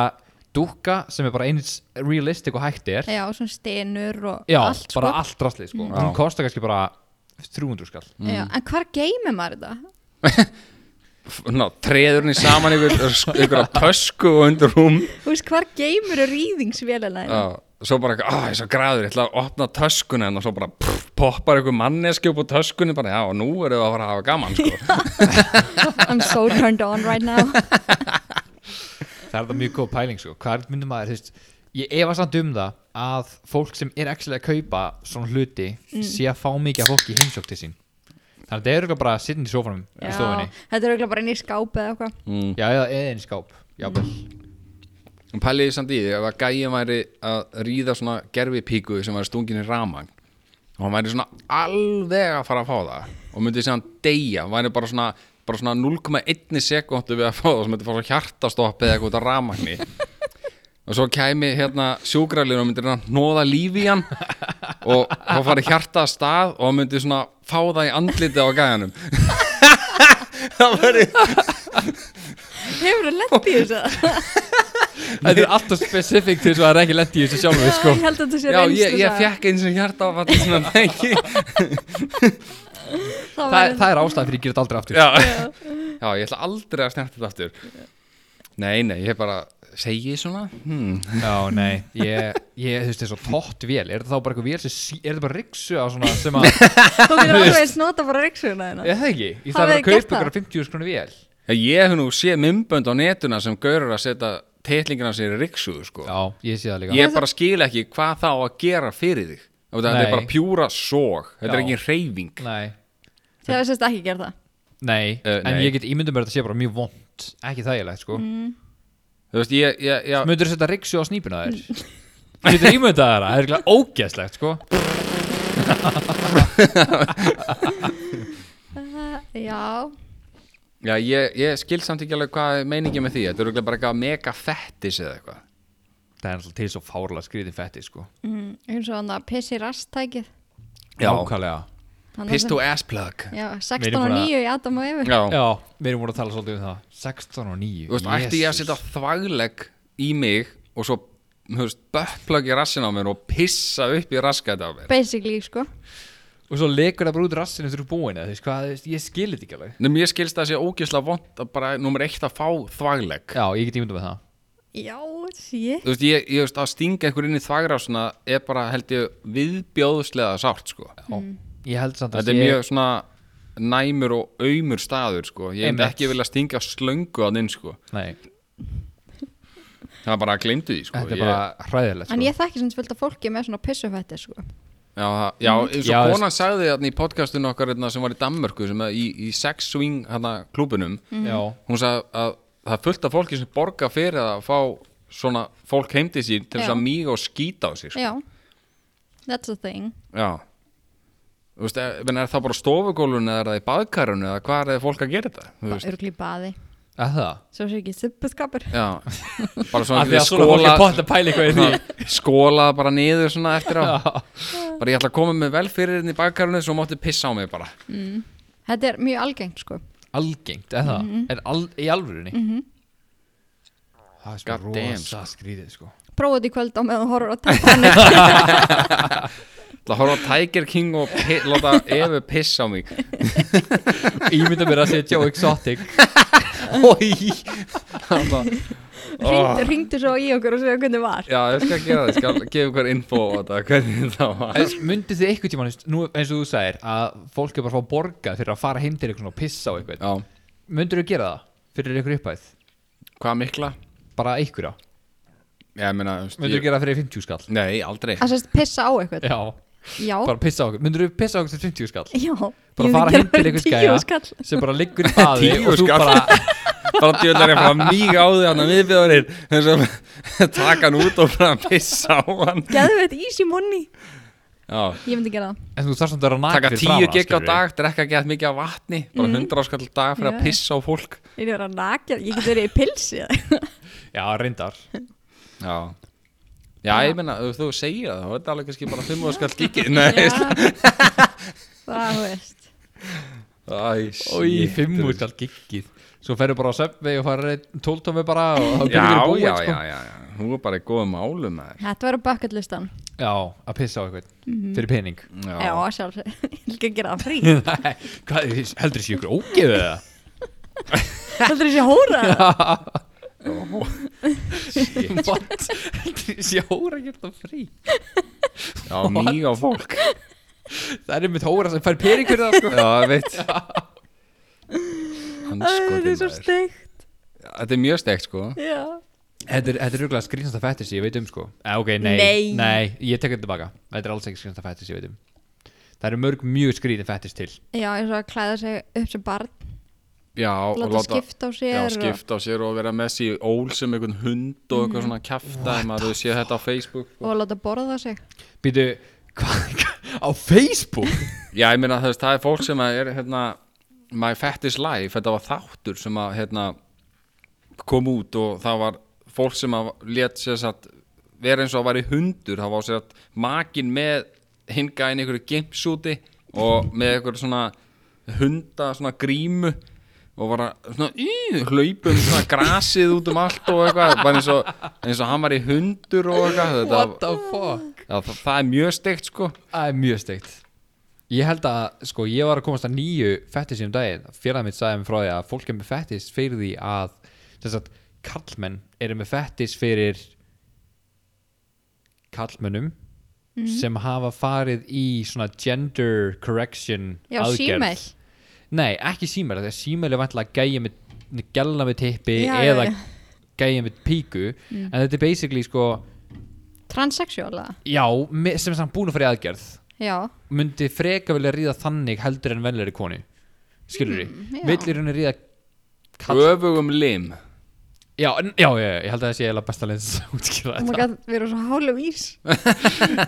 D: dúkka sem er bara eins realistic og hægt er
B: Já, svona stenur og
D: Já,
B: allt, sko
D: bara allt rastlið sko Hún kostar kannski bara 300 skall
B: Já, En hvar geymir maður þetta?
C: ná, treður henni saman ykkur, ykkur að tösku og undir rúm
B: Þú veist, hvar geymir rýðingsvélina? þína?
C: Já, svo bara, á, ég er svo graður, ég ætla að opna töskuna en svo bara pff, poppar ykkur manneski upp á töskunni bara, já, nú erum við að fara að hafa gaman sko.
B: I'm so turned on right now
D: Það er það mjög góð pæling sko Hvað myndum maður, þú veist Ég efa samt um það að fólk sem er ekki að kaupa svona hluti
B: Mm.
D: sé að fá mikið af fólki í heimsók til sín Þannig að þetta er örugglega bara að sitja í sófanum í
B: Já, Mm.
D: stofunni
B: þetta er auðvitað bara inn í skápi eða eitthvað
D: Já, eða eða inn í skáp Jábel
C: En pæliði samt í því ef að gæja væri að ríða svona gerfi píku sem var stungin í ramang og hann væri svona alveg að fara að fá það og myndi sé hann deyja væri bara svona, bara svona 0,1 sekundu við að fá það sem myndi fá svona hjartastopp eða eitthvað út af ramangni og svo kæmi hérna sjúkralinn og myndi hann hnóða lífi í hann og þá fari hjarta að stað og hann myndi svona fá það í andliti á gæjanum
B: Hefur það lett í þessu?
D: Þetta er alltaf specific til þess að það er ekki lett í þessu sjálfur sko.
B: Ég held að þetta sé
C: Já,
B: reynslu
C: ég, ég fekk eins og hjarta að falla svona ekki
B: það,
D: það,
B: var-
D: það er ástæðan fyrir að gera þetta aldrei aftur
C: já. já, ég ætla aldrei að snerta þetta aftur Nei, nei, ég hef bara segi ég svona hmm.
D: Já, nei, ég, ég þú veist, þessu tótt vél Er þetta þá bara eitthvað vél sem, sí- er þetta bara riksu á svona sem að
B: Þú getur alveg eins nota bara reyksuguna þína
D: Ég það ekki,
B: Hafið
D: í það
B: þið
D: er að kaupa
B: gert það?
D: ykkur 50 skrona vél
C: Ég hef nú séð mymbönd á netuna sem gaurur að setja tetlingina sér í riksuðu sko.
D: Já, ég sé það líka
C: Ég bara skil ekki hvað þá að gera fyrir þig Þú veit að Þetta
D: Nei.
C: er bara pjúra sóg Þetta er
D: Já.
C: ekki reyfing
D: Nei,
B: Þegar þess að ekki gera það
D: Nei,
C: Eh,
D: en
C: nei.
D: ég get ímyndum mér að þetta sé bara mjög vond Ekki þægilegt sko mm.
C: Þú veist, ég, ég, ég,
D: Möndur setja riksu á snýpuna þér Þú getur ímyndað þér það, það er ekki ógeðslegt sko
B: Já,
C: já, ég, ég skil samt ekki alveg hvað er meiningin með því Þetta er örugglega bara eitthvað mega fettis eða eitthvað
D: Það er alltaf til svo fárlega skrýðin fetti sko
B: eins og hann að pissi rasttækið
D: Nákvæmlega
B: Hann
C: Piss
B: er
C: to ass plug
B: sem- Já,
D: Við
B: 16
D: erum
B: og
D: bara-
B: 9 í Adam og Evu
C: Já,
D: Já, við erum voru að tala svolítið um það 16 og 9
C: Þú veist, ætti ég að setja þvæglegg í mig og svo, þú veist, böttplögg í rassin á mér og pissa upp í raskætt á mér.
B: Basically, sko
D: Og svo leikur það bara út rassinu þurr búin eða, þú veist, hvað, þú veist, Ég skilir þetta ekki alveg
C: Nefnum ég skilst það að sé ógeðslega vond að bara nummer eitt að fá þvæglegg.
D: Já, ég get ímyndum með það
B: Já, sé
C: Þú veist, ég, ég veist, að stinga einhver inn í þvægrásuna er bara, held ég, viðbjóðslega sárt, sko.
B: Mm.
D: Ég held samt að
C: Þetta er
D: ég-
C: mjög svona, næmur og aumur staður sko. ég myndi
D: Einmitt.
C: ekki vilja stinga slöngu að inn sko.
D: Nei,
C: það var bara að glemdu því sko.
D: þetta er
C: Ég-
D: bara hræðilegt
B: En
D: sko.
B: ég þekki sem fylgta fólki með svona pissufætti sko.
C: já, það- já, eins
D: Mhm. Já,
C: og konan sagði þarna í podcastinu okkar hérna, sem var í Danmörku sem að í, í sex swing hana, klúbinum
D: Já,
C: hún sagði að það er fullt af fólki sem borga fyrir að fá svona fólk heimdi sín til þess
B: Já.
C: að míga og skýta á sig sko.
B: Já, that's a thing
C: Já Þú veist, er, menn, er það bara stofugólun eða er það í baðkarinu eða hvað er fólk að gera þetta? Þú
B: Það
C: veist,
B: eru glýpaði
D: að það
B: Svo sé ekki suppuskapur
C: já Bara svona,
D: Af því að svona fólk
C: skóla,
D: er pott að pæla eitthvað í því
C: svona skóla bara niður svona eftir á Bara ég ætla að koma með vel fyrir hérna í baðkarinu svo mátti pissa á mig bara
B: Þetta er mjög algengt sko
D: Algengt, eða það
B: Mm-hmm.
D: Er al, í alvörunni Það er sko
C: God damn,
D: rosa skrýðið sko
B: Prófa þetta í kvöld á meðan þú horfur á tæpanik
C: Það horfa á Tiger King og pi, láta Evu pissa á mig
D: Ímynda mér að setja Joe Exotic
B: Ringdu, ringdu svo í okkur og segja hvernig var
C: Já, ég skal gera það, ég skal gefa ykkur info á þetta hvernig það var
D: En Mundið þið einhvern tímann, nú eins og þú sagir að fólk er bara að fá borgað fyrir að fara heim til eitthvað og pissa á eitthvað
C: Já,
D: Mundur þið gera það fyrir ykkur upphæð?
C: hvað mikla?
D: Bara einhverja?
C: Já, ég meina, þú veist,
D: Mundur þið
C: ég,
D: gera það fyrir 50 skall?
C: Nei, aldrei
B: Það sést pissa á eitthvað
D: Já,
B: Já,
D: bara pissa á okkur Mundur þið pissa á okkur fyrir 50 skall?
B: já Ég
D: Bara
B: myndi
D: fara
B: gera
D: heim til
B: fyrir
D: einhvers
B: tíu
D: gæja
B: skall.
D: sem bara liggur í baði
C: Tíu
D: og þú
C: skall.
D: bara
C: bara djöðlar ég fram mýg á því hann að viðbjóðurinn eins og taka hann út og bara pissa á hann
B: Geðveitt easy money
C: Já,
B: Ég myndi gera það
D: En þú þarfst að vera
C: taka
D: nakið fyrir
C: tíu
D: framan,
C: gig á
D: skilurðu.
C: dag, drekka ekki að mikið af vatni bara hundra áskall á dag fyrir
B: Já.
C: að pissa á fólk
B: Ég er að nakja, ég get verið í pilsi
D: Já, reyndar
C: Já Já, ég meina, ef þú segir það, þá er þetta alveg kannski bara fimm áskall gigi Nei,
B: Það, þú veist
C: æ,
D: Og í
C: shit.
D: fimm úr skall giggið Svo ferðu bara á söpvei og fara tóltómi bara og það
C: Já,
D: byrjar búið
C: já,
D: sko.
C: já, já, já Hún var bara í góðum álum með
B: Þetta verður bucket listan
D: Já, að pissa á eitthvað fyrir pening
C: þér
B: Já, sjálfsög Ég vil ekki gera það frí
D: Nei, Hvað, heldur þessi ykkur ógeðu það?
B: Heldur þessi hóra
D: What? Heldur þessi hóra gert það frí?
C: Já, mýg á fólk
D: Það er einmitt hóra sem fær pening fyrir það sko
C: Já, ég veit Hann sko
B: Þetta er svo steikt
C: Þetta er mjög steikt, sko
B: Já
D: Þetta er, þetta er rúglega skrýnsta fættis ég veit um sko eh, Ok, nei,
B: Nei.
D: ég tek þetta tilbaka Þetta er alls ekki skrýnsta fættis ég veit um Það eru mörg mjög skrýðin fættis til
B: Já, eins og að klæða sig upp sem barn
C: Já, og
B: Láta skipta á sér
C: Já,
B: og-
C: skipta á sér og vera með sér í ól sem einhvern hund og eitthvað svona kjafta ef maður hefur séð þetta á Facebook
B: og að láta borða sig
D: Býtu, hvað, á Facebook?
C: Já, ég meina þú veist, það er fólk sem að er hérna, My Fat is Life, þetta var þáttur sem að hérna, kom út og það var fólk sem að let sér satt vera eins og að væri hundur, það var sér að makin með hinga inn í einhverju gimpsúti og með einhverju svona hunda svona grímu og var að svona, í, hlaupum svona grasið út um allt og eitthvað bara eins og, eins og hann var í hundur og eitthvað
D: What
C: þetta,
D: the fuck?
C: já, það, það er mjög steikt sko
D: Það er mjög steikt Ég held að, sko, ég var að komast að nýju fettis um daginn, félagið mitt sagði mér frá því að fólk er með fettis fyrir því að þess að kallmenn eru með fettis fyrir kallmennum sem hafa farið í svona gender correction
B: Já,
D: aðgerð
B: símel
D: Nei, ekki símel, þegar símel er vantilega gæja með gæla með tippi
B: Já, já, Mm.
D: eða
B: já.
D: gæja með píku en þetta er basically sko
B: Transsexuála
D: já, me- sem er samt búin að fara í aðgerð
B: Já,
D: myndi freka vilja ríða þannig heldur en venlegri konu skilur því, mm,
B: já.
D: villir henni ríða kall...
C: öfugum lim
D: já, n- já, já, já, ég held að það sé eiginlega besta leins útskýra
B: oh my
D: þetta
B: god, við erum svo hálum ís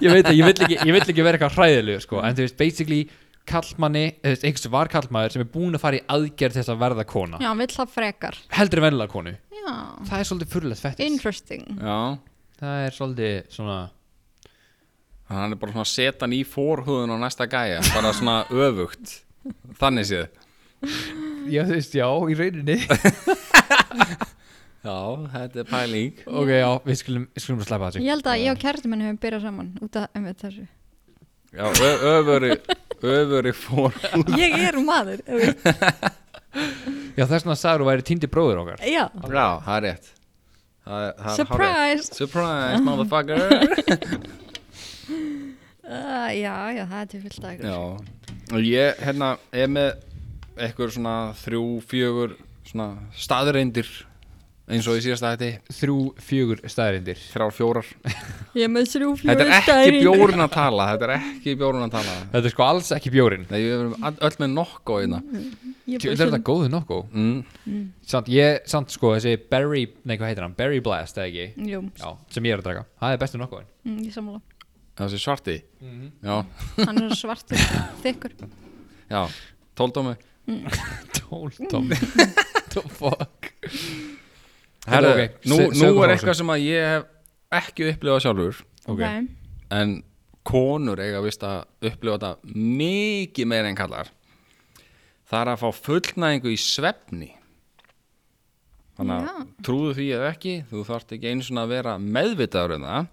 D: ég veit það, ég vill ekki, ég vill ekki vera eitthvað hræðilegu sko,
B: Mm.
D: en þú veist, basically kallmanni, þú veist, einhvers var kallmaður sem er búin að fara í aðgerð þess að verða kona
B: Já, hann vill það frekar
D: heldur en venlega konu,
B: Já,
D: það er svolítið fyrirlega fettis
B: interesting
C: Já,
D: það er svolítið svona
C: hann er bara svona setan í forhúðun á næsta gæja, bara svona öfugt þannig séð
D: já, þú veist, já, í rauninni
C: Já, þetta er pæling
D: ok, já, við skulum, við skulum slæpa þessu
B: Ég held að ég og kærtum henni hefum byrjað saman út af um þessu
C: Já, ö- öfuri, öfuri forhúð
B: Ég er maður þú veist.
D: já, þess vegna sagður þú væri týndi bróður okkar
B: Já,
C: Já, það er rétt það er, það er hárrétt.
B: surprise
C: Surprise, motherfucker
B: uh, Já, já, það er til fyllt að ykkur
C: Já, og ég hérna er með eitthvað svona þrjú, fjögur svona staðreindir eins og í síðasta þetta
D: Þrjú, fjögur staðarindir
C: þrjár, fjórar
B: Ég er með þrjú
C: Þetta er ekki bjórun að tala Þetta er ekki bjórun að tala
D: Þetta er sko alls ekki bjórin
C: Nei, við erum all- öll með nokko einna
D: Þetta er þetta góðu nokku
C: mm.
D: Samt, ég, samt sko, þessi Berry, nei hvað heitir hann, Berry Blast, eða ekki
B: Jú,
D: Já, sem ég er að draka, það er bestu nokkuðin
B: mm, ég sammála
C: Þessi svarti Já,
B: Hann er svartur, þykkur
C: já, tóldómi
D: Tóltom The fuck
C: Herðu,
D: ok,
C: nú,
D: se-
C: nú
D: segðu frá
C: er
D: þessu.
C: eitthvað sem að ég hef ekki upplifað sjálfur
D: Ok.
B: Nei.
C: En konur eiga vist að upplifa þetta mikið meira en kallar Það er að fá fullnæðingu í svefni Þannig að trúðu því eða ekki Þú þarft ekki einu svona að vera meðvitaður um það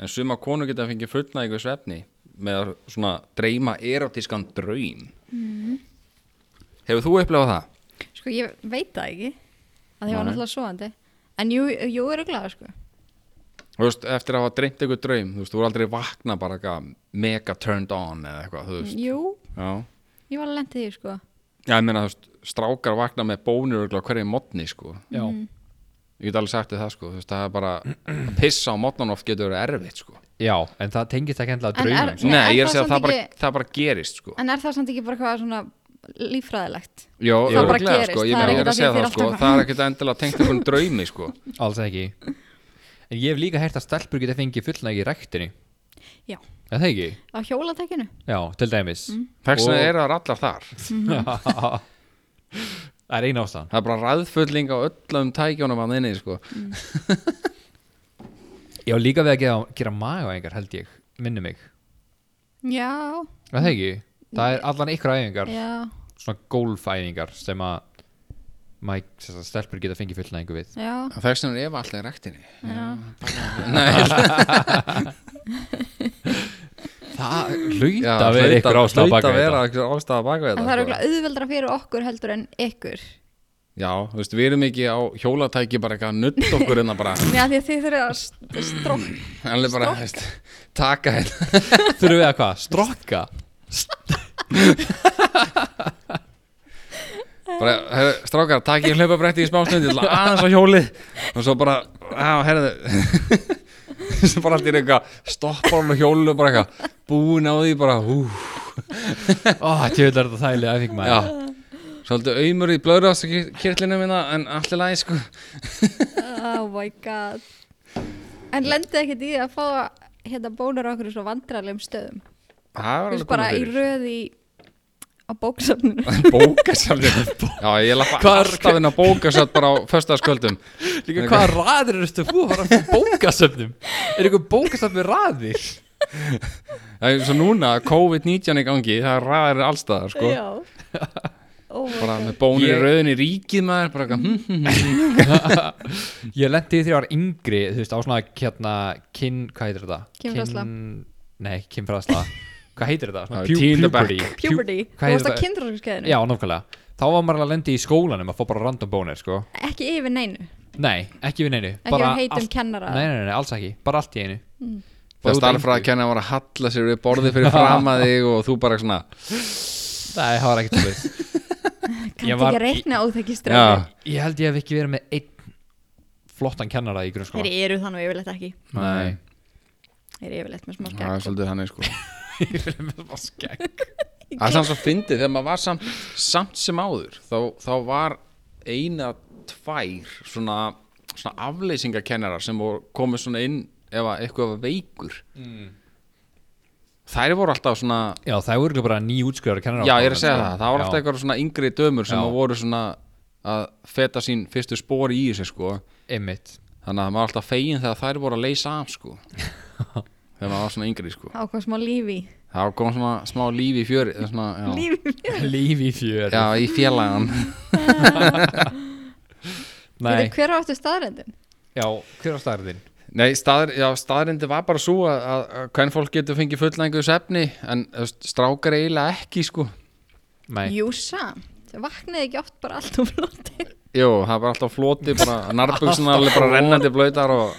C: En suma konur geta að fengið fullnæðingu í svefni með að svona dreyma erotískan draum Hefur þú upplifað það?
B: Sko, ég veit það ekki að því ég var náttúrulega svoandi En jú, jú eru glæða, sko
C: Þú veist, eftir að hafa dreymt einhver draum Þú veist, þú er aldrei vakna bara eitthvað mega turned on eða eitthvað, þú veist
B: Jú,
C: Já
B: ég var alveg lendið því, sko
C: Já, ég meina, þú veist, strákar vakna með bónur örugglega á hverju mótni, sko.
D: Já,
C: Ég get alveg sagt þér það, sko. Þú veist, það er bara að pissa á mótnan oft getur verið erfitt, sko.
D: já, en það tengist ekki endilega
B: En er-
D: draumum
C: Nei,
B: Nei,
C: ég er að
B: það
C: segja að
B: samt
C: það bara,
B: ekki-
C: það bara gerist, sko.
B: En er það samt ekki bara hvað svona líffræðilegt?
C: Jó,
B: það bara
C: örugglega,
B: gerist,
C: Sko. Ég
B: það er
C: meina, ég er
B: ekkert að
C: að segja
B: því þér
C: það, sko.
B: alltaf-
C: Það er ekkert endilega tengt einhvern draumi, sko.
D: Alls ekki En ég hef líka heyrt að stelpur geta fengið fullnægi í ræktinni
B: Já,
D: Er það ekki?
B: á hjólatekinu
D: Já, til dæmis
C: Þess vegna
D: Og-
C: eru það allar þar.
D: Það er eina ástæðan
C: Það er bara ræðfulling á öllum tækjónum að inni, sko.
D: Já, líka við að gera, gera magaæfingar held ég, minni mig
B: Já,
D: Er það ekki? Það er allan ykkur æfingar,
B: já,
D: svona golfæfingar sem að maður, sem sagt, stelpur geta fengið fullnægingu við
B: já
C: Þess vegna eru allar í rektinni.
D: Það hlauta að vera ykkur ástæða
C: hlaut
D: baka
C: að vera
D: þetta
C: einhver ástæða baka
B: En
C: þetta.
B: það er
C: sko.
B: auðvitað auðveldra fyrir okkur heldur en ykkur
C: Já, þú veist, við erum ekki á hjólatæki bara eitthvað að nutt okkur en bara
B: Já, því að þið þurfið að st- strók
C: Hann er bara, veist, taka hérna
D: Þurfum við að hvað? Strokka?
C: bara, herru, strákar, taka ég hlaupabretti í smá snundi aðeins á hjólið og svo bara, á, herðu svo bara allt í einu eitthvað stoppar hann á hjólinu, bara eitthvað búin á því, bara, hú
D: Ó, tjóðlar þetta þægilega æfing maður
C: já, svolítið auðmur í blöðrástkirtlinu minna en allir læg, sko
B: Oh my god En lendið ekkert í því að fá hérna bónur á okkur í svo vandralegum stöðum
C: það var
B: Þú veist
C: alveg
B: bara
C: komið
B: í
C: fyrir
B: röð í á bóksafninu
C: bókasafni já, ég lappa
D: Hvar-
C: alltaf inn á bókasafn bara á föstaskvöldum
D: Líka hvaða raðir eru þetta búið að fara fyrir bókasöfnum? Er ykkur bókasöfnum raðir?
C: það er svo núna, COVID-19 í gangi það ræðir allstaðar, sko
B: Já Oh my
C: bara
B: god
C: með bónu
D: Ég-
C: í rauðin í ríkið maður bara eitthvað, hm, hm, hm.
D: Ég lendi í því að ég var yngri, þú veist, á svona hérna kinn, hvað heitir þetta?
B: Kynfræðsla.
D: Kinn- Nei, kinnfræðsla Hvað heitir þetta? Svona
C: Já,
D: pu-
C: tíunda
D: puberty.
C: bekk.
D: Pu-
B: Puberty Þú varst
D: Hvað heitir
B: á
D: þetta?
B: kindröskuskeiðinu
D: Já, nákvæmlega Þá var maður að lendi í skólanum að fá bara random bónir, sko
B: Ekki yfir neinu
D: Nei, ekki við neinu
B: Ekki á
D: bara
B: heitum
D: allt-
B: kennara.
D: Nei, nei, nei, alls ekki, bara allt í einu
C: það
D: út af
C: starf frá að
D: engu.
C: kenna var að halla sér við borðið fyrir fram að þig og þú bara svona
D: Nei, það var ekkert svolítið
B: Kanntu
D: Ég var-
B: ekki reikna óþekkiströðu
C: já,
D: Ég held ég hef ekki verið með einn flottan kennara í
B: Þeir
D: grunnskóla
B: eru þannig yfirleitt ekki
C: nei,
B: Þeir eru yfirleitt með smá
C: það er
B: skegg
C: svolítið þannig sko það
D: Skegg
C: er samt svo fyndið þegar maður var samt, samt sem áður þá, þá var eina tvær svona, svona afleysingakennarar sem voru, komu svona inn ef að eitthvað var veikur Mm. þær voru alltaf svona
D: Já, það voru líka bara nýjútskriðar kennara
C: já, ég er að segja það, það voru alltaf
D: Já.
C: eitthvað svona yngri dömur sem
D: Já.
C: að voru svona að feta sín fyrstu spori í þessu sko
D: Einmitt
C: þannig að maður var alltaf fegin þegar þær voru að leysa af sko þegar maður var svona yngri sko
B: Á hvað smá lífi
C: þá kom svona smá líf í fjöri eða svona, já,
B: Lífi
D: Líf í fjör
C: já, í félagan
D: Nei,
B: Fyrir hver áttu staðrendin?
D: já, hver var staðarðin?
C: nei, staðr, já, staðrindi var bara svo að, að, að hvern fólk getur fengið fullnængu svefni en þú veist, strákar eiginlega ekki sko
D: Nei,
B: Jú samt Vaknaði ekki oft bara allt og flotti
C: jú, það var alltaf floti bara narbuksunar alveg bara rennandi blöytar og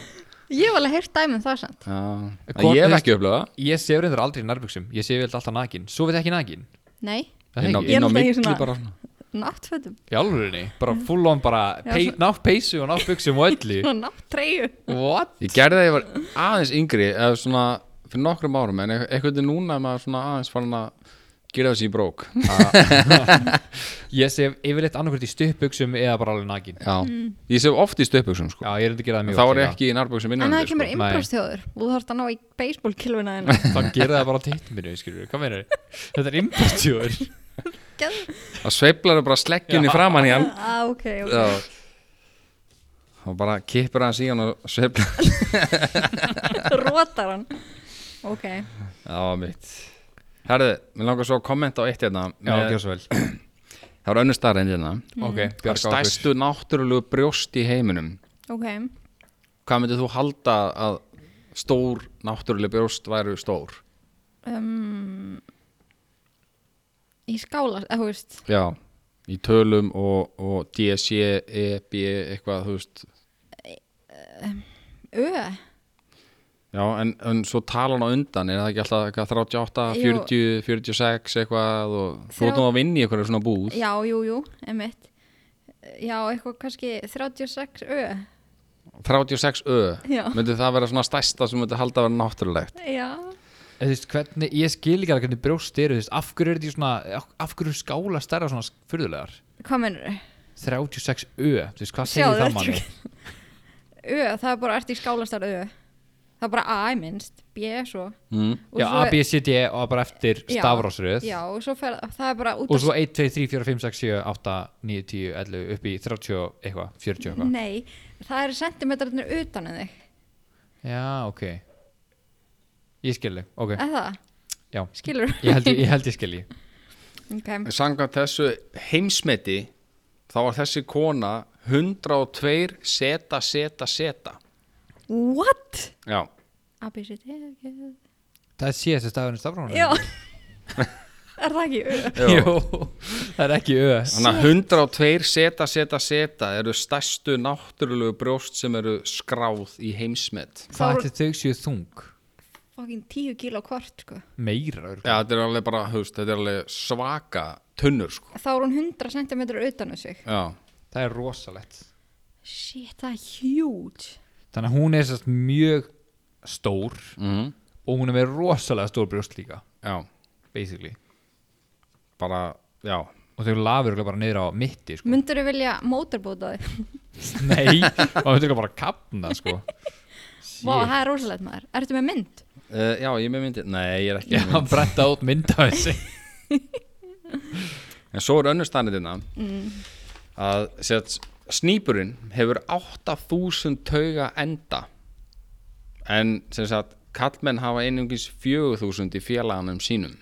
B: Ég hef alveg heyrt dæmið það samt
C: já, en
D: Hvort
C: ég
D: er-
C: hef ekki upplöða
D: ég sefur reyndar aldrei í nærbuxum Ég sefur alltaf nakin Svo við ekki nakin
B: Nei
D: Er það
C: inn á,
D: ekki?
B: Ég er
C: inn á
B: alltaf í
C: milli
B: svona-
C: bara svona
B: náttfötum
D: í alvörinni, bara full on bara
B: Já,
D: pey,
B: svo-
D: nátt peysu og nátt buksum og öllu
B: og nátttreyju.
D: what?
C: Ég gerði það ég var aðeins yngri eða svona fyrir nokkrum árum en eit- einhvern veginn núna er maður svona aðeins farin að gera þessi í brók
D: ég sé yfirleitt annarkvært í stuppbuksum eða bara alveg nakin
C: Já, ég sef oft í stöpbuksum sko
D: Mm. já, ég er enda að gera það
C: En
D: mjög
C: þá
D: oft
C: er ég
D: líka.
C: ekki í nærbuksum
B: En það
C: innanandi
B: kemur
C: sko.
B: innbrjóðstjóður og þú þarfst að ná í baseballkilvuna þína.
D: þá gera það bara á tittum minni, skilur hvað meinar þetta er impostjóður
B: Geð-
C: Það sveiflar bara sleggjunni framan í hann
B: ah, ok, ok.
C: Já Og bara kippur hann síðan og sveiflar
B: Rótar hann. Ok.
C: Já, mitt Herðu, mér langar svo að kommenta á eitt hérna
D: já,
C: með-
D: gjör svo vel
C: Það var önnur starra en hérna Það er
D: ok, bjarga okkur
C: stærstu náttúrulegu brjóst í heiminum
B: Ok.
C: Hvað myndir þú halda að stór náttúruleg brjóst væru stór?
B: Um, í skála, eða þú veist.
C: Já, í tölum og, og DSC, EB, E eitthvað, þú veist
B: Ö.
C: Já, en, en svo talan á undan, er það ekki alltaf eitthvað 38,
B: Jú.
C: 40, 46 eitthvað og þú
B: Þrjá-
C: ert nú að vinna í eitthvað svona búð
B: Já, jú, jú, emitt. Já, eitthvað kannski 36 Ö.
C: 36 ö,
B: Já.
C: myndi það vera svona stærsta sem myndi halda að vera náttúrulegt
B: Já.
D: En þú veist, hvernig, ég skil ekki alveg hvernig brjóst eru, þú veist, af hverju er þetta í svona, af hverju eru skála stærra svona fyrðulegar?
B: Hvað mennur þau?
D: 36 ö, þú veist, hvað
B: Sjáðu,
D: segir það
B: þetta er
D: manni?
B: Ö, það er bara, ertu í skálastar Ö. Það er bara A í minnst, B svo.
C: mm.
B: Og
D: Já,
B: svo-
D: A, B, C, D E og bara eftir
B: Já,
D: stafrásröð
B: Já, og svo fer, það er bara út
D: og
B: af-
D: svo 1, 2, 3, 4, 5, 6, 7, 8, 9, 10, 11 upp í 30 og eitthvað, 40 og eitthvað.
B: Nei, það eru sentimetrarnir utan en þig
D: Já, ok. Ég skil þig, ok,
B: Eða það,
D: já.
B: skilur
D: Ég held ég, ég, held ég skil ég.
B: okay.
C: Samkvæmt þessu heimsmeti þá var þessi kona 102 seta, seta, seta
B: What?
C: Já,
B: ABCD
D: Það sé þessi stafurinn stafrásröð?
B: Já Er það ekki ö?
D: Jó, það er ekki ö.
C: þannig að 102 seta, seta, seta eru stærstu náttúrulegu brjóst sem eru skráð í heimsmet
D: Hvað
B: voru-
D: ætli þau séu þung?
B: Fokkin tíu kíló kvart sko
D: Meira, örugglega.
C: Já, þetta er alveg bara, hufst, þetta er alveg svaka tunnur sko
B: Þá er hún 100 sentimetrar utan en sig
C: Já,
D: það er rosalegt.
B: Shit, það er huge
D: þannig að hún er sérst mjög stór
C: Mhm.
D: og hún er með rosalega stór brjóst líka
C: já,
D: basically
C: bara, já
D: og þau lafur örugglega bara niður á mitti sko.
B: Myndirðu vilja mótorbóta þig?
D: nei, og þau þurfa bara að kapna sko.
B: Vá, það er rosalegt maður Ertu með mynd?
C: uh, Já, ég er með myndi, nei, ég er ekki
D: Já,
C: með myndi.
D: hann bretta út mynd af þessi
C: En svo er önnur stannindina mm. að set, snýpurinn hefur 8000 tauga enda en sem sagt kallmenn hafa einungis 4000 í félaganum sínum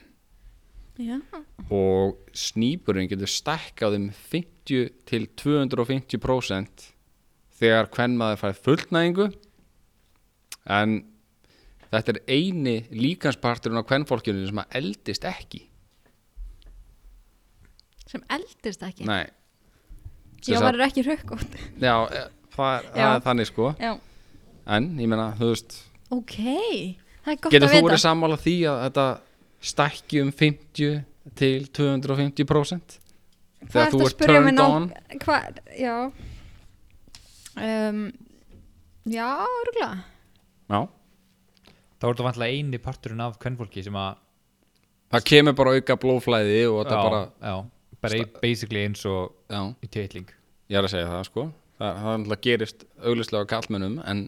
B: Já
C: og snýpurinn getur stækkað um 50 til 250% þegar hvern maður fær fullnæðingu en þetta er eini líkansparturinn á hvernfólkinu sem að eldist ekki
B: Sem eldist ekki
C: Nei Sem
B: Já,
C: sagt-
B: verður ekki rökkótt
C: Já, e, það er, það
B: Já.
C: er þannig sko
B: Já
C: En, ég meina, þú veist
B: Ok Það er gott
C: Getur
B: að
C: þú
B: vita
C: verið sammála því að þetta stækki um 50 til 250%
B: Hvað
C: Þegar
B: ertu
C: þú
B: að
C: ert
B: spyrja mig
C: turned
B: ná-
C: on
B: Hvað, já um, Já, örgulega
C: Já,
D: þá er þetta vantlega eini parturinn af kvennfólki sem að
C: það kemur bara auka blóflæði og
D: já,
C: þetta bara
D: já, bara í- basically eins og
C: Já,
D: í titling
C: ég er að segja það sko Það, það er náttúrulega gerist auglýslega á kallmennum en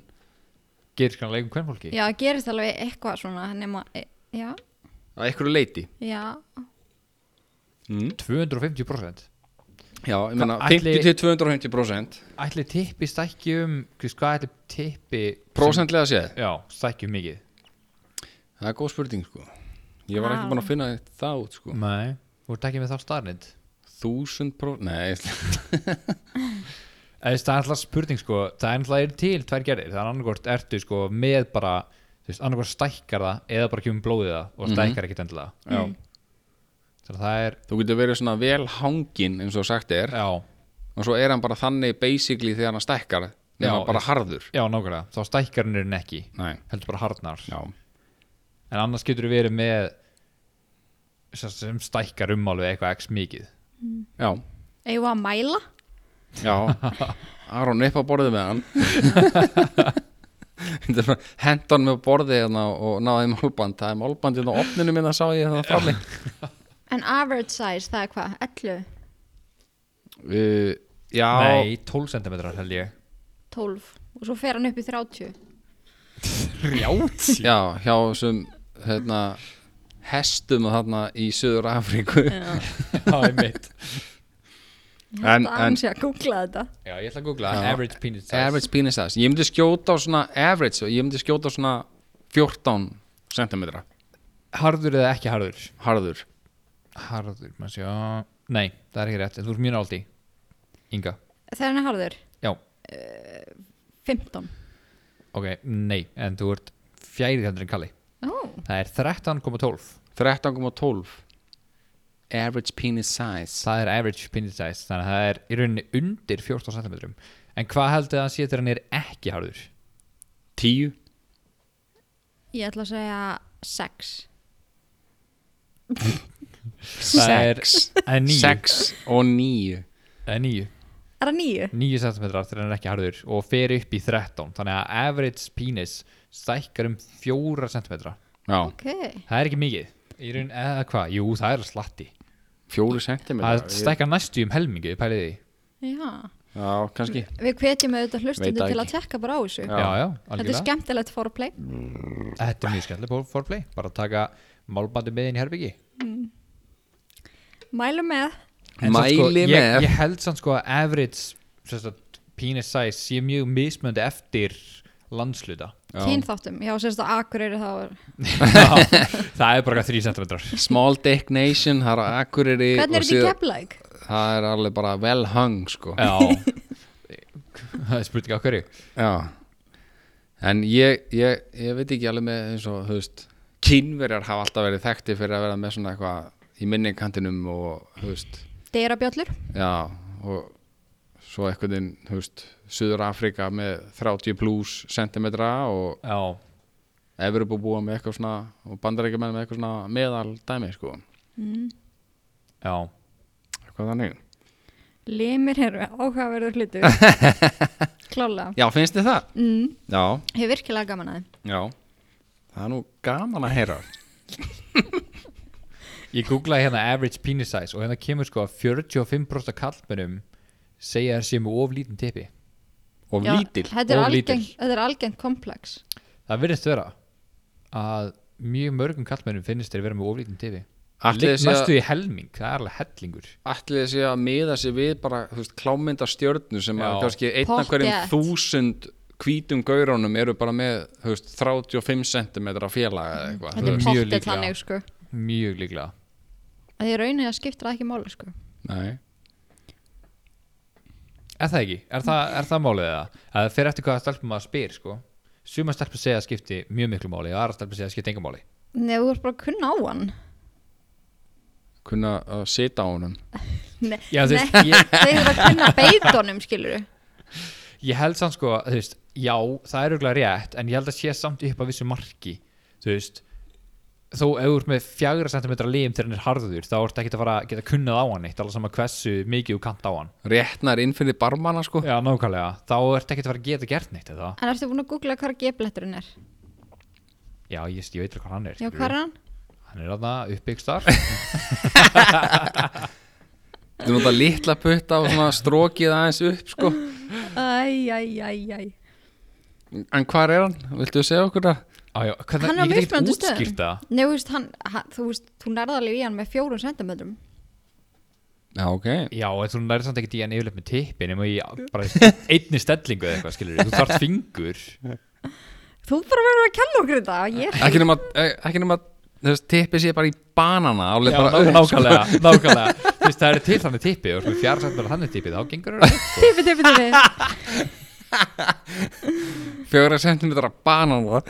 D: gerir skanlega um kvennfólki
B: Já, gerist alveg eitthvað svona nema, e- Já,
C: að einhverju leiti
B: já
D: 250%
C: Já, ég meina
D: Hvað,
C: 50
D: ætli-
C: til 250%
D: ætli tippi stækki um þú veist, hvað ætli tippi
C: Prósentlega séð,
D: já, stækki um mikið
C: það er góð spurning sko Ég var
B: Vá.
C: ekki búin að finna það út sko
D: nei, þú ert ekki með þá starnind
C: Þúsund prósent, nei
D: Eða, þú veist, Það er alltaf spurning sko, það er alltaf til tvær gerðir, það er annarkvort ertu sko með bara, þú veist, annarkvort stækkar það eða bara kemur blóðið það
C: Mhm.
D: og stækkar ekkert endilega.
C: Já
D: Þannig að það er,
C: Þú getur verið svona vel hangin eins og sagt er
D: já,
C: og svo er hann bara þannig basically þegar hann stækkar nema
D: Já,
C: bara
D: ég-
C: harður
D: já nákvæmlega, þá stækkar hann er hann ekki,
C: Nei,
D: heldur bara harnar.
C: já,
D: En annars getur þú verið með sem- sem stækkar um alveg eitthvað x mikið.
C: já
B: Eigum við að mæla?
C: Já, Aron upp á borðið með hann Þetta er bara hent hann með borðið hérna og náði málband það er málband hérna á opninu minna sá ég hérna framli
B: En average size, það er hvað? 11?
C: uh, Já,
D: Nei, 12 cm held ég
B: 12? Og svo fer hann upp í 30?
C: já, hjá sem hérna, hestum þarna í Suður Afríku
D: Já, ég mitt
B: Ég
C: En-
B: held að hann sé að googla þetta.
D: Já, ég ætla að googla
C: Já.
D: Average penis size
C: Average penis size, ég myndi skjóta á svona average, ég myndi skjóta á svona 14 cm
D: Harður eða ekki harður?
C: harður
D: Harður, maður sjá Nei, það er ekki rétt, en þú ert mjög náldi Inga
B: Þegar hann er harður?
D: Já,
B: 15.
D: ok, nei, en þú ert fjærið heldur en Kalli
B: Ó,
D: Það er 13,12
C: 13,12 average penis size
D: Það er average penis size Þannig að það er í rauninni undir 14 cm En hvað heldur það að sé þegar hann er ekki harður?
C: 10
B: ég ætla að segja 6.
D: Það er- Það er 9
C: 6 og 9
D: Það er 9
B: Er það 9?
D: 9 cm þegar hann er ekki harður og fer upp í 13 þannig að average penis stækkar um 4 cm það
C: Já,
B: Ok.
D: er ekki mikið í raun eða hvað, jú það er slatti
C: fjóru sentimetrar
D: það stækkar næstu um helmingi pælið því,
B: Já.
C: Já, kannski
B: Við hvetjum auðvitað
C: Veit
B: hlustundu
C: það
B: til að
C: ekki.
B: tekka bara á þessu.
D: já já,
B: Þetta er
D: algjörlega
B: skemmtilegt foreplay.
D: þetta er mjög skemmtileg for- foreplay, bara að taka málbandi með inn í herbyggi
B: Mælum með.
D: En samt sko,
C: Mæli
D: ég,
C: með.
D: ég held samt sko að average sem sagt, penis size sé mjög mismöndi eftir landsluta
B: Kynþáttum. Já, sérst að akureyri þá er...
D: það er bara 3 cm
C: Small Dick Nation, það er á Akureyri og
B: Hvernig er þetta í
C: síðan-
B: geflæk?
C: Það er alveg bara vel hung sko
D: já það er spurning á hverju
C: Já. En ég, ég, ég veit ekki alveg með eins og þú veist Kínverjar hafa alltaf verið þekkti fyrir að vera með svona eitthvað í minninkantinum og þú veist
B: Dera bjöllur.
C: Já, og svo eitthvað inn, þú veist, Suður Afrika með 30 plus sentimetra og
D: já
C: Evropa búa með eitthvað svona og bandarækjumenn með eitthvað svona meðal dæmi sko,
D: Já,
C: eitthvað þannig
B: Limir eru áhugaverður hlutur. Klálega.
C: Já, finnst þið það? Mm. Já,
B: Ég hef virkilega gaman að þeim.
C: já Það er nú gaman að heyra
D: ég googlaði hérna average penis size og hérna kemur sko að 45% af kallmennum segja að það sé með of lítinn tippi
C: og
B: Já,
C: lítil
B: Þetta er
D: of lítill.
B: algengt- þetta er algengt komplex.
D: Það virðist vera að mjög mörgum kallmennum finnist þeir vera með of lítinn tippi
C: Ætli þeir séu að-
D: Mestu í helming, það er alveg hellingur
C: Ætli þessi að miða sig við bara þú veist, klámynda stjörnu sem að
D: Já.
C: kannski einn af
B: Pottþétt.
C: hverjum þúsund hvítum gaurónum eru bara með þú veist, 35 cm félaga eða eitthvað
D: Þetta
C: þú
D: er
C: veist.
D: mjög
B: Pottet
D: líklega.
B: þannig, sko.
D: Mjög líklega
B: Að Því raunin að skipta það ekki máli, sko.
C: Nei
D: Er það ekki? Er það, er það málið það? Að það fer eftir hvað stelpum maður spyr sko Suma stelpur segja að skipti mjög miklu máli og aðra stelpur segja að skipti enga máli
B: Nei, þú ert bara að kunna á hann.
C: kunna að sita á honum
B: Nei,
D: Já, þú
B: nei,
D: veist, ég-
B: þeir eru að kunna beitunum, skilur du.
D: Ég held samt sko, þú veist, já, það er auðvitað rétt, en ég held að sé samt upp að vissu marki, þú veist, þó ef þú ert með fjagra sentimetra lim þegar hann er harður, þá ertu ekkert að fara að geta kunnað á hann eitt, alveg sama hversu mikið þú kant á hann.
C: réttnar inn fyrir barmana sko
D: Já, nákvæmlega, þá ertu ekkert að fara að geta gert neitt eða?
B: En ertu búin að googla hvað gebletturinn er?
D: Já, ég, ég veit hvað hann er.
B: Já, hvað er hann?
D: Hann er aðna uppbyggstar.
C: Þú nota litla putta og svona strókið aðeins upp sko.
B: Æj, æj, æj, æj.
C: En hvar er hann? Viltu segja okkur það?
D: Á, já, hvað,
B: Hann er á
D: ég get ekkert
B: mismunandi stöðum.
D: útskýrt það.
B: Nei, þú veist, hann, hann, þú veist, þú nærða alveg í hann með fjórum sentimetrum.
C: Já, ok.
D: Já, en þú nærið samt ekkert í hann yfirleitt með tippin, nema í bara einni stellingu eða eitthvað, skilur þú þarft fingur.
B: Þú bara verður að kenna okkur þetta. Ég,
C: Ekki nema, eh, ekki nema þú veist, tippið sér bara í banana
D: Já,
C: alveg bara
D: ná-
C: upp.
D: nákvæmlega, nákvæmlega Þú veist, það eru til þannig tippi og fjara sættur þannig tippi, þá gengur það upp, sko.
B: tipi, tipi, tipi.
C: Fjóra sentimetra banana.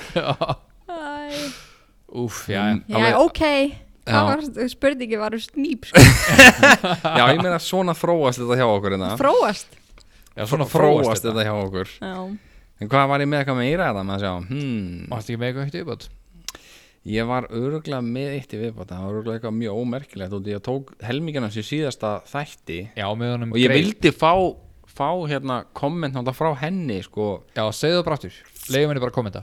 B: Æj.
D: Úf, já,
C: Mm,
B: Já, ok.
C: Já.
B: Það var spurningi var um snýp, sko.
C: Já, ég meina svona þróast þetta hjá okkur hérna.
B: Fróast.
D: já svona
C: Þróast
D: fróast
C: þetta hjá okkur.
B: Já.
C: En hvað var ég með eitthvað meira þetta með að hérna, sjá? Hmm.
D: Mást ekki með eitthvað eitt uppátt?
C: Ég var öruglega með eitt í viðbóta Það var öruglega eitthvað mjög ómerkilegt og ég tók helmingina sem síðasta þætti
D: Já, með honum
C: og ég
D: Grey.
C: vildi fá, fá hérna, komment náttúrulega frá henni sko.
D: Já, segðu það bara aftur Leifum henni bara að kommenta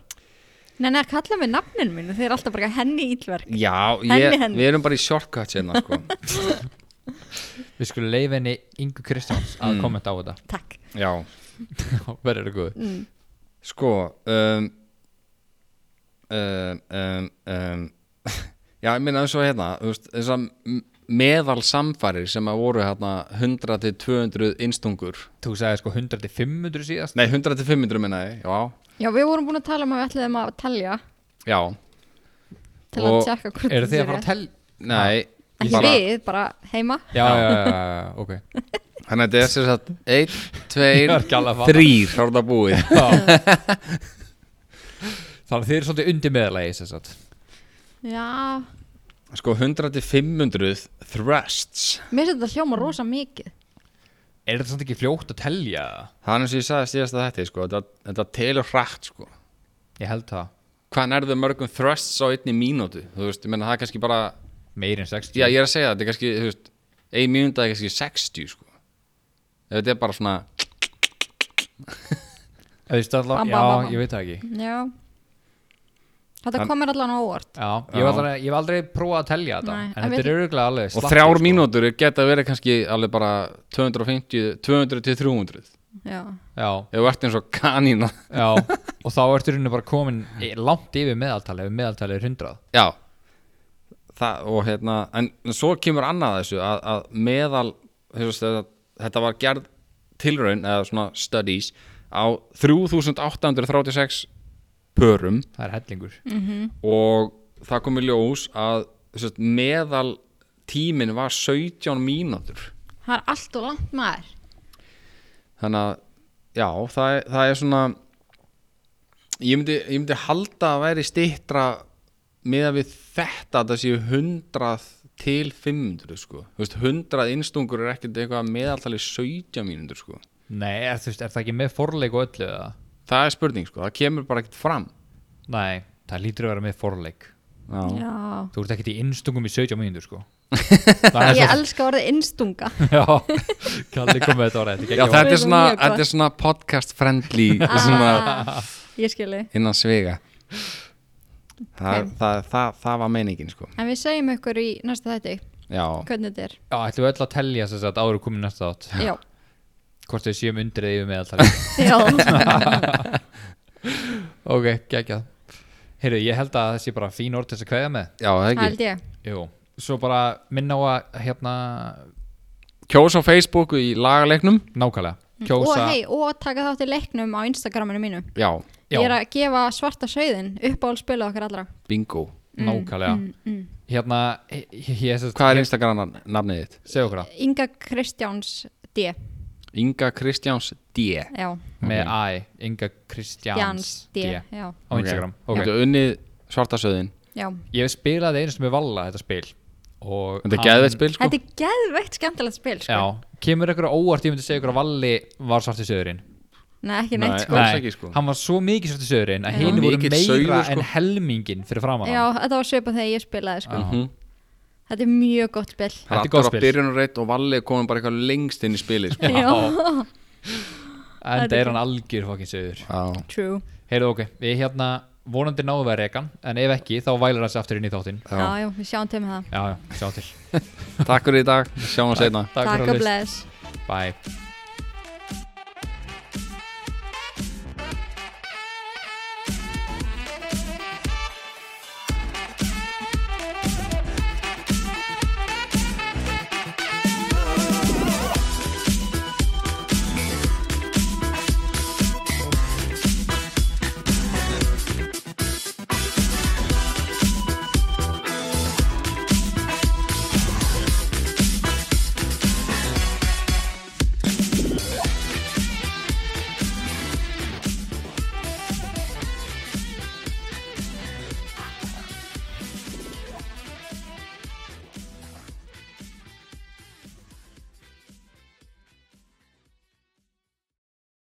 B: Nei, nei, kalla mig nafninu mínu, þeir eru alltaf bara henni íllverk.
C: Já, ég,
B: Henni, henni.
C: við erum bara í shortcuts hérna sko.
D: Við skulum leif henni Ingu Kristjáns að kommenta á þetta
B: Takk.
C: Mm. Já,
D: Verður það góð
C: sko um, um, um, um, Já, ég minna eins og hérna þú veist, þess að meðal samfærir sem að voru hérna 100-200 innstungur
D: Þú sagði sko 100-500 síðast
C: Nei, 100-500 minna ég, já
B: Já, við vorum búin að tala um að við ætliðum að telja
C: Já,
B: til
C: Og
B: að tjekka hvort
D: Eru þið
B: þessi
D: að fara að
B: rétt.
D: tel...
C: nei
B: Ekki
C: bara-
B: við, bara heima.
D: Já, já, já, já, já, ok
C: Þannig að hérna, þetta er sér satt 1,
D: Ég
C: 2,
D: var ekki alveg að fatta.
C: 3 Þá er þetta búið
D: Já. Þannig að þið eru svolítið undir meðalagi sem sagt
B: Já,
C: Sko 100-500 thrusts
B: mér finnst þetta hljóma rosa mikið.
D: Er þetta samt ekki fljótt að telja?
C: Það er eins og ég sagði síðast að þetta sko, þetta, þetta telur hrætt sko
D: Ég held það
C: Hvað nærðu mörgum thrusts á einni mínútu Þú veist, ég menna það er kannski bara
D: Meir en 60
C: Já, ég er að segja þetta er kannski, þú veist Ein mínúta er kannski 60 sko Ef þetta er bara svona
D: Ef þið stalla-
B: Bam, bam,
D: Já,
B: bam, bam.
D: ég veit það ekki
B: Já. Þetta kom mér allan á óvart.
D: Já, ég hef aldrei, ég hef aldrei prófað að telja þetta
B: Nei, en
D: En þetta er
B: við-
D: öruglega alveg
C: Og
D: slatti,
C: þrjár
D: sko.
C: mínútur geta verið kannski alveg bara 250, 200 til 300 Ef
B: Já.
D: Já,
C: þú ert eins og kanína
D: já Og þá ertu rauninni bara komin í- langt yfir meðaltali Ef meðaltali er 100
C: Já það, og hérna, en svo kemur annað þessu að, að meðal hefst, þetta, þetta var gerð tilraun eða svona studies á 3836 pörum
D: Það er hellingur
B: Mm.
C: og það kom í ljós að hefst, meðal tíminn var 17 mínútur
B: Það er allt og langt maður.
C: þannig að já, það, er- það er svona ég myndi, ég myndi halda að væri stýttra með að við þetta að það séu 100 til 500 sko Þú veist, 100 innstungur er ekkert eitthvað að meðaltali 17 mínútur sko
D: Nei, er, þú veist, er það ekki með forleik og öllu eða?
C: það er spurning sko, það kemur bara ekkert fram
D: Nei, það lítur að vera með forleik
C: já,
B: Já.
D: Þú ert ekkert í innstungum í 17 mínútur sko Það er
B: Ég
D: svo
B: elska orðið innstunga.
D: Já, kallir komið þetta orðið Þetta er
C: já
D: geggjað orð.
C: þetta er svona,
B: mjög gott.
C: þetta er svona podcast friendly svona
B: Ah, ég skilji.
C: innan svega það,
B: Ok.
C: það, það, það var meiningin sko
B: En við segjum ykkur í næsta þætti
C: já,
B: hvernig þetta er.
D: Já, ætlum við öll að telja þess að áru komið næsta átt
B: Já.
D: Hvort við séum undir eða yfir meðaltali
B: Já.
D: Ok, geggjað Heyrðu, ég held að það sé bara fín orð til þess að kveðja með
C: já, það
B: Það held
C: ekki
B: ég.
D: Jú, svo bara minna á að hérna
C: kjós á Facebooku í lagaleiknum
D: nákvæmlega
B: Mm. Og
D: kjósa
B: hei, og taka þátt í leiknum á Instagraminu mínu.
C: já,
D: Já.
B: Ég er að gefa svarta sauðin upp á spila okkar allra.
C: bingo
B: mm,
D: nákvæmlega Hérna, ég, ég, ég, ég
C: Hvað er Instagram nafnið þitt?
D: Segðu okkur það,
B: Inga Kristjáns D.
C: Inga Kristjáns D
B: Já,
D: með æ, Inga Kristjáns
B: Jans D.
D: D.
B: Já,
D: Á Instagram
C: okay.
D: Ok.
C: Þetta er unnið svartasöðin
B: já.
D: ég spilaði einu sem er Valla þetta spil og
C: Þetta er geðveitt spil sko
B: Þetta er geðveikt skemmtilegt spil, sko.
D: já, kemur ykkur á óvart, ég myndi segja ykkur að Valli var svart í söðurinn
B: Nei, ekki neitt, sko.
C: Alls ekki, sko.
D: hann var svo mikið svart í söðurinn að
B: Já.
D: hinn voru
C: Mikill
D: meira
C: sauður, sko.
D: en helmingin fyrir framann
B: Já, þetta var svipað þegar ég spilaði, sko.
C: Mhm.
B: Þetta er mjög gott spil.
D: Þetta er
C: Það er
D: gott
C: alltaf
D: spil.
C: að byrjun og reitt og valli komum bara eitthvað lengst inn í spilið sko.
B: Já,
D: en það er hann algjör fokkin söður
C: Já.
B: true.
D: heyrðu ok, við hérna vonandi náðu við að reka hann, en ef ekki þá vælar hann sér aftur inn í þáttinn
B: Já, já, við sjáum til með það.
D: já, já, sjá til
C: Takk fyrir í dag, sjáum við seinna
B: Takk
D: fyrir
B: og
D: að hlusta.
B: bless.
D: bye